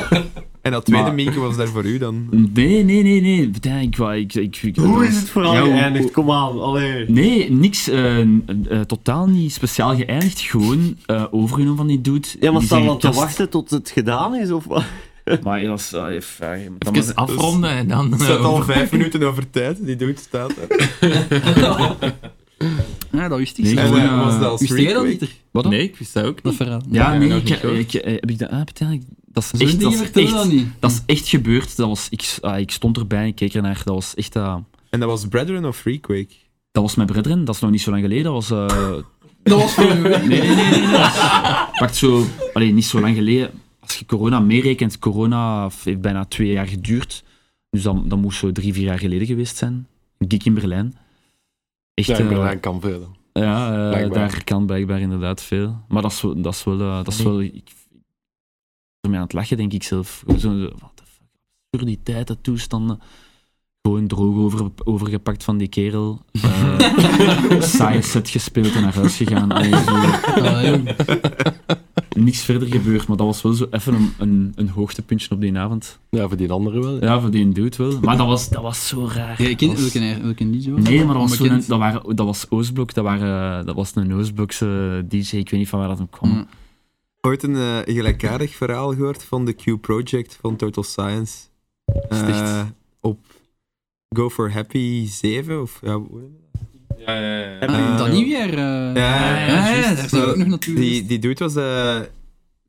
S1: En dat tweede
S5: Maar-
S1: Mieke was daar voor u dan.
S5: Nee, nee, nee, nee. Partij, Ik, wou- ik, ik, ik,
S3: Hoe is het vooral
S5: Ja, hoe-
S3: geëindigd? Kom aan, allee.
S5: Nee, niks. eh, n- eh, totaal niet speciaal geëindigd. Gewoon eh overgenomen van die dude.
S3: Ja, maar
S5: Die
S3: staan
S5: zijn
S3: we te
S5: gekast.
S3: wachten tot het gedaan is? Of wat?
S5: Maar dat is... eh, ja, je moet dat maar-
S6: Even afronden en dan...
S1: [LAUGHS] Het
S6: eh,
S1: staat al vijf minuten over tijd, die doet staat er.
S4: Ja, dat wist ik.
S5: Nee,
S4: zo.
S1: En
S5: gewoon,
S1: eh, was
S5: eh,
S1: dat als
S4: Wist jij dat
S1: Freakway?
S4: niet? er?
S5: Wat dan?
S6: Nee, ik wist dat ook niet.
S4: Dat verhaal.
S5: Ja, nee.
S6: nog niet
S5: Ik,
S6: gehoord.
S5: ik, eh, heb ik dat... Ah, partij, ik- dat is
S4: Zo'n
S5: echt...
S4: dingen
S5: Dat is
S4: vertellen
S5: echt,
S4: dat niet.
S5: dat is echt gebeurd. Dat was, ik, ah, ik stond erbij en ik keek ernaar. Dat was echt... eh,
S1: En dat was Brethren of Freequake?
S5: dat was mijn brethren. Dat is nog niet zo lang geleden. Dat was... eh,
S4: Dat was voor u, hè.
S5: Nee, nee, nee. nee, nee. Pakt zo, alleen niet zo lang geleden. Als je corona meerekent, corona heeft bijna twee jaar geduurd. Dus dan, dan moest zo drie, vier jaar geleden geweest zijn. Een geek in Berlijn. Echt,
S8: Ja,
S5: eh,
S8: in Berlijn kan verder.
S5: ja, eh,
S8: blijkbaar.
S5: daar kan blijkbaar inderdaad veel. Maar dat is, wel- dat is wel, eh, dat is wel ik, ermee aan het lachen, denk ik zelf. Gewoon Zo, wat de fuck, absurditeiten, toestanden. eh, Gewoon droog over, overgepakt van die kerel.
S4: [LAUGHS]
S5: Eh saaie set gespeeld en naar huis gegaan. Allee, zo. niks verder gebeurd, maar dat was wel zo even een, een, een hoogtepuntje op die avond.
S8: Ja, voor die andere wel.
S5: Ja, voor die dude wel. Maar dat was, dat was zo raar.
S4: Ja, ik ken
S5: Dat was-
S4: welke, air- welke DJ was
S5: Nee, maar dat was, zo'n-
S4: Onbekend.
S5: dat, waren, dat was Oostblok, dat, waren, dat was een Oostblokse DJ, ik weet niet van waar dat hem kwam.
S4: Mm.
S1: Ooit een eh, gelijkaardig verhaal gehoord van de Q-project van Total Science. Eh,
S5: Sticht.
S1: op Go for Happy 7 of ja, hoe noem je
S7: Ja, ja, ja. [LAUGHS]
S1: dat?
S4: Ah,
S1: Eh,
S4: dat niet weer. eh,
S1: ja,
S4: ja, ja,
S1: juist.
S4: daar zijn we ook nog naartoe
S1: Die,
S4: geweest.
S1: die dude was eh,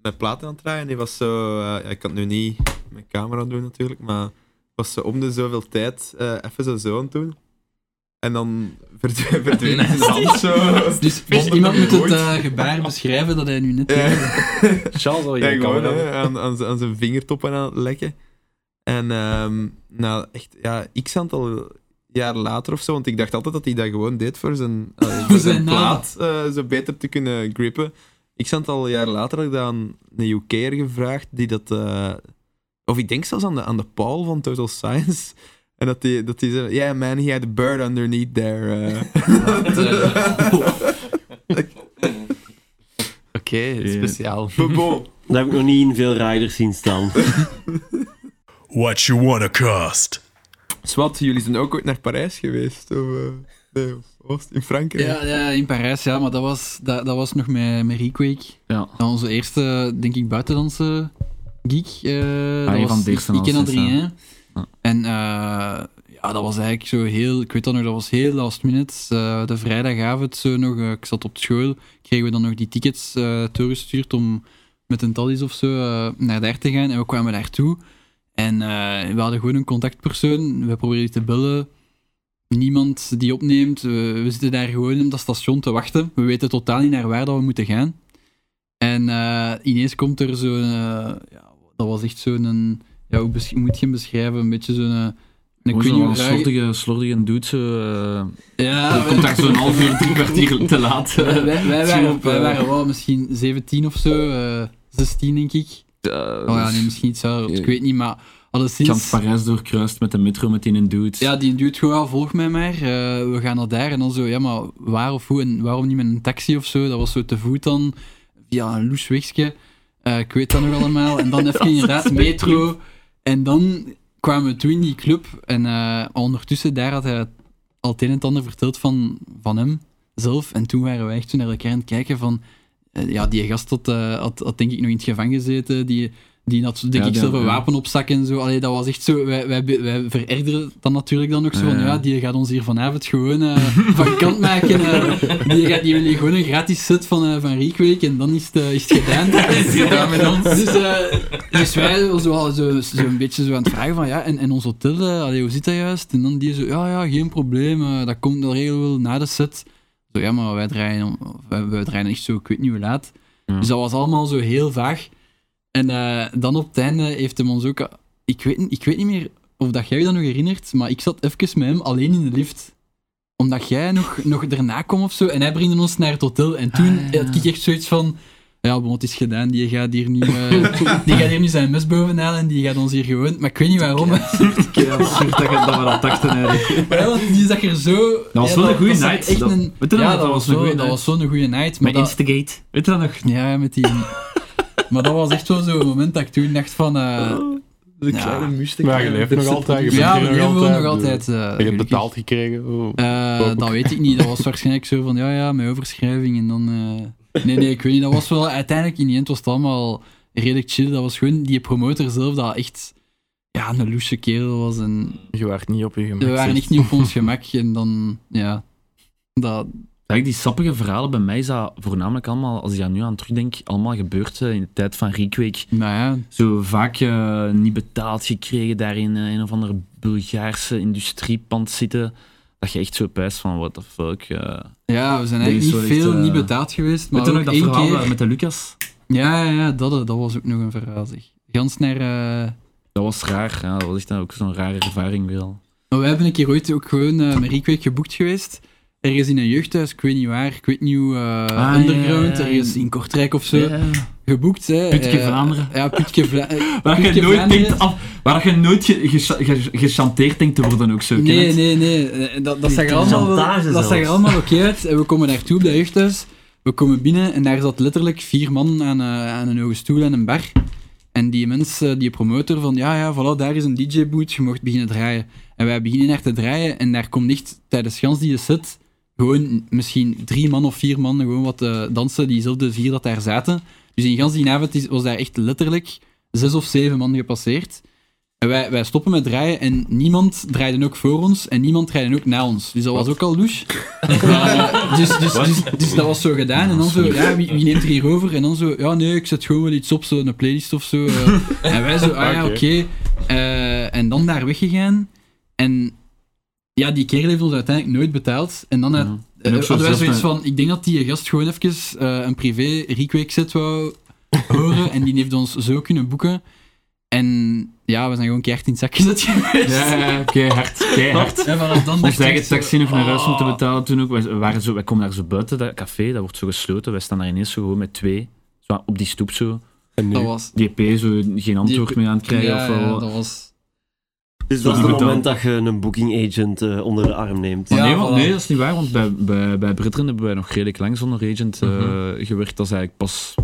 S1: met platen aan het draaien. Die was zo. eh, ik kan het nu niet met camera doen natuurlijk, maar was zo om de zoveel tijd eh, even zo zo aan het doen. En dan [LAUGHS] verdween, verdween [LAUGHS] zijn hand zo. [LAUGHS]
S4: Dus
S1: Vond het
S4: iemand
S1: nog
S4: moet het
S1: nooit.
S4: eh, gebaar beschrijven dat hij nu net. eh,
S1: Ja.
S7: Charles al
S1: Ja,
S7: je
S1: gewoon
S7: camera.
S1: hè, aan, aan, zijn- aan zijn vingertoppen aan het lekken. En ehm nou, echt, ja, x aantal jaar later of zo, want ik dacht altijd dat hij dat gewoon deed voor zijn, eh, voor zijn,
S4: zijn naam.
S1: plaat eh, zo beter te kunnen grippen. X aantal jaar later had ik dat aan een UK'er gevraagd, die dat... eh, of ik denk zelfs aan de, aan de Paul van Total Science... En dat die, dat die zei, yeah man, he had a bird underneath there. eh." [LAUGHS]
S6: Oké, speciaal.
S1: Maar
S6: [LAUGHS]
S1: bon,
S3: Dat heb ik nog niet in veel riders zien [LAUGHS] staan.
S9: What you wanna cost?
S1: Swat, jullie zijn ook ooit naar Parijs geweest? Of, eh, nee, of was het in Frankrijk?
S4: Ja, ja, in Parijs, ja, maar dat was, dat, dat was nog met, met Requake.
S5: Ja.
S4: Ja, Onze eerste, denk ik, buitenlandse geek. eh dat
S5: Ah, een
S4: was
S5: van de
S4: Ik-
S5: eerste
S4: Ik ken
S5: als
S4: dat
S5: eerste,
S4: erin, hè.
S5: Ja.
S4: En eh, ja, dat was eigenlijk zo heel, ik weet dat nog, dat was heel last minute. Eh, de vrijdagavond zo nog, eh, ik zat op school, kregen we dan nog die tickets eh doorgestuurd om met een tallies of zo eh, naar daar te gaan. En we kwamen daartoe. En eh, we hadden gewoon een contactpersoon. We probeerden te bellen. Niemand die opneemt. We, we zitten daar gewoon in dat station te wachten. We weten totaal niet naar waar dat we moeten gaan. En eh, ineens komt er zo'n... eh, ja, dat was echt zo'n... een- Ja, hoe besch- moet je hem beschrijven? Een beetje zo'n... eh, Een
S5: Gewoon
S4: kun
S5: zo'n
S4: je vragen...
S5: slordige, slordige dude, zo, [LAUGHS] eh,
S4: Ja,
S5: die komt daar zo'n half uur, drie kwartier [LAUGHS] te laat.
S4: wij, [LAUGHS] wij,
S5: Scherp,
S4: wij waren,
S5: eh.
S4: wij waren wel misschien 17 of zo. eh, 16 denk ik.
S5: Eh,
S4: Oh ja, nee, misschien iets ouder. Ik weet niet, maar...
S5: Ik had
S4: Alleszins...
S5: Parijs doorkruist met de metro met die een dude.
S4: Ja, die duwt gewoon, "Ah, volg mij maar. eh, we gaan naar daar. En dan zo, ja, maar waar of hoe en waarom niet met een taxi of zo? Dat was zo te voet dan, via een loes wegje. Eh, ik weet dat nog allemaal.
S5: [LAUGHS]
S4: En dan even inderdaad metro. En dan kwamen we toen in die club. En eh, ondertussen, daar had hij al het een en het ander verteld van, van hem zelf. En toen waren we echt zo naar elkaar aan het kijken van... eh, ja, die gast had, eh, had, had denk ik nog in het gevangen gezeten. Die, die had denk
S5: Ja,
S4: ik
S5: die
S4: zelf
S5: had-
S4: een
S5: ja.
S4: wapen op zak en zo. Allee, dat was echt zo... Wij, wij, wij vererderden dan natuurlijk dan ook zo van...
S5: Ja.
S4: Ja, die gaat ons hier vanavond gewoon eh, van kant maken. eh. die gaat die willen gewoon een gratis set van, eh van Reekwake. En dan is het, eh, [LAUGHS] is het gedaan. is gedaan met ons. Dus, eh, dus wij zo, al zo, zo een beetje zo aan het vragen van ja, en, en ons hotel, eh, allee, hoe zit dat juist? En dan die zo, ja, ja, geen probleem, eh, dat komt wel heel wel na de set. Zo, ja, maar wij draaien, om- of, eh, wij draaien echt zo, ik weet niet hoe laat.
S5: Ja.
S4: Dus dat was allemaal zo heel vaag. En eh, dan op het einde heeft hem ons ook, eh, ik weet, niet- ik weet niet meer of dat jij je dat nog herinnert, maar ik zat even met hem alleen in de lift omdat jij nog, nog daarna kwam of zo, en hij brengt ons naar het hotel. En toen had ik echt zoiets van, ja, bon, het is gedaan. Die gaat hier nu, eh, die gaat hier nu zijn mes bovenhalen en die gaat ons hier gewoon. Maar ik weet niet waarom.
S5: absurd dat, dat we dat dachten eigenlijk.
S4: Maar ja, want die zag er zo.
S5: was
S4: ja,
S5: wel een goeie
S4: zag
S5: night.
S4: Echt
S5: Dat-
S4: een,
S5: weet je nog
S4: ja,
S5: dat
S4: dat was,
S5: een
S4: zo-
S5: goeie
S4: dat
S5: night?
S4: was zo'n goede night. Maar
S5: Met
S4: dat,
S5: Instigate. Weet je dat nog?
S4: ja, met die. [LAUGHS] maar dat was echt wel zo'n moment dat ik toen dacht van. eh,
S1: De
S4: Ja.
S1: kleine mustek.
S8: Maar je leeft nog altijd. Je
S4: ja,
S8: bent
S4: we
S8: hier
S4: leven wel nog altijd. eh,
S8: Je hebt
S4: gelukkig.
S8: betaald gekregen. oh.
S4: Eh,
S8: Ook.
S4: dat weet ik niet. Dat was waarschijnlijk zo van, ja, ja, met overschrijving en dan... eh, Nee, nee, ik weet niet. Dat was wel... Uiteindelijk, in die end was het allemaal redelijk chill. Dat was gewoon die promotor zelf, dat echt... Ja, een loesje kerel was en...
S6: Je waart niet op je gemak.
S4: We waren
S6: zeg.
S4: echt niet op ons gemak en dan... Ja... Dat...
S5: Eigenlijk die sappige verhalen bij mij is dat voornamelijk allemaal, als ik daar nu aan terugdenk, allemaal gebeurd eh, in de tijd van Riekweek.
S4: Nou ja...
S5: Zo vaak eh, niet betaald gekregen daarin in eh, een of andere Bulgaarse industriepand zitten. Dat je echt zo pijst van, what the fuck. eh.
S4: Ja, we zijn
S5: Nee,
S4: eigenlijk
S5: sorry,
S4: niet veel
S5: echt, eh,
S4: niet betaald geweest, maar
S5: Weet je nog
S4: ook
S5: dat
S4: één
S5: verhaal
S4: keer...
S5: eh, met de Lucas?
S4: Ja, ja, ja, dat, eh, dat was ook nog een verhaal, zeg. Gans naar... eh,
S5: Dat was raar, ja, dat was echt ook zo'n rare ervaring weer al.
S4: Maar nou, we hebben een keer ooit ook gewoon eh met Riekweek geboekt geweest. Ergens in een jeugdhuis, ik weet niet waar, ik weet niet hoe, eh,
S5: Ah,
S4: underground,
S5: ja, ja, ja.
S4: ergens in Kortrijk of zo. geboekt. Hè,
S5: Putke
S4: Eh,
S5: Vlaanderen.
S4: Ja, Putke Vla-
S5: [LAUGHS]
S4: eh,
S5: Waar je
S4: Putke
S5: nooit
S4: Vlaanderen.
S5: denkt af, waar je nooit ge- ge- ge- gechanteerd denkt te worden ook zo. ken je
S4: Nee,
S5: het?
S4: nee, nee. Eh, Dat, dat zag er allemaal,
S3: chantage
S4: wel- dat
S3: zelfs.
S4: zag er allemaal oké uit. En we komen daartoe op dat jeugdhuis. We komen binnen en daar zat letterlijk vier man aan, eh, aan een hoge stoel en een bar. En die mensen, die promotor van ja, ja, voilà, daar is een DJ-boot, je mocht beginnen draaien. En wij beginnen daar te draaien en daar komt echt tijdens gans die set gewoon misschien drie man of vier man gewoon wat eh, dansen, diezelfde vier dat daar zaten. Dus in gans die avond is- was daar echt letterlijk zes of zeven man gepasseerd. En wij, wij stoppen met draaien en niemand draaide ook voor ons en niemand draaide ook na ons. Dus dat was ook al douche. Ja, dus, dus, dus, dus dat was zo gedaan. En dan zo, ja, wie, wie neemt er hier over? En dan zo, ja nee, ik zet gewoon wel iets op, zo, een playlist of zo. eh. en wij zo, ah ja, oké. Eh, en dan daar weggegaan. En ja, die kerel heeft ons uiteindelijk nooit betaald. En dan uit,
S5: En
S4: eh,
S5: ook zo
S4: hadden wij
S5: zelf
S4: zoiets van, ik denk dat die gast gewoon even eh, een privé requake
S5: [LAUGHS]
S4: set wou horen. en die heeft ons zo kunnen boeken. En ja, we zijn gewoon keihard in het zak gezet geweest.
S5: Ja, ja, ja, keihard, keihard.
S4: En vanaf dan
S5: Ons
S4: dacht ik
S5: eigen
S4: zo, Oh. ah,
S5: taxi nog naar huis moeten betalen toen ook. Wij, we waren zo, wij komen daar zo buiten, dat café, dat wordt zo gesloten. Wij staan daar ineens zo gewoon met twee, zo op die stoep zo.
S8: En nu,
S4: Dat was...
S5: Die EP zo geen antwoord
S4: EP
S5: meer aan het krijgen.
S4: Ja,
S5: of
S4: ja,
S5: wel.
S4: dat was...
S3: Dus dat is
S5: Zo
S3: het
S5: doe ik
S3: moment dat je een booking agent eh, onder de arm neemt.
S5: Maar
S4: Ja,
S5: nee, want,
S4: voilà.
S5: nee, dat is niet waar, want bij, bij, bij Britteren hebben wij nog redelijk lang zonder agent eh,
S7: Mhm.
S5: gewerkt. Dat is eigenlijk pas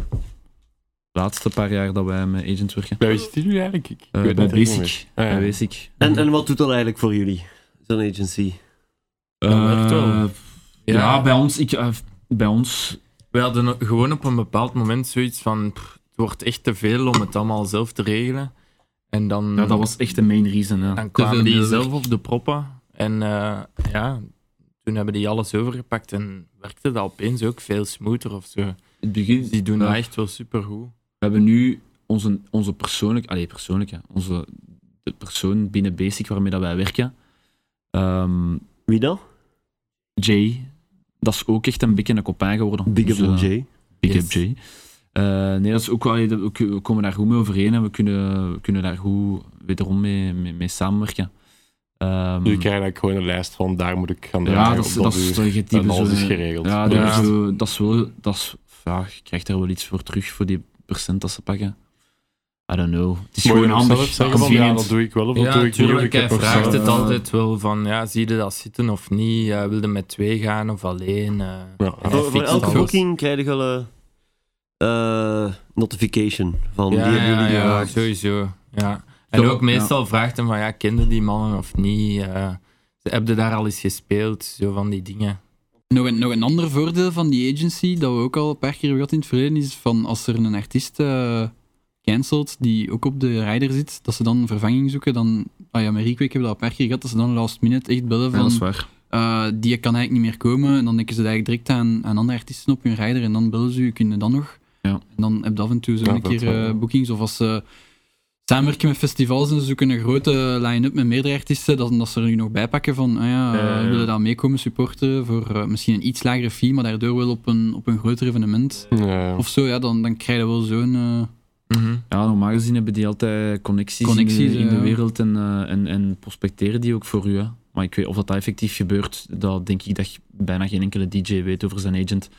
S5: de laatste paar jaar dat wij met agent werken.
S8: Waar is die nu eigenlijk? Ik
S5: Eh,
S8: weet
S5: bij
S8: het ook niet
S5: Basic.
S8: meer. Ah, ja.
S5: Bij Basic.
S3: En, en wat doet dat eigenlijk voor jullie, zo'n agency?
S7: Dat werkt wel.
S5: Eh, ja,
S6: Ja.
S5: bij ons... Ik, eh, bij ons
S6: We hadden gewoon op een bepaald moment zoiets van... pff, het wordt echt te veel om het allemaal zelf te regelen. En dan,
S5: ja, dat was echt de main reason. Ja.
S6: dan kwamen
S4: veel
S6: die
S4: nodig.
S6: zelf op de proppen. En eh, ja, toen hebben die alles overgepakt en werkte dat opeens ook veel smoother of zo. Dus
S5: In het begin,
S6: Die doen
S5: ja.
S6: dat echt wel supergoed.
S5: We hebben nu onze, onze persoonlijke, allee, persoonlijke, onze de persoon binnen Basic waarmee dat wij werken. Ehm,
S3: Wie dan?
S5: Jay, dat is ook echt een beetje een kopijn geworden.
S3: Big Up
S5: Dus, eh,
S3: Jay.
S5: Big
S6: Yes.
S5: Up Jay. Eh, nee, dat is ook wel, allee, dat- we kun- we komen daar goed mee overeen en we kunnen, we kunnen daar goed wederom mee, mee, mee samenwerken. Ehm,
S8: Dus ik krijg eigenlijk gewoon een lijst van daar moet ik gaan draaien
S5: ja, dat is,
S8: op
S5: dat is
S8: uur.
S5: wel je
S8: En
S5: type
S8: alles
S5: zo-
S8: is geregeld.
S5: eh, Ja,
S8: Ja.
S5: dat is Zo, dat is wel, dat is, ja, je krijgt daar wel iets voor terug voor die percent dat ze pakken. I don't know. Het
S8: Moet
S5: is
S8: je
S5: gewoon
S8: nog
S5: handig.
S8: zelf zeggen van, ja,
S5: convenient.
S8: dat doe ik wel of dat
S6: Ja,
S8: doe ik niet. of
S6: natuurlijk.
S8: ik heb
S6: Hij
S8: nog
S6: vraagt
S8: zelf-
S6: het altijd wel van, ja, zie je dat zitten of niet? Eh wilde met twee gaan of alleen? eh.
S8: Ja, ja.
S3: Voor, voor
S6: fixt
S3: elke
S6: alles.
S3: booking krijg je al een eh, notification van
S6: ja,
S3: die hebben
S6: ja,
S3: jullie
S6: ja,
S3: geraakt.
S6: sowieso. Ja. En
S5: Zo,
S6: ook meestal vraagt hem van, ja, kende die mannen of niet? eh heb je daar al eens gespeeld? Zo van die dingen.
S4: Nog een, nog een ander voordeel van die agency, dat we ook al een paar keer hebben gehad in het verleden, is van als er een artiest eh, cancelt, die ook op de rider zit, dat ze dan een vervanging zoeken, dan... Ah ja, met Requake hebben we dat een paar keer gehad, dat ze dan last minute echt bellen
S5: Ja,
S4: van...
S5: dat is waar.
S4: eh, die kan eigenlijk niet meer komen. En dan denken ze het eigenlijk direct aan, aan andere artiesten op hun rijder. En dan bellen ze u, kunnen dan nog.
S5: Ja.
S4: En dan heb je af en toe zo'n
S8: Ja,
S4: een
S8: dat
S4: keer
S8: wel, ja.
S4: eh, boekings. Of als ze samenwerken met festivals en ze zoeken een grote line-up met meerdere artiesten, dat, dat ze er nu nog bij pakken van, ah ja,
S5: Ja, ja, ja.
S4: willen daar meekomen supporten voor eh, misschien een iets lagere fee, maar daardoor wel op een, op een groter evenement.
S8: Ja.
S4: Of zo, ja, dan, dan krijg je wel zo'n... eh,
S5: Ja, normaal gezien hebben die altijd connecties, in,
S4: Connecties,
S5: de, in de
S4: ja.
S5: wereld en, eh, en, en prospecteren die ook voor u. Hè. Maar ik weet of dat, dat effectief gebeurt, dat denk ik dat bijna geen enkele DJ weet over zijn agent.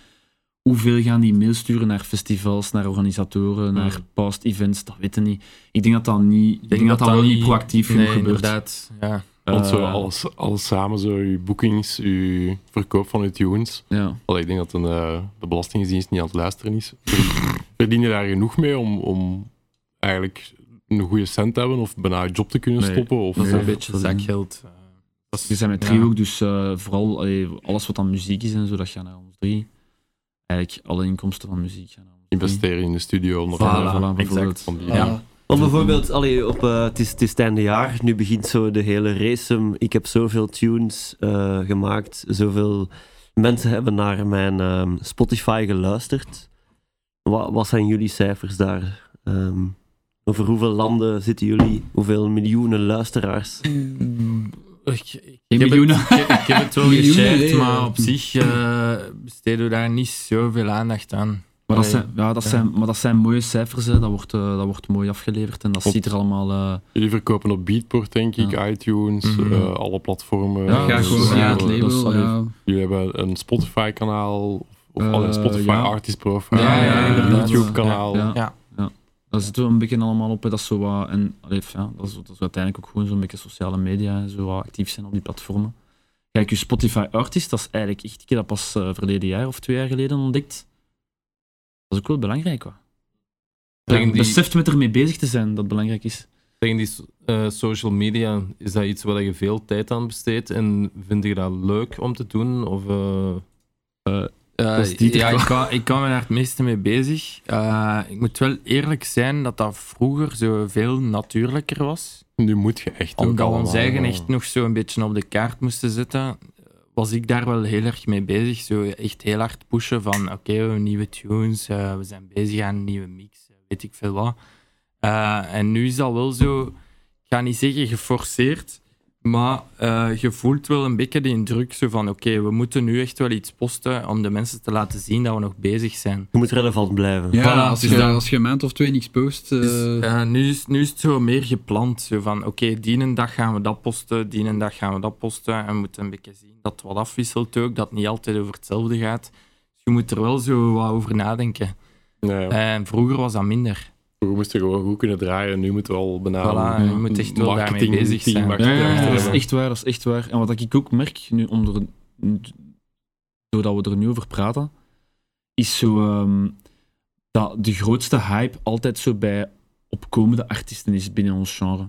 S5: Hoeveel gaan die mail sturen naar festivals, naar organisatoren, naar past events, dat weten niet. Ik denk dat dat niet, ik denk dat, dat, wel niet proactief genoeg
S6: nee,
S5: gebeurt.
S6: inderdaad. Ja.
S8: Want zo
S5: Eh,
S8: alles, alles samen, zo je boekings, je verkoop van je tunes.
S5: Ja.
S8: Allee, ik denk dat een, eh, de Belastingdienst niet aan het luisteren is. Verdien je daar genoeg mee om, om eigenlijk een goede cent te hebben of bijna je job te kunnen
S5: Nee,
S8: stoppen? Of,
S5: dat is
S8: of-
S5: een beetje
S6: Zakgeld. eh, dat is-
S5: We zijn met
S6: ja.
S5: trio ook, dus eh, vooral allee, alles wat aan muziek is en zo, dat gaat naar ons drie. Eigenlijk alle inkomsten van muziek gaan naar ons drie.
S8: investeren in de studio. Onder
S5: Voilà,
S8: andere.
S5: voilà, bijvoorbeeld.
S8: Van die-
S4: ja.
S3: Want bijvoorbeeld, allee, op, eh, het, is, het is het einde jaar, nu begint zo de hele race. om, Ik heb zoveel tunes eh, gemaakt, zoveel mensen hebben naar mijn ehm, Spotify geluisterd. Wat, wat zijn jullie cijfers daar? Ehm, over hoeveel landen zitten jullie? Hoeveel miljoenen luisteraars?
S6: Ik, ik,
S5: Geen
S6: ik heb
S5: miljoenen.
S6: het, ik, heb- ik heb
S5: [LAUGHS]
S6: het wel
S4: Miljoenen,
S6: geshared,
S4: nee,
S6: maar
S4: ja.
S6: op zich eh, besteden we daar niet zoveel aandacht aan.
S5: Maar dat,
S6: Allee,
S5: zijn, ja, dat
S6: ja.
S5: zijn, maar dat zijn mooie cijfers, hè. Dat, wordt, eh, dat wordt mooi afgeleverd en dat
S8: Klopt.
S5: ziet er allemaal... eh,
S8: Jullie verkopen op Beatport, denk ik, iTunes,
S6: Mhm.
S8: eh, alle platformen. Dus, eh,
S5: Ja,
S4: ja,
S5: dat is-
S4: gewoon
S5: ja,
S4: via het
S5: dat is
S4: label,
S5: allee.
S4: ja.
S8: Jullie hebben een Spotify-kanaal. Of alle
S5: Eh,
S8: Spotify
S5: ja.
S8: artist profile,
S5: Ja, ja, inderdaad.
S8: YouTube kanaal.
S5: Ja.
S6: Ja.
S5: ja. Daar zitten we een beetje allemaal op. hè. Dat is zo wat, en, allee, ja, dat, is, dat is uiteindelijk ook gewoon zo'n beetje sociale media. en Zo wat actief zijn op die platformen. Kijk, je Spotify Artist, dat is eigenlijk echt. Ik heb dat pas eh, verleden jaar of twee jaar geleden ontdekt. Dat is ook wel belangrijk, hoor.
S7: Tegen
S5: Ja,
S7: die-
S5: Beseft met ermee bezig te zijn dat het belangrijk is.
S7: Tegen die so- eh, social media, is dat iets waar je veel tijd aan besteedt? En vind je dat leuk om te doen? Of, eh,
S6: Eh,
S7: is die
S6: ja,
S7: toch
S6: ik kan, ik kan me daar het meeste mee bezig. Eh, ik moet wel eerlijk zijn dat dat vroeger zo veel natuurlijker was.
S8: Nu moet je echt ook
S6: Omdat we
S8: allemaal,
S6: ons eigen
S8: eh,
S6: echt nog zo een beetje op de kaart moesten zetten, was ik daar wel heel erg mee bezig. Zo echt heel hard pushen van oké, we hebben nieuwe tunes, eh, we zijn bezig aan een nieuwe mix, eh, weet ik veel wat. Eh, en nu is dat wel zo, ik ga niet zeggen geforceerd, maar eh, je voelt wel een beetje die druk zo van oké, we moeten nu echt wel iets posten om de mensen te laten zien dat we nog bezig zijn.
S3: Je moet relevant blijven.
S4: Ja,
S6: Voilà,
S4: als,
S6: dus
S4: je,
S6: dan-
S4: als je een maand of twee niks post, eh,
S6: Dus, eh, nu, is, nu is het zo meer gepland. Zo van, oké, die een dag gaan we dat posten, die een dag gaan we dat posten. En we moeten een beetje zien dat het wat afwisselt ook, dat het niet altijd over hetzelfde gaat. Dus je moet er wel zo wat over nadenken.
S8: Nee,
S6: En vroeger was dat minder.
S8: we moesten gewoon goed kunnen draaien. Nu moeten we al
S6: Voilà,
S8: benaderen.
S6: je moet echt wel daarmee
S8: marketing-
S6: bezig
S8: team,
S6: zijn.
S8: marketing-
S5: Ja, ja,
S8: Ja,
S5: ja, dat is
S8: ja.
S5: echt waar, dat is echt waar. En wat ik ook merk, nu om er, doordat we er nu over praten, is zo ehm, dat de grootste hype altijd zo bij opkomende artiesten is binnen ons genre.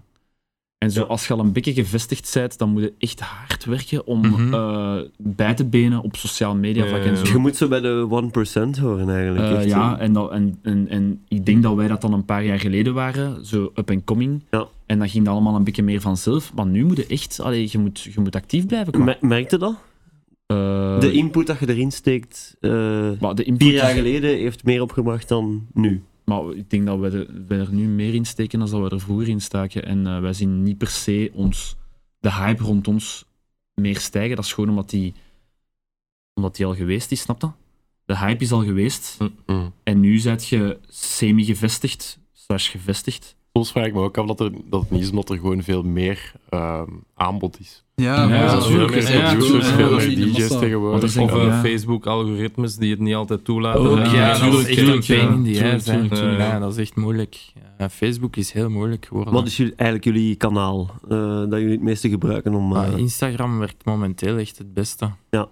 S5: En zo, als je al een beetje gevestigd bent, dan moet je echt hard werken om
S6: Mhm.
S5: eh, bij te benen op sociaal media vlak en zo.
S3: Je moet zo bij de 1% horen eigenlijk.
S5: Eh,
S3: echt,
S5: ja,
S3: hè.
S5: en, dat, en, en, en ik denk dat wij dat dan een paar jaar geleden waren, zo up and coming.
S3: Ja.
S5: En dan ging dat allemaal een beetje meer vanzelf. Maar nu moet je echt, allee, je, moet, je moet actief blijven. Qua,
S3: Mer- Merkte dat?
S5: Eh,
S3: De input dat je erin steekt, eh,
S5: maar de input
S3: vier
S5: is-
S3: jaar geleden heeft meer opgebracht dan nu.
S5: Maar ik denk dat wij er, wij er nu meer in steken dan dat we er vroeger in staken. En eh, wij zien niet per se ons, de hype rond ons meer stijgen. Dat is gewoon omdat die, omdat die al geweest is, snap je? De hype is al geweest.
S3: Hm.
S8: Mm.
S5: En nu zijt je semi-gevestigd, slash gevestigd.
S8: Soms vraag ik me ook af dat, er, dat het niet is omdat er gewoon veel meer ehm, aanbod is. Dus
S4: ja, maar
S5: ja,
S4: dat is
S8: veel
S4: natuurlijk
S8: meer
S4: echt
S7: ja,
S8: producers,
S7: ja,
S8: veel
S7: dat is
S8: meer
S4: niet de
S8: DJ's
S4: massa.
S8: tegenwoordig.
S5: Want er
S7: of
S5: zijn-
S8: Ja.
S7: eh,
S5: ja.
S7: Facebook-algoritmes die het niet altijd toelaten?
S5: Ook,
S7: Eh,
S5: ja,
S6: Ja, dat is
S7: natuurlijk,
S6: echt een
S7: eh,
S6: pain in the
S7: tuurlijk,
S6: ass, hè.
S7: tuurlijk, tuurlijk.
S6: Ja, dat is echt moeilijk. Eh, Facebook is heel moeilijk geworden.
S3: Wat is jullie, eigenlijk jullie kanaal eh, dat jullie het meeste gebruiken om... eh,
S6: Ah, Instagram werkt momenteel echt het beste.
S3: Ja.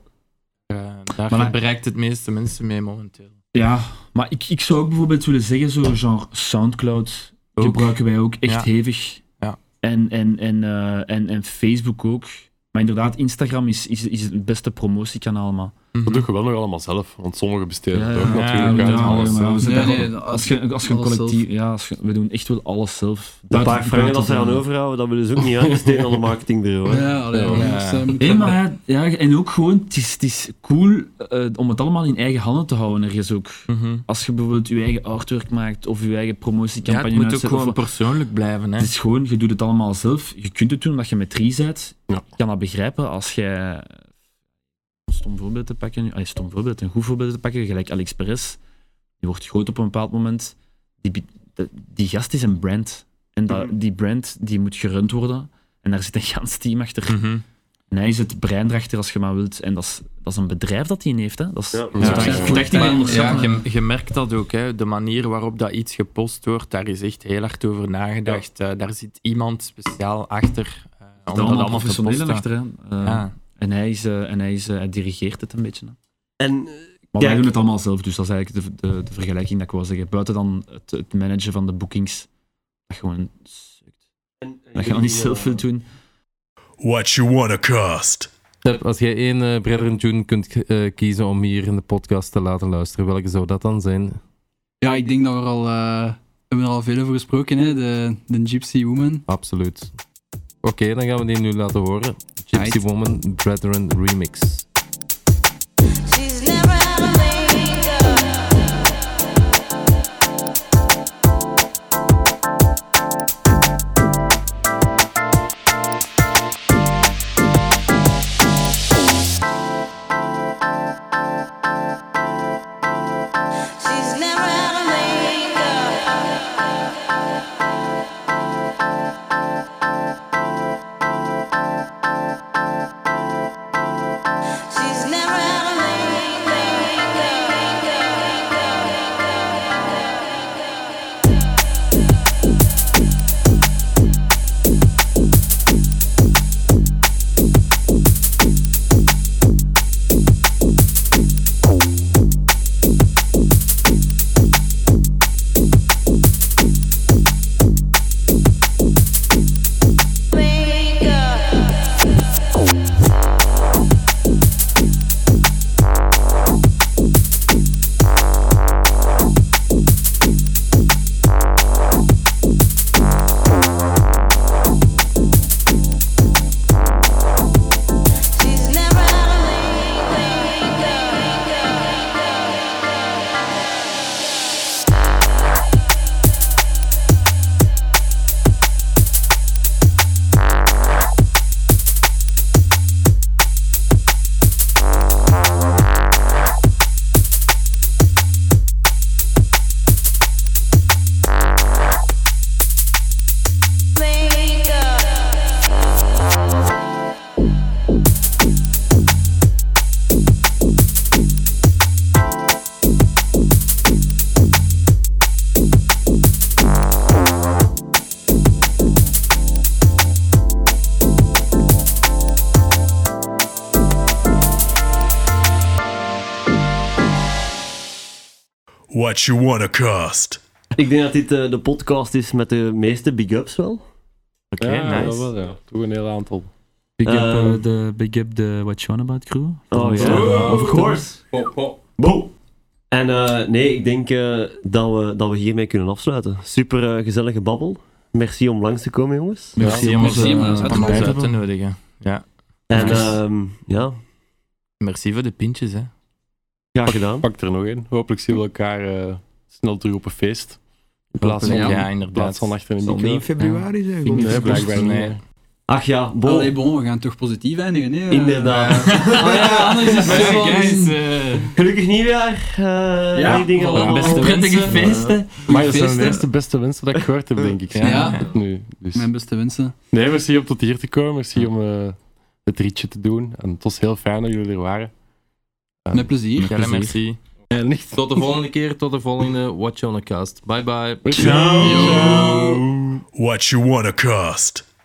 S6: Eh, daar
S5: Maar-
S6: bereikt het meeste mensen mee momenteel.
S5: Ja, maar ik, ik zou ook bijvoorbeeld willen zeggen, zo genre Soundcloud
S6: Ook.
S5: gebruiken wij ook echt
S6: Ja.
S5: hevig.
S6: Ja.
S5: En, en, en, eh, en, en Facebook ook. Maar inderdaad, Instagram is, is, is het beste promotiekanaal, maar...
S6: Mhm.
S8: Dat doe je wel nog allemaal zelf, want sommigen besteden
S5: Ja,
S8: het
S5: ja,
S8: ook
S5: ja,
S8: natuurlijk uit.
S5: ja,
S8: alles.
S5: maar we
S8: zelf.
S5: zitten
S4: Nee,
S5: gewoon-
S4: nee,
S5: als je, als je een
S4: alles
S5: collectief... Ja, als je- we doen echt wel alles zelf.
S3: de paar franken dat ze aan overhouden, dat willen ze ook niet uitbesteden aan een marketingbureau. hè.
S4: Ja, allee,
S6: Ja.
S4: dus, eh, moet
S5: Hé,
S4: dat-
S5: maar ja, ja, en ook gewoon, het is, het is cool eh, om het allemaal in eigen handen te houden ergens ook.
S6: Mhm.
S5: Als je bijvoorbeeld je eigen artwork maakt of je eigen
S6: Ja, het
S5: promotiecampagne
S6: moet ook
S5: uitzet of
S6: gewoon
S5: wat-
S6: persoonlijk blijven. Hè.
S5: Het is gewoon, je doet het allemaal zelf. Je kunt het doen omdat je met drie bent.
S8: Ja.
S5: Ik kan dat begrijpen als jij een stom voorbeeld te pakken, nu- allee, stom voorbeeld, een goed voorbeeld te pakken, gelijk Alex Perez. Die wordt groot op een bepaald moment. Die, bie- de- die gast is een brand. En dat,
S6: Mhm.
S5: die brand die moet gerund worden. En daar zit een gans team achter.
S6: Mhm.
S5: En hij is het brein erachter als je maar wilt. En dat is, dat is een bedrijf dat hij heeft. Hè. Dat is,
S3: Ja.
S5: dat is
S8: Ja,
S5: echt-
S8: ja, ja.
S5: je kunt echt niet
S6: Maar, ja,
S5: onderschatten.
S6: je, je merkt dat ook, hè. de manier waarop dat iets gepost wordt, daar is echt heel hard over nagedacht. Eh, daar zit iemand speciaal achter eh, om dat
S5: allemaal
S6: allemaal te
S5: professionelen
S6: posten.
S5: achter. hè. Eh,
S6: Ja.
S5: En, hij, is, eh, en hij, is, eh, hij dirigeert het een beetje. Hè.
S3: En
S5: Maar
S3: Kijk.
S5: wij doen het allemaal zelf, dus dat is eigenlijk de, de, de vergelijking dat ik wou zeggen. Buiten dan het, het managen van de boekings, dat gewoon sukt.
S3: En- en
S5: Dat je al niet zelf wilt doen.
S9: What you wanna cost?
S7: Seb, Als jij één eh Brethren Tune kunt eh, kiezen om hier in de podcast te laten luisteren, welke zou dat dan zijn?
S4: Ja, ik denk dat we er al, eh, we hebben er al veel over gesproken, hè? De, de Gypsy Woman.
S7: Absoluut. Oké, dan gaan we die nu laten horen. Gypsy
S4: Right.
S7: Woman Brethren Remix.
S10: She's never had a makeup. She's never had a makeup. She's never had a makeup.
S9: What you wanna cost?
S3: Ik denk dat dit eh, de podcast is met de meeste big-ups wel.
S6: Oké,
S8: ja, dat
S6: nice.
S8: wel, ja. Toch een heel aantal.
S5: Big up,
S3: Eh,
S5: eh, de, big up de What You On About crew.
S3: Oh ja, of course. Boom. En eh, nee, ik denk eh, dat, we, dat we hiermee kunnen afsluiten. Super eh, gezellige babbel. Merci om langs te komen, jongens.
S5: Merci
S6: Ja,
S5: om
S4: merci om ons
S5: onze
S4: uit te
S6: eh, Om
S5: partij
S6: ons
S5: te
S6: uit te
S5: hebben.
S6: nodigen. Ja.
S3: En
S5: Yes.
S3: ehm, ja,
S6: Merci voor de pintjes, hè.
S3: graag gedaan.
S8: Pak er nog één. Hopelijk zien we elkaar eh, snel terug op een feest. In plaats van,
S6: ja,
S8: in
S6: inderdaad.
S8: plaats van achter in de
S1: Zal niet in
S8: micro.
S1: februari zijn.
S6: Vind ik
S1: gewoon.
S8: Nee,
S4: dus-
S8: blijkbaar niet.
S6: Nee.
S3: Ach ja, bon.
S4: Allee, bon, we gaan toch positief eindigen, hè? eh.
S3: Inderdaad.
S4: [LAUGHS] Oh ja, anders is het
S6: Maar
S4: zo
S6: kijk eens,
S4: van-
S6: eh,
S3: Gelukkig nieuwjaar. eh
S4: Ja,
S3: die dingen
S4: voilà.
S3: allemaal.
S6: Beste
S4: Prettige
S6: wensen. eh,
S4: feesten.
S8: Maar dat zijn
S4: feesten.
S8: de eerste beste wensen dat ik gehoord heb, denk ik.
S6: Ja.
S4: Ja.
S8: Nu, dus.
S4: Mijn beste wensen.
S8: Nee, merci om tot hier te komen. Merci om eh, het rietje te doen. En het was heel fijn dat jullie er waren. Eh,
S4: Met plezier.
S6: ja, merci.
S8: En licht.
S7: Tot de volgende keer, tot de volgende Watch on the Cast. Bye bye.
S8: Ciao.
S9: What you wanna cost?